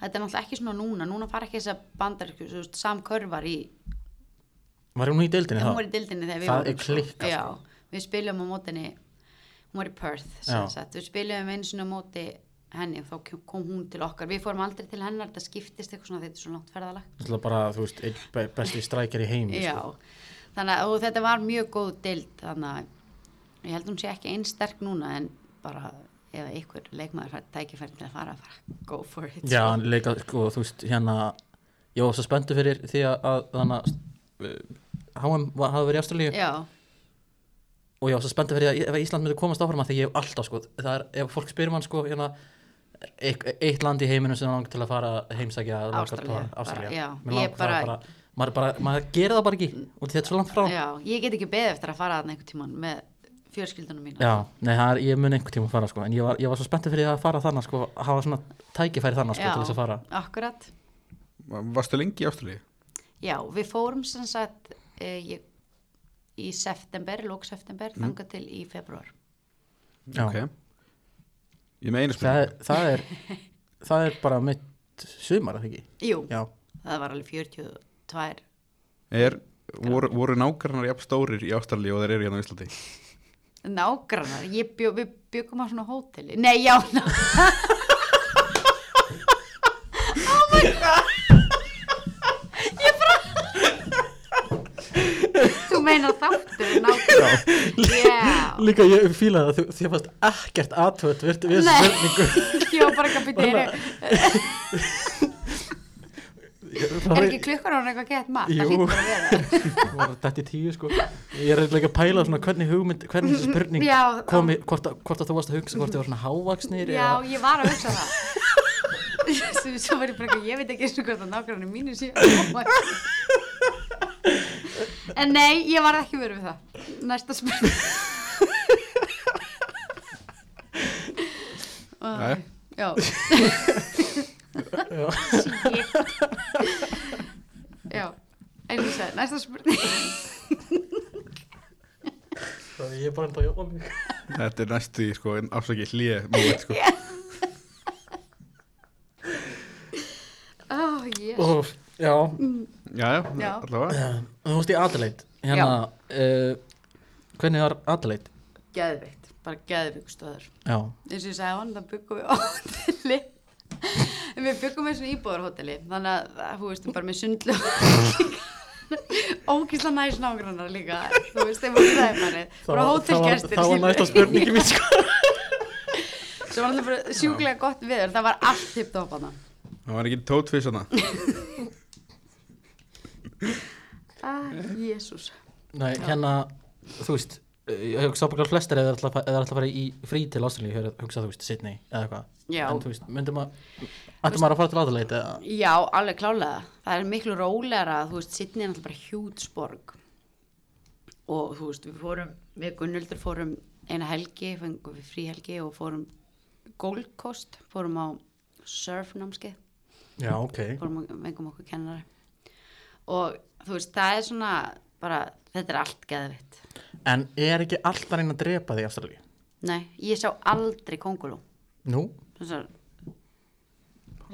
[SPEAKER 3] þetta er náttúrulega ekki svona núna, núna fara ekki þess að bandar, þú veist, samkörvar í,
[SPEAKER 2] var hún í deildinni
[SPEAKER 3] hún
[SPEAKER 2] þá?
[SPEAKER 3] var í dildinni þegar við
[SPEAKER 2] Það
[SPEAKER 3] vorum,
[SPEAKER 2] er
[SPEAKER 3] sko.
[SPEAKER 2] klikkað, sko.
[SPEAKER 3] Já, við spilum á mótinni, hún var í Perth,
[SPEAKER 2] Já.
[SPEAKER 3] sem sagt, við spilum eins og móti henni og þá kom hún til okkar, við fórum aldrei til hennar, þetta skiptist eitthvað svona, þetta er svona langt ferðalag.
[SPEAKER 2] Náttúrulega bara, þú veist, einn be- besti strækjar í heimi
[SPEAKER 3] Já,
[SPEAKER 2] sko.
[SPEAKER 3] þannig að og þetta var mjög góð dild þannig að ég held hún sé ekki einn sterk núna en bara ef einhver leikmaður fær tækifæri til að fara bara go for it
[SPEAKER 2] Já, hann leika, sko, þú veist, hérna ég var svo spenntu fyrir því að, að þannig að, eh, HM var- hafði verið í Ástralíu
[SPEAKER 3] já,
[SPEAKER 2] og ég var svo spenntið fyrir að ef að Ísland myndi komast áfram að því ég hef alltaf sko, það er, ef fólk spyrir mann sko, hérna, eitt, eitt land í heiminum sem langt til að fara heimsækja að langar
[SPEAKER 3] Ástralía,
[SPEAKER 2] bara-
[SPEAKER 3] bara,
[SPEAKER 2] Ástralía.
[SPEAKER 3] já.
[SPEAKER 2] Mig
[SPEAKER 3] Ég
[SPEAKER 2] langar- það er
[SPEAKER 3] bara-
[SPEAKER 2] bara- maður bara, maður gerir það bara ekki og þetta er svo langt frá já,
[SPEAKER 3] já, ég get ekki beðið eftir að fara þarna einhvern tíman með fjörskildunum mína
[SPEAKER 2] nei, það er, ég mun einhvern tíma fara sko, en ég var, ég var svo spenntið fyrir að fara þannig sko, að hafa svona tækifæri þannig sko,
[SPEAKER 3] Já,
[SPEAKER 2] til þess að fara
[SPEAKER 3] akkurat,
[SPEAKER 1] Varstu lengi í Ástralíu?
[SPEAKER 3] já, við fórum sem sagt eh, ég, í september, lók september
[SPEAKER 2] Mm.
[SPEAKER 3] þangað til í februar
[SPEAKER 2] Já.
[SPEAKER 1] Ok. Ég með einu
[SPEAKER 2] það,
[SPEAKER 1] spurning
[SPEAKER 2] er- það er það er bara mitt sumar, er það ekki
[SPEAKER 3] jú,
[SPEAKER 2] já,
[SPEAKER 3] það var alveg 42
[SPEAKER 1] er, voru, voru nágrannar jafn stórir í Ástralíu og þeir eru hérna á Íslandi?
[SPEAKER 3] nágrannar, ég bjó, við byggum á svona hóteli, nei, já ná. Oh Þú meinar þáttur nákvæmlega. Já.
[SPEAKER 2] líka ég fíla það, þú- þér fannst ekkert aðtöð við við
[SPEAKER 3] Nei.
[SPEAKER 2] þessu spurningu
[SPEAKER 3] Ég var bara ekki að byrja
[SPEAKER 2] Bara-
[SPEAKER 3] eru,
[SPEAKER 2] Það
[SPEAKER 3] er ekki klukkan á hann eitthvað gett mat, það
[SPEAKER 2] Jú.
[SPEAKER 3] hlýtur að vera.
[SPEAKER 2] Þetta í tíu sko Ég er eiginlega að pæla svona hvernig hugmynd Hvernig þessi spurning
[SPEAKER 3] Já,
[SPEAKER 2] komi Hvort, að- hvort að þú varst að hugsa Hvort þið var svona hávaksnir
[SPEAKER 3] Já, ég var að hugsa það. Svo- Svo var ég bara ekki, ég veit ekki eins og hvort að nákvæmlega mínu sé. En nei, ég var ekki verið við það. Næsta spurning.
[SPEAKER 1] Jæja.
[SPEAKER 3] Já.
[SPEAKER 2] Já.
[SPEAKER 3] Shit. Já, eins og sagði, næsta spurning.
[SPEAKER 2] Eða, Ég er bara enda að jobba mig
[SPEAKER 1] Þetta er næstu í sko, afsakið hlýja moment sko.
[SPEAKER 3] Oh, yeah.
[SPEAKER 2] Og já
[SPEAKER 1] Já, já,
[SPEAKER 3] Já.
[SPEAKER 1] allavega
[SPEAKER 2] Þú veist í Adelaide Hérna uh, Hvernig var Adelaide
[SPEAKER 3] geðveikt, bara geðveikt stöður
[SPEAKER 2] Já
[SPEAKER 3] eins og ég sagði hann, það byggum við á hóteli en við byggum við svona íbúðarhóteli þannig að, að, þú veist, bara með sundlu ókýrsla næs nágrannar líka þú veist, þeim voru það manni bara hótelgestir
[SPEAKER 2] Það var næsta spurningi mín sko
[SPEAKER 3] sem var alltaf bara sjúklega gott viður það var allt tippt á hana
[SPEAKER 1] Það var ekki tótfið svona
[SPEAKER 3] ah, jésús
[SPEAKER 2] Nei, hérna Þú veist eh, Ég hugsa bara flestir eða ætla að alltaf fara í frí til Ástralíu ég hugsa þú veist Sydney eða eitthvað
[SPEAKER 3] Já.
[SPEAKER 2] en þú veist myndum að ættum maður að fara til Adelaide eða
[SPEAKER 3] já, alveg klálega það er miklu rólegra, þú veist, Sydney er alltaf bara hjútsborg og þú veist, við fórum við Gunnuldur fórum eina helgi fengum við fríhelgi og fórum Gold Coast, fórum á surfnámskeið,
[SPEAKER 2] Já, ok
[SPEAKER 3] fórum á- fengum okkur kennari og þú veist, það er svona bara, þetta er allt geðvitt
[SPEAKER 2] En er ekki alltaf reyna að drepa þig í Ástralíu?
[SPEAKER 3] nei, ég sá aldrei kongulú
[SPEAKER 2] Nú?
[SPEAKER 3] þessar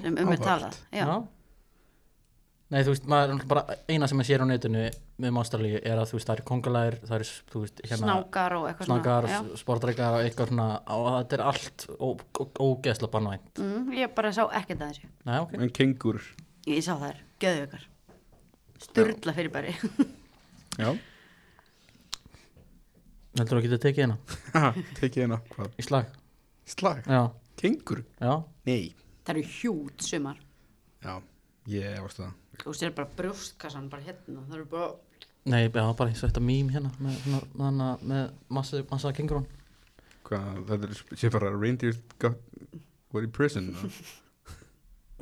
[SPEAKER 3] sem um er
[SPEAKER 1] Áhugavert.
[SPEAKER 3] talað já,
[SPEAKER 2] Nei, þú veist, maður er náttúrulega bara eina sem maður sér á netinu um Ástralíu er að þú veist, það eru kongulæðir, það eru, þú veist, hérna
[SPEAKER 3] snákar og eitthvað
[SPEAKER 2] snakar,
[SPEAKER 3] svona já.
[SPEAKER 2] sportreikar og eitthvað svona og þetta er allt ó- ó- ógeðslega banvænt.
[SPEAKER 3] Mm, ég bara sá ekkert að þessu
[SPEAKER 2] Nei, ok.
[SPEAKER 1] En kengur
[SPEAKER 3] Ég sá þær, geðveikar Sturla fyrir bæri
[SPEAKER 1] Já,
[SPEAKER 2] Heldur þú að geta tekið hérna?
[SPEAKER 1] Haha, tekið hérna Hvað?
[SPEAKER 2] Í slag?
[SPEAKER 1] Slag?
[SPEAKER 2] Já,
[SPEAKER 1] Kengur?
[SPEAKER 2] já.
[SPEAKER 1] Nei
[SPEAKER 3] Það eru hjút sumar
[SPEAKER 1] Já, ég varst það
[SPEAKER 3] og sér bara brjóstkassan bara hérna það eru bara
[SPEAKER 2] Nei, já, bara eins og þetta mím hérna með, svona, hana, með massa, massa kengurón.
[SPEAKER 1] Hvað, þetta er sér bara reindeer got, were in prison eða?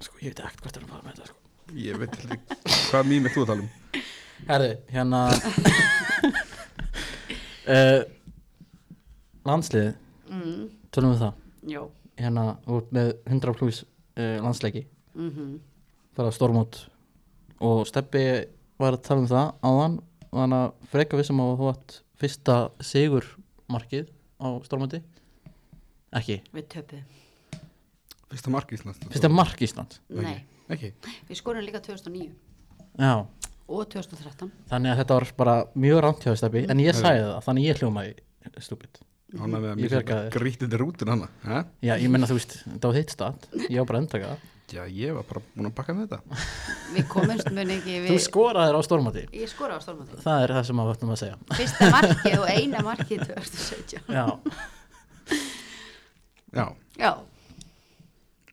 [SPEAKER 2] Sko, ég veit ekkert hvert er að fara með þetta, sko.
[SPEAKER 1] Ég veit heldur ekki Hvað mým er þú að tala um?
[SPEAKER 2] Herðu, hérna uh, Landsliðið,
[SPEAKER 3] mm,
[SPEAKER 2] tölum við það
[SPEAKER 3] Jó
[SPEAKER 2] Hérna, þú ert með 100 pluss uh, landsleiki
[SPEAKER 3] mm
[SPEAKER 2] Bara stórmót Og Steppi var að tala um það áðan Og hann að freka við sem að þú átt Fyrsta sigurmarkið á stórmóti Ekki,
[SPEAKER 3] Við töpuð
[SPEAKER 1] Fyrsta mark Íslands
[SPEAKER 2] fyrsta mark Ísland
[SPEAKER 3] Nei,
[SPEAKER 1] Ekki
[SPEAKER 3] við skorum líka 2009
[SPEAKER 2] Já,
[SPEAKER 3] og 2013
[SPEAKER 2] þannig að þetta var bara mjög rámt hjá þér, Steppi En ég sagði það, þannig að ég hljómaði stúpid
[SPEAKER 1] Hann með að
[SPEAKER 2] Ég bjargaði
[SPEAKER 1] mér
[SPEAKER 2] þér.
[SPEAKER 1] grítið þetta rútin hana Hæ?
[SPEAKER 2] Já, ég menna þú veist, þetta var þitt stat Ég var bara að endaka það
[SPEAKER 1] Já, ég var bara búin að bakka með þetta
[SPEAKER 3] Við komumst mun ekki
[SPEAKER 2] Þú
[SPEAKER 3] við
[SPEAKER 2] skoraðir á stormati
[SPEAKER 3] Ég skora á stórmátti
[SPEAKER 2] Það er það sem maður völdum að segja
[SPEAKER 3] Fyrsta markið og eina markið 2017
[SPEAKER 2] Já,
[SPEAKER 1] Já,
[SPEAKER 3] Já,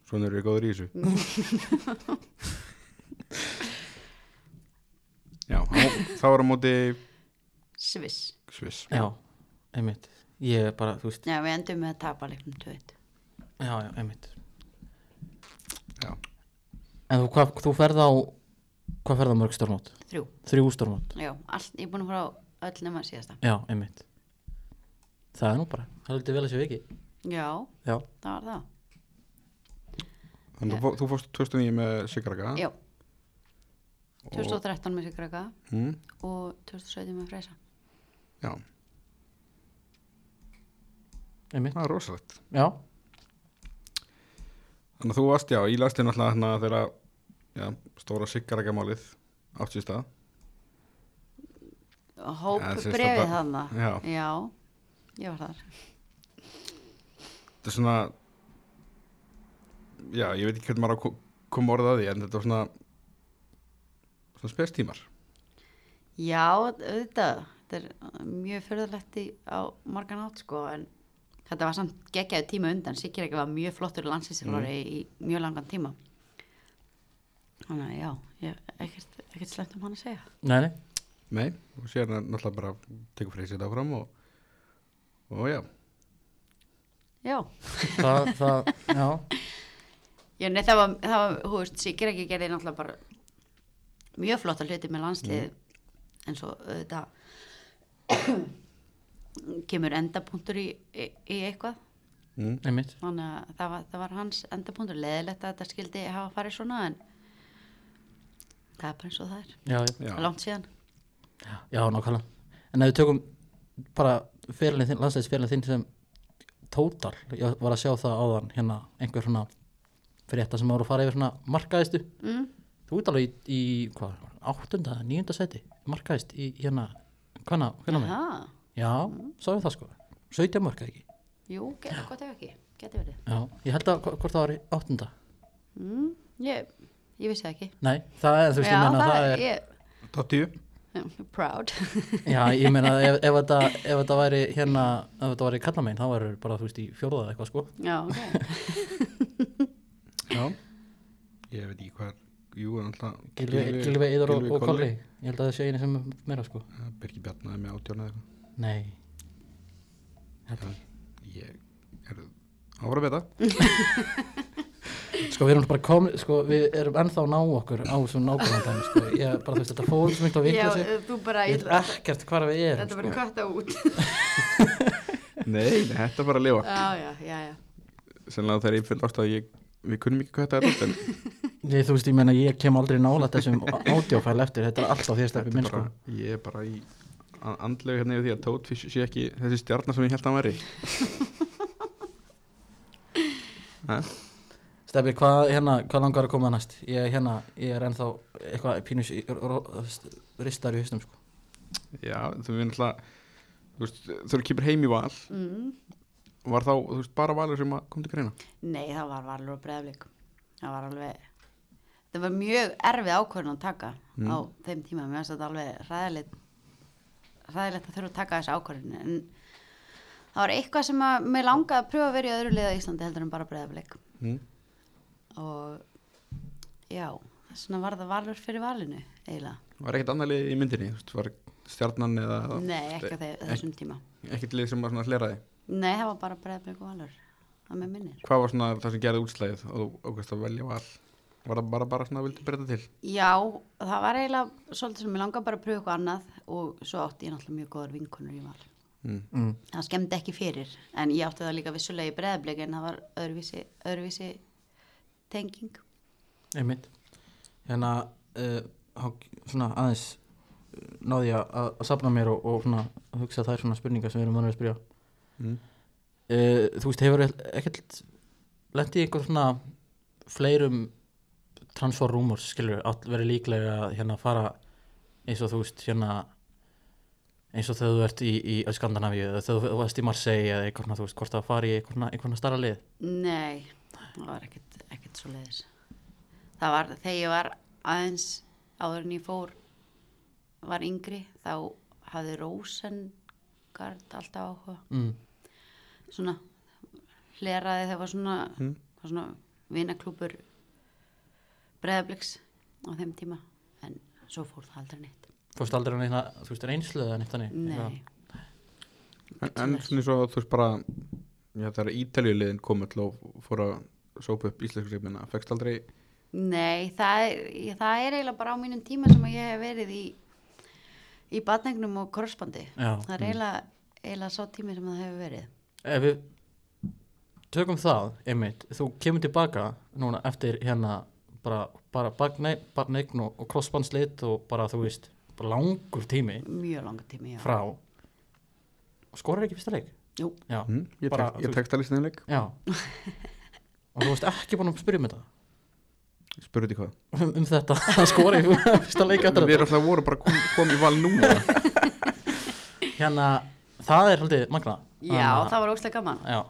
[SPEAKER 1] svona eru við góður í þessu Já, á- þá var á móti
[SPEAKER 3] Sviss
[SPEAKER 1] Sviss
[SPEAKER 2] já, einmitt ég er bara, þú veist,
[SPEAKER 3] Já, við endum með að tapa leiknum 2-1
[SPEAKER 2] já, já, einmitt
[SPEAKER 1] Já.
[SPEAKER 2] en þú, hvað, þú ferð á hvað ferð á mörg stórmót?
[SPEAKER 3] Þrjú,
[SPEAKER 2] þrjú stórmót,
[SPEAKER 3] já, allt, ég er búin að fara á öll nema síðasta
[SPEAKER 2] já, einmitt það er nú bara, það er lítið vel að séu ekki
[SPEAKER 3] Já,
[SPEAKER 2] já,
[SPEAKER 3] það var það
[SPEAKER 1] Þannig að þú fó- þú fórst 2009 með Sigaraka
[SPEAKER 3] Já, 2013 með Sigraka
[SPEAKER 1] mm,
[SPEAKER 3] og 2017 með Freysa
[SPEAKER 1] Já,
[SPEAKER 2] einmitt,
[SPEAKER 1] það er rosalegt
[SPEAKER 2] já,
[SPEAKER 1] Þannig að þú varst, já, ég lasti náttúrulega þarna þegar já, stóra Sigaraka-málið átt sér stað
[SPEAKER 3] Hóp
[SPEAKER 1] Já, sérstaka-
[SPEAKER 3] brefið þarna
[SPEAKER 1] Já.
[SPEAKER 3] já, ég var þar
[SPEAKER 1] Þetta er svona Já, ég veit ekki hvernig maður á að ko- koma orðið að því en þetta var svona svona spestímar
[SPEAKER 3] Já, auðvitað Þetta er mjög fyrðalegt á margan átt sko en þetta var samt geggjaðu tíma undan Sikir var mjög flottur landsinsfjólari
[SPEAKER 1] Mm.
[SPEAKER 3] í mjög langan tíma Þannig að já, ég, ekkert, ekkert slemt um hann að segja
[SPEAKER 2] nei, nei
[SPEAKER 1] Nei, og sér hann náttúrulega bara tekur freysið þetta áfram og, og já,
[SPEAKER 3] Já,
[SPEAKER 2] það, það, já,
[SPEAKER 3] já nei, það var, það var hú veist, Sikir gerði náttúrulega bara mjög flotta hluti með landslið
[SPEAKER 2] Mm.
[SPEAKER 3] en svo auðvitað kemur endapunktur í, í, í eitthvað
[SPEAKER 1] mm,
[SPEAKER 2] einmitt
[SPEAKER 3] þannig að það var, það var hans endapunktur leðilegt að þetta skildi hafa farið svona en það er bara eins og það er
[SPEAKER 2] já, já,
[SPEAKER 1] já.
[SPEAKER 3] langt síðan
[SPEAKER 2] já, nákvæmlega en ef við tökum bara fyrirlin þinn, landsleisfyrirlin þinn sem tótal, ég var að sjá það áðan hérna, einhver svona frétta sem voru að fara yfir svona markaðistu
[SPEAKER 3] mm.
[SPEAKER 2] þú ert alveg í, í hvað, áttunda, níunda seti markaðist í hérna hvenna, hvenna með,
[SPEAKER 3] Aha,
[SPEAKER 2] já, svo við það sko 17 markað ekki,
[SPEAKER 3] jú, get, gott ef ekki geti verið
[SPEAKER 2] já, ég held að hv- hvort það var í áttunda,
[SPEAKER 3] mm. ég, ég vissi það ekki
[SPEAKER 2] nei, það er þú veist, ég meina það er,
[SPEAKER 3] ég,
[SPEAKER 1] top 10
[SPEAKER 3] I'm proud
[SPEAKER 2] já, ég meina ef, ef, þetta, ef þetta væri hérna ef þetta væri kallamein, þá verður bara, þú veist, í fjórða eða eitthvað sko,
[SPEAKER 3] já, ok
[SPEAKER 1] Já, ég veit ekki hvað Jú, en alltaf
[SPEAKER 2] Gilvi, Gilvi Íðar og, og Kolli ég held að það sé einu sem er meira sko
[SPEAKER 1] Ja, Birki Bjarnaði með átjónu eða
[SPEAKER 2] nei, held ekki
[SPEAKER 1] eitthvað Ég er áfram beta
[SPEAKER 2] Sko við erum bara komin, sko við erum ennþá að ná okkur á þessum nákvæmandæmi, sko ég bara þú veist þetta fórum sem eitthvað
[SPEAKER 3] já,
[SPEAKER 2] vikla sig
[SPEAKER 3] þú bara
[SPEAKER 2] ég
[SPEAKER 3] ég,
[SPEAKER 2] veit ekkert hvar við erum,
[SPEAKER 3] þetta verður
[SPEAKER 2] sko
[SPEAKER 3] kvarta út
[SPEAKER 1] Nei, nei, þetta er bara að lifa
[SPEAKER 3] já, já, já, já
[SPEAKER 1] Sennilega þegar ég fyrir ást að ég Við kunnum ekki hvað þetta er út en
[SPEAKER 2] ég, þú veist ég meina ég kem aldrei nála þessum ádjófæl eftir, þetta er alltaf því að stefni minn,
[SPEAKER 1] bara,
[SPEAKER 2] sko
[SPEAKER 1] Ég er bara í a- andlegu hérna yfir því að Tótfish sé ekki þessi stjarnar sem ég held að hann væri Ha?
[SPEAKER 2] Stefni, hvað hérna, hvað langar að koma næst? Ég, hérna, ég er ennþá eitthvað pínus í- ró- ristar í haustum, sko
[SPEAKER 1] Já, þú veist náttúrulega Þú veist, þú eru kýpur heim í val
[SPEAKER 3] mm.
[SPEAKER 1] Var þá, þú veist, bara valur sem að kom til greina
[SPEAKER 3] Nei, það var varlur og breðablík. Það var alveg, það var mjög erfið ákvörðun að taka á þeim tíma. Mér finnst þetta alveg ræðilegt, ræðilegt að þurfa að taka þessi ákvörðun. En það var eitthvað sem að mér langaði að pröfa að vera í öðru liða í Íslandi heldur en bara breðablík.
[SPEAKER 1] mm.
[SPEAKER 3] Og já, þess vegna var það varlur fyrir valinu eiginlega.
[SPEAKER 1] Var ekkert annað lið í myndinni, þú veist, var stjarnan eða
[SPEAKER 3] Nei, ekki á þe- þessum tíma.
[SPEAKER 1] ekkert lið sem var svona hleraði
[SPEAKER 3] Nei, það var bara breðablík og valur. Það með minnir.
[SPEAKER 1] Hvað var svona það sem gerði útslæðið og þú ákvæmst að velja val Var það bara, bara svona að vildu breyta til
[SPEAKER 3] Já, það var eiginlega svolítið sem ég langaði bara að pröfa eitthvað annað og svo átti ég náttúrulega mjög góðar vinkonur í val.
[SPEAKER 2] mm.
[SPEAKER 3] Það skemmdi ekki fyrir, en ég átti það líka vissulega í breðablik en það var öðruvísi, öðruvísi tenging.
[SPEAKER 2] Einmitt Hérna, uh, há- svona aðeins uh, náði ég að, að safna mér og, og svona, hugsa þær svona spurningar sem við erum vanur að spyrja
[SPEAKER 1] mm.
[SPEAKER 2] uh, Þú veist, hefur ekkert lent í einhver svona fleirum transfer rumors, skilur við, verið líklega að hérna fara eins og þú veist, hérna eins og þegar þú ert í, í Skandinavíu eða þegar þú varst í Marseille eða eitthvað svona, þú veist, hvort það fari í eitthvað, svona- eitthvað svona starra lið
[SPEAKER 3] Nei, það var ekkert, ekkert svo leiðis. Það var þegar ég var aðeins áður en ég fór, var yngri, þá hafði Rósengard alltaf áhuga.
[SPEAKER 2] mm.
[SPEAKER 3] svona hleraði það var svona,
[SPEAKER 1] Mm.
[SPEAKER 3] var svona vinaklúpur breðabliks á þeim tíma en svo fór það aldrei neitt
[SPEAKER 2] fórst aldrei hann einna, þú veist, reynslu eða neitt þannig
[SPEAKER 3] Nei,
[SPEAKER 1] En, en svona svo þú veist bara já, það er ítaljulegin komið til og fór að sópa upp íslensku seifmina fegst aldrei
[SPEAKER 3] Nei það, er, ég- það er eiginlega bara á mínum tíma sem að ég hef verið í í batningnum og korsbandi
[SPEAKER 2] Já.
[SPEAKER 3] það er eiginlega, eiginlega sá tími sem það hefur verið
[SPEAKER 2] ef við tökum það, einmitt, þú kemur tilbaka núna eftir hérna bara, bara barneign og, og crossbandslit og bara, þú veist, bara langur tími
[SPEAKER 3] mjög langa tími já.
[SPEAKER 2] frá og skorar ekki fyrsta leik
[SPEAKER 3] Jú,
[SPEAKER 2] já,
[SPEAKER 1] hm, ég,
[SPEAKER 2] bara,
[SPEAKER 1] tek, ég
[SPEAKER 2] þú veist,
[SPEAKER 1] tekst alveg snæðileg
[SPEAKER 2] já og þú veist ekki búin að spyrja um þetta
[SPEAKER 1] spurði hvað
[SPEAKER 2] um, um þetta að skora í fyrsta leik eftir
[SPEAKER 1] við
[SPEAKER 2] þetta
[SPEAKER 1] erum alltaf voru bara kom, kom í val núna
[SPEAKER 2] hérna, það er haldið magna
[SPEAKER 3] já það var óslega gaman
[SPEAKER 2] já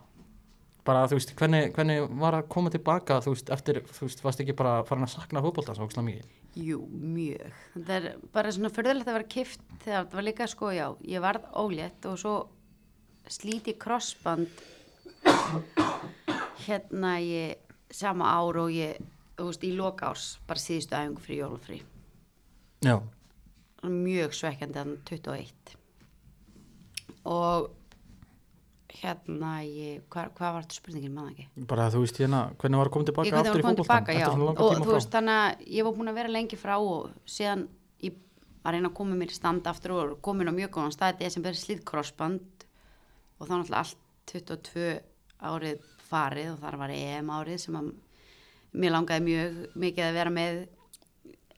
[SPEAKER 2] bara þú veist, hvernig, hvernig var að koma tilbaka þú veist, eftir, þú veist, varst ekki bara farin að sakna fótbolta svo ógslag mikið
[SPEAKER 3] Jú, mjög. Það er bara svona förðulegt að vera kift þegar það var líka sko, já, ég varð ólétt og svo slíti krossband hérna ég sama ár og ég, þú veist, í lokás bara síðustu æfingu fyrir jólfri.
[SPEAKER 2] já,
[SPEAKER 3] Mjög svekkjandi hann 21. Og hérna ég, hva, hvað var þetta spurningin maður ekki?
[SPEAKER 2] bara þú veist, hérna, hvernig var að koma
[SPEAKER 3] ég
[SPEAKER 2] tilbaka
[SPEAKER 3] hvernig
[SPEAKER 2] aftur
[SPEAKER 3] var
[SPEAKER 2] í
[SPEAKER 3] komin
[SPEAKER 2] fótbolta
[SPEAKER 3] tilbaka, já,
[SPEAKER 2] eftir svona langa
[SPEAKER 3] og
[SPEAKER 2] tíma
[SPEAKER 3] þú
[SPEAKER 2] frá
[SPEAKER 3] veist þannig að ég var búin að vera lengi frá og síðan ég var að reyna að koma mér í stand aftur og komin á mjög góðan stað þetta sem verið slíðkrossband og þá náttúrulega allt 22 árið farið og þar var EM árið sem að mér langaði mjög mikið að vera með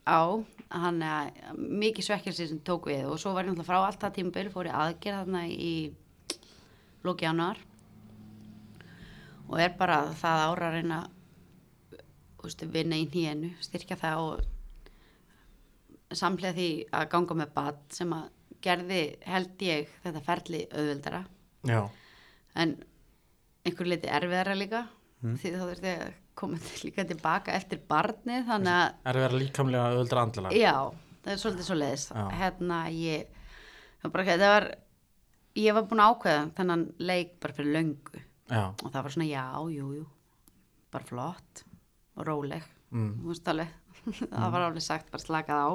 [SPEAKER 3] á hann að mikið svekkelsi sem tók við og svo var ég náttúrulega frá allt það tímabil fór ég aðgerð þarna í lóki januar og er bara það ára að reyna þú veist, vinna í nýjenu, styrkja það og samlega því að ganga með bat sem að gerði held ég þetta ferli auðveldara
[SPEAKER 2] já,
[SPEAKER 3] en einhver leiti erfiðara líka því þá þurfti að koma til- líka tilbaka eftir barnið þannig að
[SPEAKER 2] er að vera líkamlega öðuldra andlega
[SPEAKER 3] Já, það er svolítið svo leiðis
[SPEAKER 2] Já.
[SPEAKER 3] hérna ég það bara, það var, ég var búin að ákveða þennan leik bara fyrir löngu
[SPEAKER 2] já,
[SPEAKER 3] og það var svona já, jú, jú bara flott og róleg þú veist alveg, það var alveg sagt bara slakað á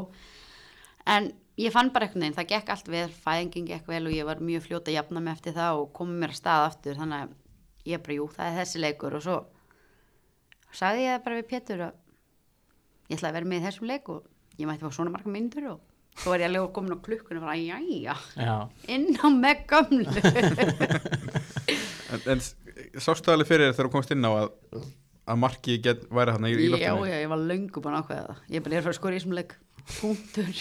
[SPEAKER 3] en ég fann bara einhvern veginn, það gekk allt vel fæðingin gekk vel og ég var mjög fljóta að jafna mig eftir það og komið mér að stað aftur þannig að ég bara, jú, það er þessi leikur og svo sagði ég bara við Pétur að ég ætla að vera með í þessum leik og ég mætti fá svona marga myndur og svo var ég alveg komin á klukkuna og bara, jæja,
[SPEAKER 2] já,
[SPEAKER 3] inn á með gömlu
[SPEAKER 1] en, en s- sástu alveg fyrir þér þegar þú komst inn á að að marki get, væri hann í, í
[SPEAKER 3] já,
[SPEAKER 1] loftinu
[SPEAKER 3] já, ég var löngu búin að ákveða það ég er bara ég er að fara að skora í þessum leik punktur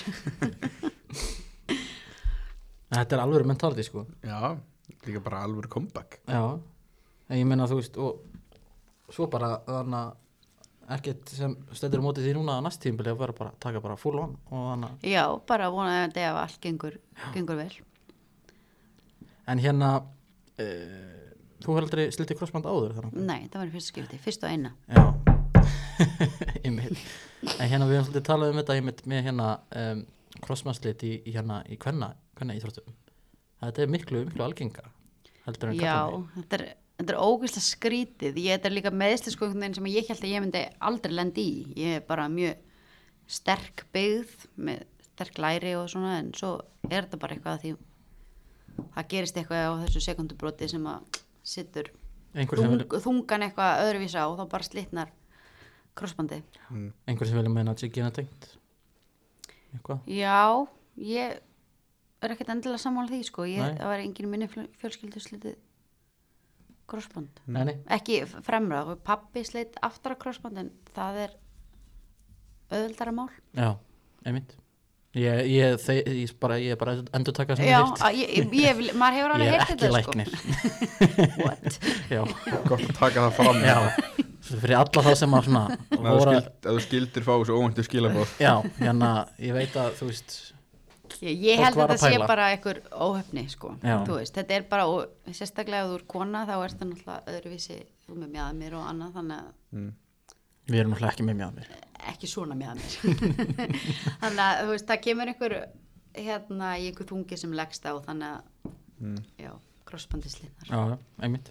[SPEAKER 2] þetta er alveg mentaldi sko
[SPEAKER 1] já, líka bara alvöru comeback
[SPEAKER 2] já, en ég meina þú veist og svo bara þannig að ekkert sem stendur á móti því núna að næst tímbili að vera bara, taka bara full on og þannig að
[SPEAKER 3] já, bara vonaði að þetta allt gengur, gengur vel
[SPEAKER 2] En hérna uh, Þú hefur aldrei slitið krossband áður þannig
[SPEAKER 3] nei, það var í fyrsta skipti, fyrst og eina
[SPEAKER 2] Já Einmitt. En hérna við höfum svolítið talað um þetta einmitt með hérna um, krossbandslit í, í hérna í kvenna, kvenna íþróttum Þetta er miklu, miklu algenga heldur en
[SPEAKER 3] já,
[SPEAKER 2] kallarnir.
[SPEAKER 3] þetta er, þetta er ógeðslega skrítið ég, þetta er líka meðsli sko einhvern veginn sem ég held að ég myndi aldrei lendi í ég er bara mjög sterk byggð með sterk læri og svona en svo er þetta bara eitthvað að því það gerist eitthvað á þessu sekundubroti sem að sittur
[SPEAKER 2] Einhver sem,
[SPEAKER 3] Þung,
[SPEAKER 2] vil,
[SPEAKER 3] þungan eitthvað öðruvísa og þá bara slitnar krossbandi.
[SPEAKER 2] einhver sem vilja meina að sé gena tengt Eitthvað
[SPEAKER 3] Já, ég er ekkert endilega sammála því sko, ég,
[SPEAKER 2] Nei.
[SPEAKER 3] það var enginn í minni fjö- fjölskyldu slitið krossband.
[SPEAKER 2] Nei, nei,
[SPEAKER 3] Ekki f- fremra, pappi slit aftara krossband en það er öðuldara mál.
[SPEAKER 2] já, einmitt Ég, ég, þe- ég, bara, ég er bara að endur taka sem
[SPEAKER 3] Já,
[SPEAKER 2] heyrt.
[SPEAKER 3] að ég, ég, ég, maður
[SPEAKER 2] ég
[SPEAKER 3] hefur alveg
[SPEAKER 2] er
[SPEAKER 3] heyrt
[SPEAKER 2] ekki
[SPEAKER 3] þetta
[SPEAKER 2] læknir
[SPEAKER 3] sko. What?
[SPEAKER 2] Já,
[SPEAKER 1] gott að taka það fram
[SPEAKER 2] já Fyrir alla það sem að svona
[SPEAKER 1] Að þú,
[SPEAKER 2] voru-
[SPEAKER 1] skild, að þú skildir fá þessu óvæntu skilabóð
[SPEAKER 2] Já, hérna, ég veit að þú veist
[SPEAKER 3] Ég, ég
[SPEAKER 2] Fólk
[SPEAKER 3] held
[SPEAKER 2] var
[SPEAKER 3] að
[SPEAKER 2] að
[SPEAKER 3] þetta sé
[SPEAKER 2] pæla.
[SPEAKER 3] bara einhver óhefni sko,
[SPEAKER 2] Já.
[SPEAKER 3] þú veist, þetta er bara og, sérstaklega ef þú er kona þá er þetta náttúrulega öðruvísi þú með mjadamir og annað þannig að
[SPEAKER 2] Við erum náttúrulega ekki með mjánir
[SPEAKER 3] ekki svona mjadamir þannig að þú veist, það kemur einhver hérna í einhver þungi sem leggst á þannig að,
[SPEAKER 1] Mm.
[SPEAKER 3] já, krossbandi slinnar
[SPEAKER 2] Já, einmitt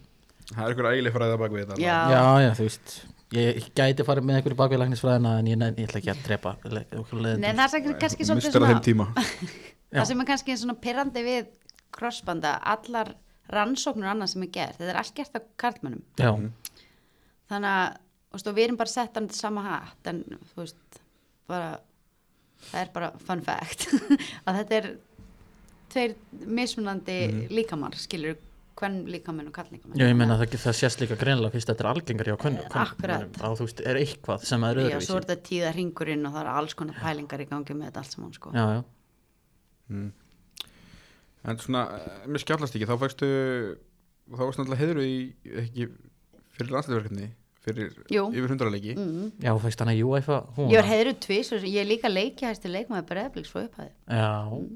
[SPEAKER 1] það er ykkur ægileg fræða bak við þetta
[SPEAKER 3] Já.
[SPEAKER 2] Já, já, þú veist Ég gæti farið með einhverju bakviðlæknisfræðina en ég, ég ætla ekki að drepa le- okkur
[SPEAKER 3] Nei,
[SPEAKER 2] leiðin
[SPEAKER 3] það er samt kannski svolítið
[SPEAKER 1] Mistar að þeim
[SPEAKER 3] svona
[SPEAKER 1] tíma
[SPEAKER 2] Já.
[SPEAKER 3] það sem er kannski svona pirrandi við crossbanda, allar rannsóknur annað sem er gert, þetta er allt gert af karlmönnum,
[SPEAKER 2] Já,
[SPEAKER 3] þannig að þú veist, og við erum bara sett hann til sama hatt en þú veist, bara það er bara fun fact að þetta er tveir mismunandi líkamar skilur hvern líkamenn og kall líkamenn
[SPEAKER 2] Mhm. Já ég meina það, það sést líka greinilega fyrst þetta er algengar hjá könnu
[SPEAKER 3] Akkurat.
[SPEAKER 2] á þú veist, er eitthvað sem er
[SPEAKER 3] Já, svo
[SPEAKER 2] öðruvísi
[SPEAKER 3] er þetta tíða hringurinn og það er alls konar pælingar í gangi með þetta allt saman sko.
[SPEAKER 2] Já, já,
[SPEAKER 1] En svona, eh, mér skjallast ekki, þá fækstu þá varstu náttúrulega heiðru í ekki, fyrir landsliðverkefni fyrir
[SPEAKER 3] Jú.
[SPEAKER 1] yfir hundraleiki
[SPEAKER 3] Mm.
[SPEAKER 2] já, fækst hana í UEFA hún
[SPEAKER 3] Ég var heiðru tvís og ég er líka leikja hæstu leikmaði breðabliks frá upphæði.
[SPEAKER 2] Já,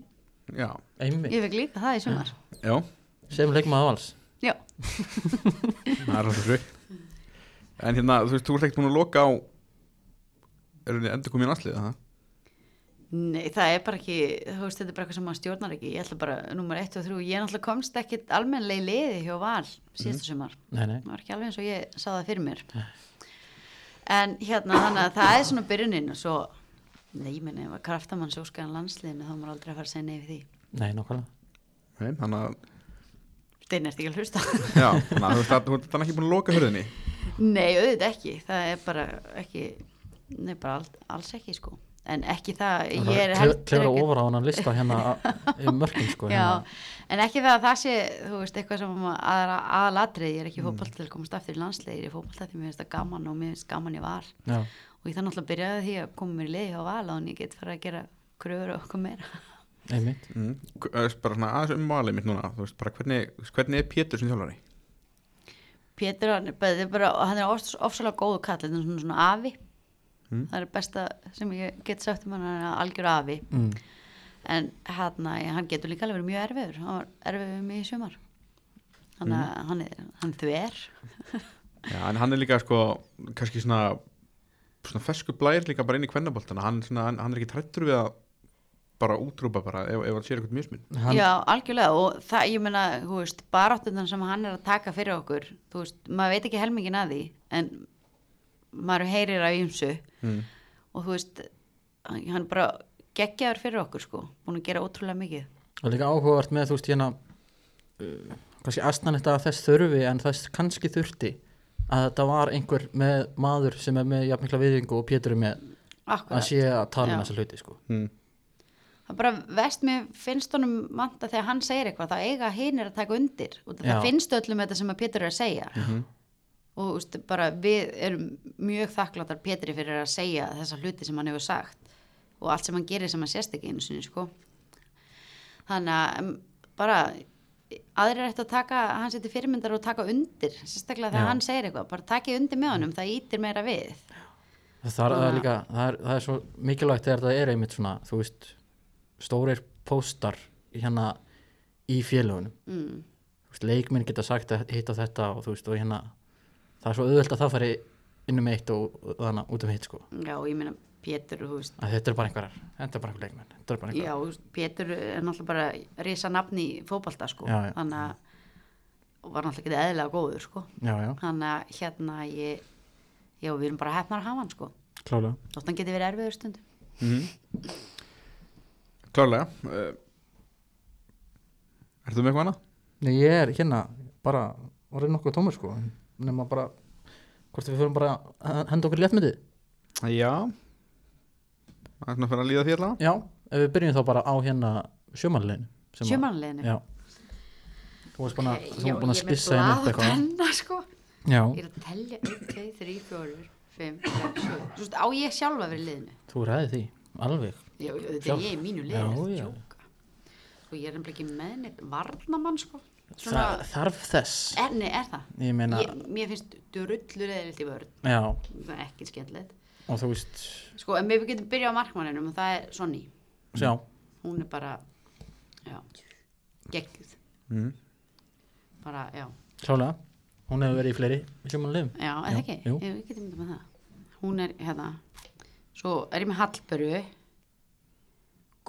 [SPEAKER 1] Já,
[SPEAKER 2] einmitt,
[SPEAKER 3] Ég fekk líka það í sumar.
[SPEAKER 1] já,
[SPEAKER 2] sem leikmaði á alls
[SPEAKER 3] Já,
[SPEAKER 1] það er alltaf fyrir En hérna, þú veist, þú ert ekkert búin að loka á erum við endur komið í landslið, það?
[SPEAKER 3] nei það er bara ekki, þú veist þetta er bara eitthvað sem maður stjórnar ekki. Ég ætla bara, nummer 1 og 3, ég náttúrulega komst ekkit almennlega í liði hjá val síðasta
[SPEAKER 2] Mhm.
[SPEAKER 3] sumar.
[SPEAKER 2] Nei, nei,
[SPEAKER 3] Það var ekki alveg eins og ég sá það fyrir mér. En hérna, þannig að það er svona byrjunin og svo, nei, ég meina, ef að kraftamann svo skan landsliðinu þá á maður aldrei að fara að segja nei við því.
[SPEAKER 2] nei, nákvæmlega
[SPEAKER 1] Nei, þannig að,
[SPEAKER 3] Steinn ert ekki að hlusta.
[SPEAKER 1] já, þannig að þú veist, að- þú ert þannig ekki búin að loka hörðinni
[SPEAKER 3] Nei, auðvitað ekki, það er bara ekki, nei bara alls, alls ekki sko, en ekki það, ég er
[SPEAKER 2] Klefra ofar á hann lista hérna a- í mörkin sko
[SPEAKER 3] já,
[SPEAKER 2] hérna.
[SPEAKER 3] en ekki það að það sé, þú veist, eitthvað sem að- aðra aðalatrið, ég er ekki mm. fótballt til að komast aftur í landsleir, ég er fótballt til, mér finnst það gaman og mér finnst gaman í val
[SPEAKER 2] Já.
[SPEAKER 3] og ég þannig náttúrulega að byrjaði á því að koma mér í liði á val og ég get fara að gera kröfur og okkur meira.
[SPEAKER 2] einmitt
[SPEAKER 1] mm. K- eh, Bara svona aðeins um valið mitt núna Þú veist, bara hvernig, þú veist, hvernig er Pétur sem þjálfari?
[SPEAKER 3] Pétur, hann er bara, þetta er bara hann er ofs- ofsalega góðu kall, þetta er svona, svona afi það er besta sem ég get sagt um hann, hann er algjör afi
[SPEAKER 2] Mm.
[SPEAKER 3] en hann, hann getur líka alveg verið mjög erfiður, hann var erfiður við mig í sumar hann, mm. hann, er, hann er þver
[SPEAKER 1] Já, en hann er líka sko kannski svona, svona fersku blær líka bara inn í kvennaboltana hann, svona, hann, hann er ekki trættur við að bara útrúpa bara ef, ef hann sér eitthvað mismun
[SPEAKER 2] Hann,
[SPEAKER 3] já, algjörlega og það, ég meina, þú veist baráttundan sem hann er að taka fyrir okkur þú veist, maður veit ekki helmingin að því en maður heyrir af ymsu
[SPEAKER 1] mm.
[SPEAKER 3] og þú veist, hann er bara geggjaður fyrir okkur sko, búin að gera ótrúlega mikið
[SPEAKER 2] Og líka áhugavert með þú veist hérna uh, kannski astnan þetta að þess þurfi en þess kannski þurfti að þetta var einhver með maður sem er með jafn mikla viðingu og Pétur er með að
[SPEAKER 3] Akkurat.
[SPEAKER 2] sé að tala um
[SPEAKER 3] Já.
[SPEAKER 2] þessa hluti sko
[SPEAKER 1] Mm.
[SPEAKER 3] það er bara vest mér finnst honum manta þegar hann segir eitthvað þá eiga hinir að taka undir og það
[SPEAKER 2] Já. Mhm.
[SPEAKER 3] finnst öllum þetta sem að Pétur er að segja og þú veist, bara við erum mjög þakkláttar Pétri fyrir að segja þessa hluti sem hann hefur sagt og allt sem hann gerir sem hann sérst ekki einu sinni sko þannig að em, bara aðrir ættu að taka hann seti fyrirmyndar og taka undir sérstaklega
[SPEAKER 2] Já.
[SPEAKER 3] þegar hann segir eitthvað bara takið undir með honum, það ítir meira við
[SPEAKER 2] það er, það er líka, það er, það er svo mikilvægt þegar það er einmitt svona þú veist, stórir póstar hérna í félögunum
[SPEAKER 3] mm.
[SPEAKER 2] Þú veist, leikmenn geta sagt að hitta þetta og þú veist, og hérna það er svo auðvelt að það fari inn um eitt og, og þannig út um hitt sko
[SPEAKER 3] já, og ég meina Pétur, þú veist
[SPEAKER 2] að þetta er bara einhverjar, þetta er bara einhver leikmenn þetta er bara einhverjar,
[SPEAKER 3] Já, Pétur er náttúrulega bara risa nafn í fótbalta sko
[SPEAKER 2] Já, já.
[SPEAKER 3] þannig að og var náttúrulega ekki eðlilega góður sko
[SPEAKER 2] já, já,
[SPEAKER 3] þannig að hérna ég já, við erum bara hefnar að hafa hann sko
[SPEAKER 2] klálega
[SPEAKER 3] þótt hann geti verið erfiður stundum
[SPEAKER 1] Mhm. Klárlega uh, Ertu með eitthvað annað?
[SPEAKER 2] Nei, ég er hérna bara orðið nokkuð tómur sko nema bara, hvort við fyrir bara að henda okkur í léttmyndið
[SPEAKER 1] Já Það er svona að fyrir að líða því allavega
[SPEAKER 2] Já, ef við byrjum þá bara á hérna sjömanleginu
[SPEAKER 3] Sjömannleginu
[SPEAKER 2] Já Þú varst búin að, þú
[SPEAKER 3] Eh,
[SPEAKER 2] varst búin að
[SPEAKER 3] Já, ég er með
[SPEAKER 2] spissa hérna upp
[SPEAKER 3] blað og
[SPEAKER 2] eitthvað
[SPEAKER 3] penna, sko. Ég
[SPEAKER 2] Já,
[SPEAKER 3] er að telja 1, 2, 3, 4, 5, 6, 7 Þú veist, á ég sjálfa verið liðinu
[SPEAKER 2] þú ræði því, alveg
[SPEAKER 3] Já, já, þetta
[SPEAKER 2] Sjálf.
[SPEAKER 3] er ég í mínu
[SPEAKER 2] Já,
[SPEAKER 3] liðinu
[SPEAKER 2] já.
[SPEAKER 3] Sko, ég er nefnilega ekki með neitt varnamann sko
[SPEAKER 2] Þa,
[SPEAKER 3] Svona,
[SPEAKER 2] Þarf þess
[SPEAKER 3] er, nei, er það?
[SPEAKER 2] Ég meina,
[SPEAKER 3] ég, mér finnst drullur eða í vörð
[SPEAKER 2] já,
[SPEAKER 3] það er ekki skemmtilegt
[SPEAKER 2] og þú veist
[SPEAKER 3] sko, en við getum byrjað á markmanninum og það er Sonny,
[SPEAKER 2] Já,
[SPEAKER 3] hún er bara já, geggjuð
[SPEAKER 1] mm.
[SPEAKER 3] bara, já,
[SPEAKER 2] klálega, hún hefur verið í fleiri sjömanlegum
[SPEAKER 3] já,
[SPEAKER 2] Já,
[SPEAKER 3] eða ekki
[SPEAKER 2] jú.
[SPEAKER 3] ég við getum myndið með það hún er, hérna, svo er ég með Hallberu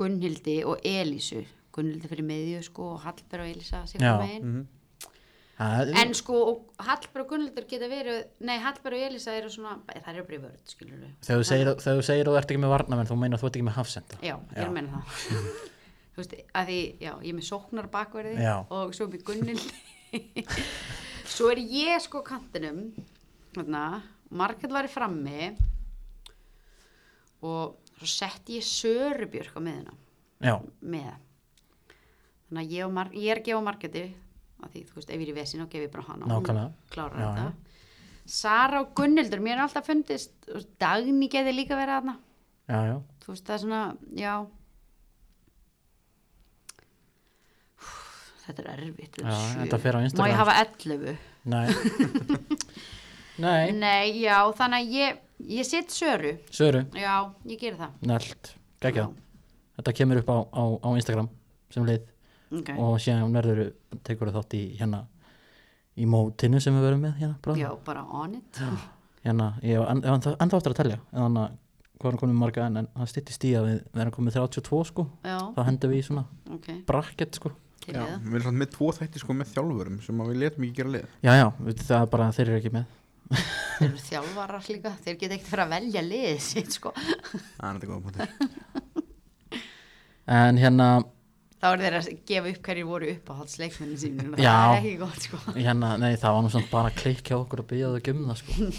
[SPEAKER 3] Gunnhildi og Elísu Gunnhildi fyrir miðju, sko, og Hallberu og Elísa
[SPEAKER 2] Já.
[SPEAKER 3] mm.
[SPEAKER 2] Það að,
[SPEAKER 3] En sko, og Hallberg og Gunnhildur geta verið, nei, Hallberg og Elisa eru svona, það eru bara í vörð, skilur við.
[SPEAKER 2] þegar þú segir, þegar þú segir að þú ert ekki með varnamenn þú meinar að þú ert ekki með hafsenda
[SPEAKER 3] Já, ég er að meina það. Þú veist, að því, já, ég er með sóknar bakverði
[SPEAKER 2] Já.
[SPEAKER 3] og svo er mér Gunnhildur. svo er ég sko á kantinum, þarna, margætt var í frammi og svo setti ég Sörubjörk á miðuna,
[SPEAKER 2] já,
[SPEAKER 3] með. Þannig að ég, og Mar- ég er að gefa margætti, að því, þú veist, ef ég er í vesinu og gefi bara hana. og hún
[SPEAKER 2] Nákvæmlega.
[SPEAKER 3] klárar
[SPEAKER 2] Já,
[SPEAKER 3] þetta. Sara og Gunnhildur, mér er alltaf fundist, þú veist, Dagný geði líka verið aðna
[SPEAKER 2] já, já,
[SPEAKER 3] þú veist það er svona, já þetta er erfitt þetta er
[SPEAKER 2] Já,
[SPEAKER 3] sjö.
[SPEAKER 2] þetta fer á Instagram.
[SPEAKER 3] má ég hafa 11
[SPEAKER 2] nei nei,
[SPEAKER 3] nei, já, þannig að ég ég set söru,
[SPEAKER 2] Söru,
[SPEAKER 3] já, ég ger það
[SPEAKER 2] nælt gekkja, þetta kemur upp á, á, á Instagram sem lið
[SPEAKER 3] okay.
[SPEAKER 2] og síðan verður tekur þú þátt í hérna í mótinu sem við verum með hérna, bráðum.
[SPEAKER 3] já, bara on it
[SPEAKER 2] hérna ég hef en- ennþá ennþá eftir að telja þannig að hvað er komið marga en, en það styttist í að við við erum komið 32 sko
[SPEAKER 3] já,
[SPEAKER 2] þá hendum við í svona
[SPEAKER 3] ok,
[SPEAKER 2] bracket sko
[SPEAKER 3] til við það
[SPEAKER 1] Við erum samt með tvo þætti sko með þjálfurum sem að við letum ekki gera lið
[SPEAKER 2] já já, við- það er bara að þeir eru ekki með
[SPEAKER 3] þeir eru þjálfarar líka, þeir geta ekkert fyrir að velja liðið sitt sko
[SPEAKER 1] Það er þetta góða punktur
[SPEAKER 2] en hérna,
[SPEAKER 3] þá er þeir að gefa upp hverjir voru uppáhaldsleikmennin sínum og það
[SPEAKER 2] Já.
[SPEAKER 3] er ekki gott sko
[SPEAKER 2] hérna nei það var nú svona bara klikk hjá okkur að byggja þau um það sko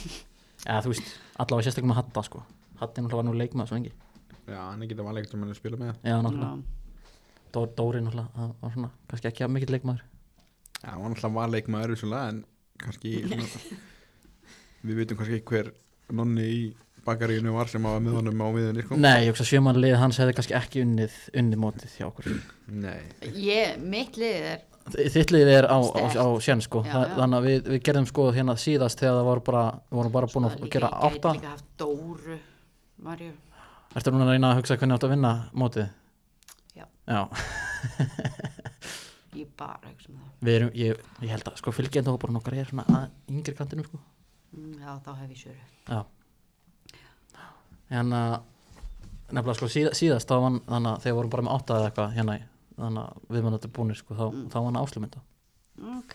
[SPEAKER 2] eða þú veist, allavega sérstaklega með hatta sko hattin náttúrulega var nú leikmaður svo lengi
[SPEAKER 1] Já, hann er getað vanlega sem hann er að spila með
[SPEAKER 2] já náttúrulega,
[SPEAKER 3] Já.
[SPEAKER 2] Dó, Dóri náttúrulega það var svona, kannski ekki að mikill leikmaður
[SPEAKER 1] Já, hann var alltaf vanleik maður vissulega en kannski svona, við vitum kannski ekki hver nonni í bakaríinu var sem að var með honum á miðunni sko
[SPEAKER 2] nei, ég hugsa sjöman lið hans hefði kannski ekki unnið unnið mótið hjá okkur
[SPEAKER 1] Nei.
[SPEAKER 3] ég, mitt liðið er
[SPEAKER 2] Þittlið er á, á,
[SPEAKER 3] Sterkt.
[SPEAKER 2] á sjön sko
[SPEAKER 3] Já,
[SPEAKER 2] Þa,
[SPEAKER 3] já.
[SPEAKER 2] þannig að við, við gerðum sko hérna síðast þegar það var bara, við vorum bara búin að
[SPEAKER 3] líka-
[SPEAKER 2] gera
[SPEAKER 3] sko, ég
[SPEAKER 2] átta
[SPEAKER 3] gæti líka haft Dóru Marju
[SPEAKER 2] Ertu núna að reyna að hugsa hvernig áttu að vinna mótið?
[SPEAKER 3] Já.
[SPEAKER 2] Já,
[SPEAKER 3] ég bara hugsa um það
[SPEAKER 2] við erum, ég, ég held að sko fylgjandi hópurinn okkar er svona að yngri kantinu sko
[SPEAKER 3] Mm, já þá hef ég sjöru
[SPEAKER 2] Já En að nefnilega sko síða, síðast þá var þannig að þegar við vorum bara með átta eða eitthvað hérna í- þannig að við mannandi búinir sko þá,
[SPEAKER 3] Mm.
[SPEAKER 2] þá var hann áslumynda
[SPEAKER 3] ok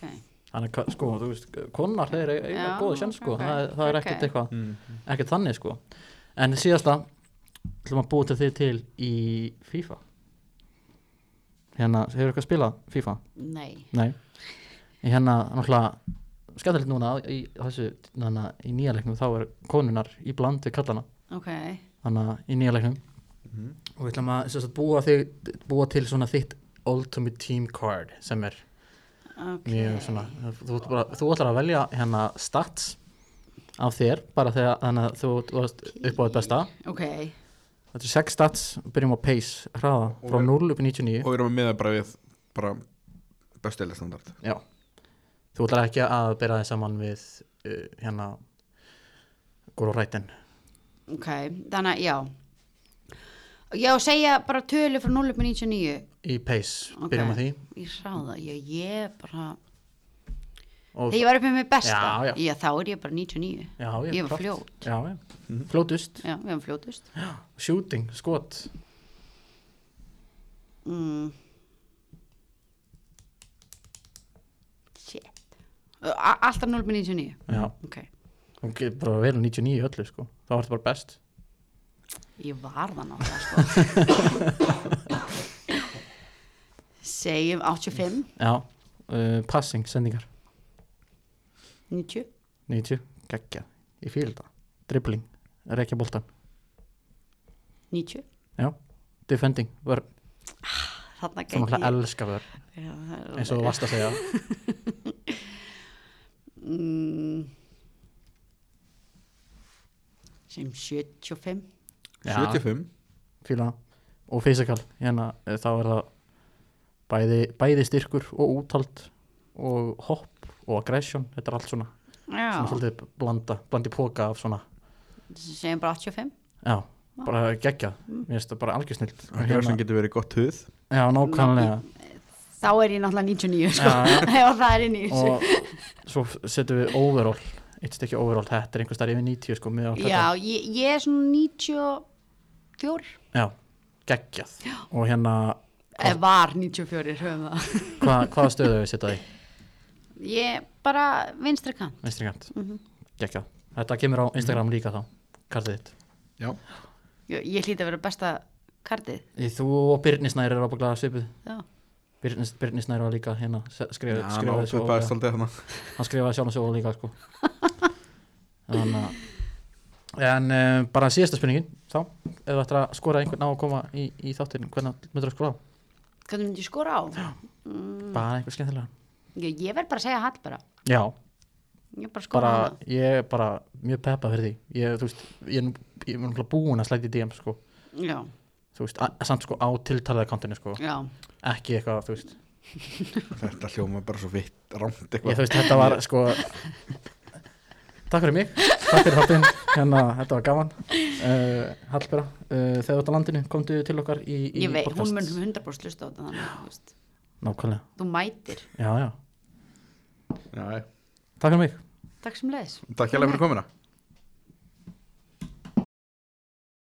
[SPEAKER 2] Þannig að sko, þú veist, konar þeir eiga
[SPEAKER 3] Já,
[SPEAKER 2] góða sjön sko,
[SPEAKER 3] ok,
[SPEAKER 2] það, er- það er ekkert
[SPEAKER 3] ok.
[SPEAKER 2] eitthvað
[SPEAKER 1] Mm.
[SPEAKER 2] ekkert þannig sko en síðasta ætlum að búa til þig til í FIFA hérna, hefur eitthvað spilað FIFA?
[SPEAKER 3] nei
[SPEAKER 2] Nei Ég hérna, náttúrulega skemmtilegt núna í, þessu, hana, í nýja leiknum þá er konunar í bland við kallana
[SPEAKER 3] ok
[SPEAKER 2] þannig að í nýja leiknum
[SPEAKER 3] Mhm.
[SPEAKER 2] og við ætlum að, sem sagt, búa, þig, búa til svona þitt ultimate team card sem er
[SPEAKER 3] ok
[SPEAKER 2] mjög svona þú, ert bara, þú ætlar að velja hérna stats af þér bara þegar þannig að þú varst upp á þitt besta
[SPEAKER 3] ok
[SPEAKER 2] Þetta er 6 stats, byrjum á pace, hraða,
[SPEAKER 1] Og
[SPEAKER 2] frá
[SPEAKER 1] við-
[SPEAKER 2] 0 upp í 99.
[SPEAKER 1] Og við erum að miða bara við bara bestilega standard
[SPEAKER 2] Já. Þú ætlar ekki að byrja þið saman við uh, hérna Goro Rætin.
[SPEAKER 3] ok þannig að já já segja bara tölu frá 0 upp í 99
[SPEAKER 2] Í pace,
[SPEAKER 3] Ok.
[SPEAKER 2] byrjum á því.
[SPEAKER 3] ég ráða ég, ég bara
[SPEAKER 2] Og,
[SPEAKER 3] þegar ég var uppið með besta
[SPEAKER 2] Já, já.
[SPEAKER 3] þá er ég bara 99
[SPEAKER 2] já, já,
[SPEAKER 3] ég var
[SPEAKER 2] klárt.
[SPEAKER 3] fljót. Mhm.
[SPEAKER 2] Já, já. Fljótust,
[SPEAKER 3] já við erum fljótust
[SPEAKER 2] shooting, skot.
[SPEAKER 3] mm. shit A- alltaf 0 upp í 99
[SPEAKER 2] Já,
[SPEAKER 3] ok
[SPEAKER 2] þú getur bara vel á 99 í öllu sko. Þá ertu bara best.
[SPEAKER 3] Ég var það náttúrulega sko. Segjum 85,
[SPEAKER 2] Já, uh, passing, sendingar,
[SPEAKER 3] 90
[SPEAKER 2] 90, geggja. Ég fíl þetta. Dribbling, rekja boltan.
[SPEAKER 3] 90
[SPEAKER 2] Já, defending, vörn.
[SPEAKER 3] Þarna
[SPEAKER 2] Þú
[SPEAKER 3] gæti
[SPEAKER 2] náttúrulega
[SPEAKER 3] ég
[SPEAKER 2] elska vörn,
[SPEAKER 3] Já, það er
[SPEAKER 2] eins og þú
[SPEAKER 3] alveg-
[SPEAKER 2] varst að segja.
[SPEAKER 3] Mm. Segjum 75
[SPEAKER 2] Já.
[SPEAKER 1] 75
[SPEAKER 2] fíla það. og fysikal hérna eh, þá er það bæði, bæði styrkur og úthald og hopp og aggression þetta er allt svona,
[SPEAKER 3] Já,
[SPEAKER 2] svona svolítið blanda, blandi póka af svona
[SPEAKER 3] segjum bara 85
[SPEAKER 2] já, bara geggjað, mér finnst það bara algjör snilt
[SPEAKER 1] Það hérna. getur verið gott hugð
[SPEAKER 2] já, nákvæmlega
[SPEAKER 3] Þá er ég náttúrulega 99 sko.
[SPEAKER 2] Já, já.
[SPEAKER 3] Ef það er inn í þessu
[SPEAKER 2] og svo setjum við overall eitt stykki overall, þetta er einhvers þar yfir 90 sko, miðað á
[SPEAKER 3] Já, ég, ég er svona 94
[SPEAKER 2] þetta. já, geggjað og hérna,
[SPEAKER 3] Ef var 94 höfum það
[SPEAKER 2] hva, hvaða stöðu við setja því?
[SPEAKER 3] Ég bara vinstri kann.
[SPEAKER 2] vinstri kant,
[SPEAKER 3] Mm
[SPEAKER 2] gekkja Þetta kemur á Instagram líka þá, kartið þitt
[SPEAKER 1] Já,
[SPEAKER 3] Ég, ég hlýti að vera besta kardið.
[SPEAKER 2] Í Þú og Byrnisnær eru ábúklega svipuð
[SPEAKER 3] Já.
[SPEAKER 2] Birnis, Byrnisnær var líka hérna se- skrif,
[SPEAKER 1] hann
[SPEAKER 2] skrifaði svo
[SPEAKER 1] ápöpaðist aldrei þarna
[SPEAKER 2] hann skrifaði sjálf og svo líka sko. þannig að en uh, bara síðasta spurningin þá, ef þú ættir að skora einhvern á að koma í, í þáttin, hvernig myndir að skora á
[SPEAKER 3] Hvernig myndi ég skora á? Mm,
[SPEAKER 2] bara einhver skemmtilega
[SPEAKER 3] ég, ég verð bara að segja hall bara.
[SPEAKER 2] já,
[SPEAKER 3] Ég bara skora
[SPEAKER 2] bara,
[SPEAKER 3] hana.
[SPEAKER 2] ég er bara mjög peppa fyrir því ég, þú veist, ég er nú- ég er náttúrulega búin að slæta í DM sko,
[SPEAKER 3] Já,
[SPEAKER 2] þú veist, a- samt sko á tiltalaða kontinu sko,
[SPEAKER 3] já.
[SPEAKER 2] ekki eitthvað, þú veist
[SPEAKER 1] Þetta hljóma bara svo vitt, rámt
[SPEAKER 2] ég,
[SPEAKER 1] eitthvað
[SPEAKER 2] þú veist, þetta var sko takk fyrir mig takk fyrir þáttinn, hérna, þetta var gaman uh, Hallbera, uh, þegar þú ert á landinu komdu til okkar í, í
[SPEAKER 3] Ég veit,
[SPEAKER 2] podcast.
[SPEAKER 3] hún mun 100% hlusta á þetta þannig, þú veist.
[SPEAKER 2] nákvæmlega,
[SPEAKER 3] Þú mætir.
[SPEAKER 2] já, já,
[SPEAKER 1] Já, já.
[SPEAKER 2] takk fyrir mig
[SPEAKER 3] Takk sem leiðis.
[SPEAKER 1] Takk hérlega fyrir komuna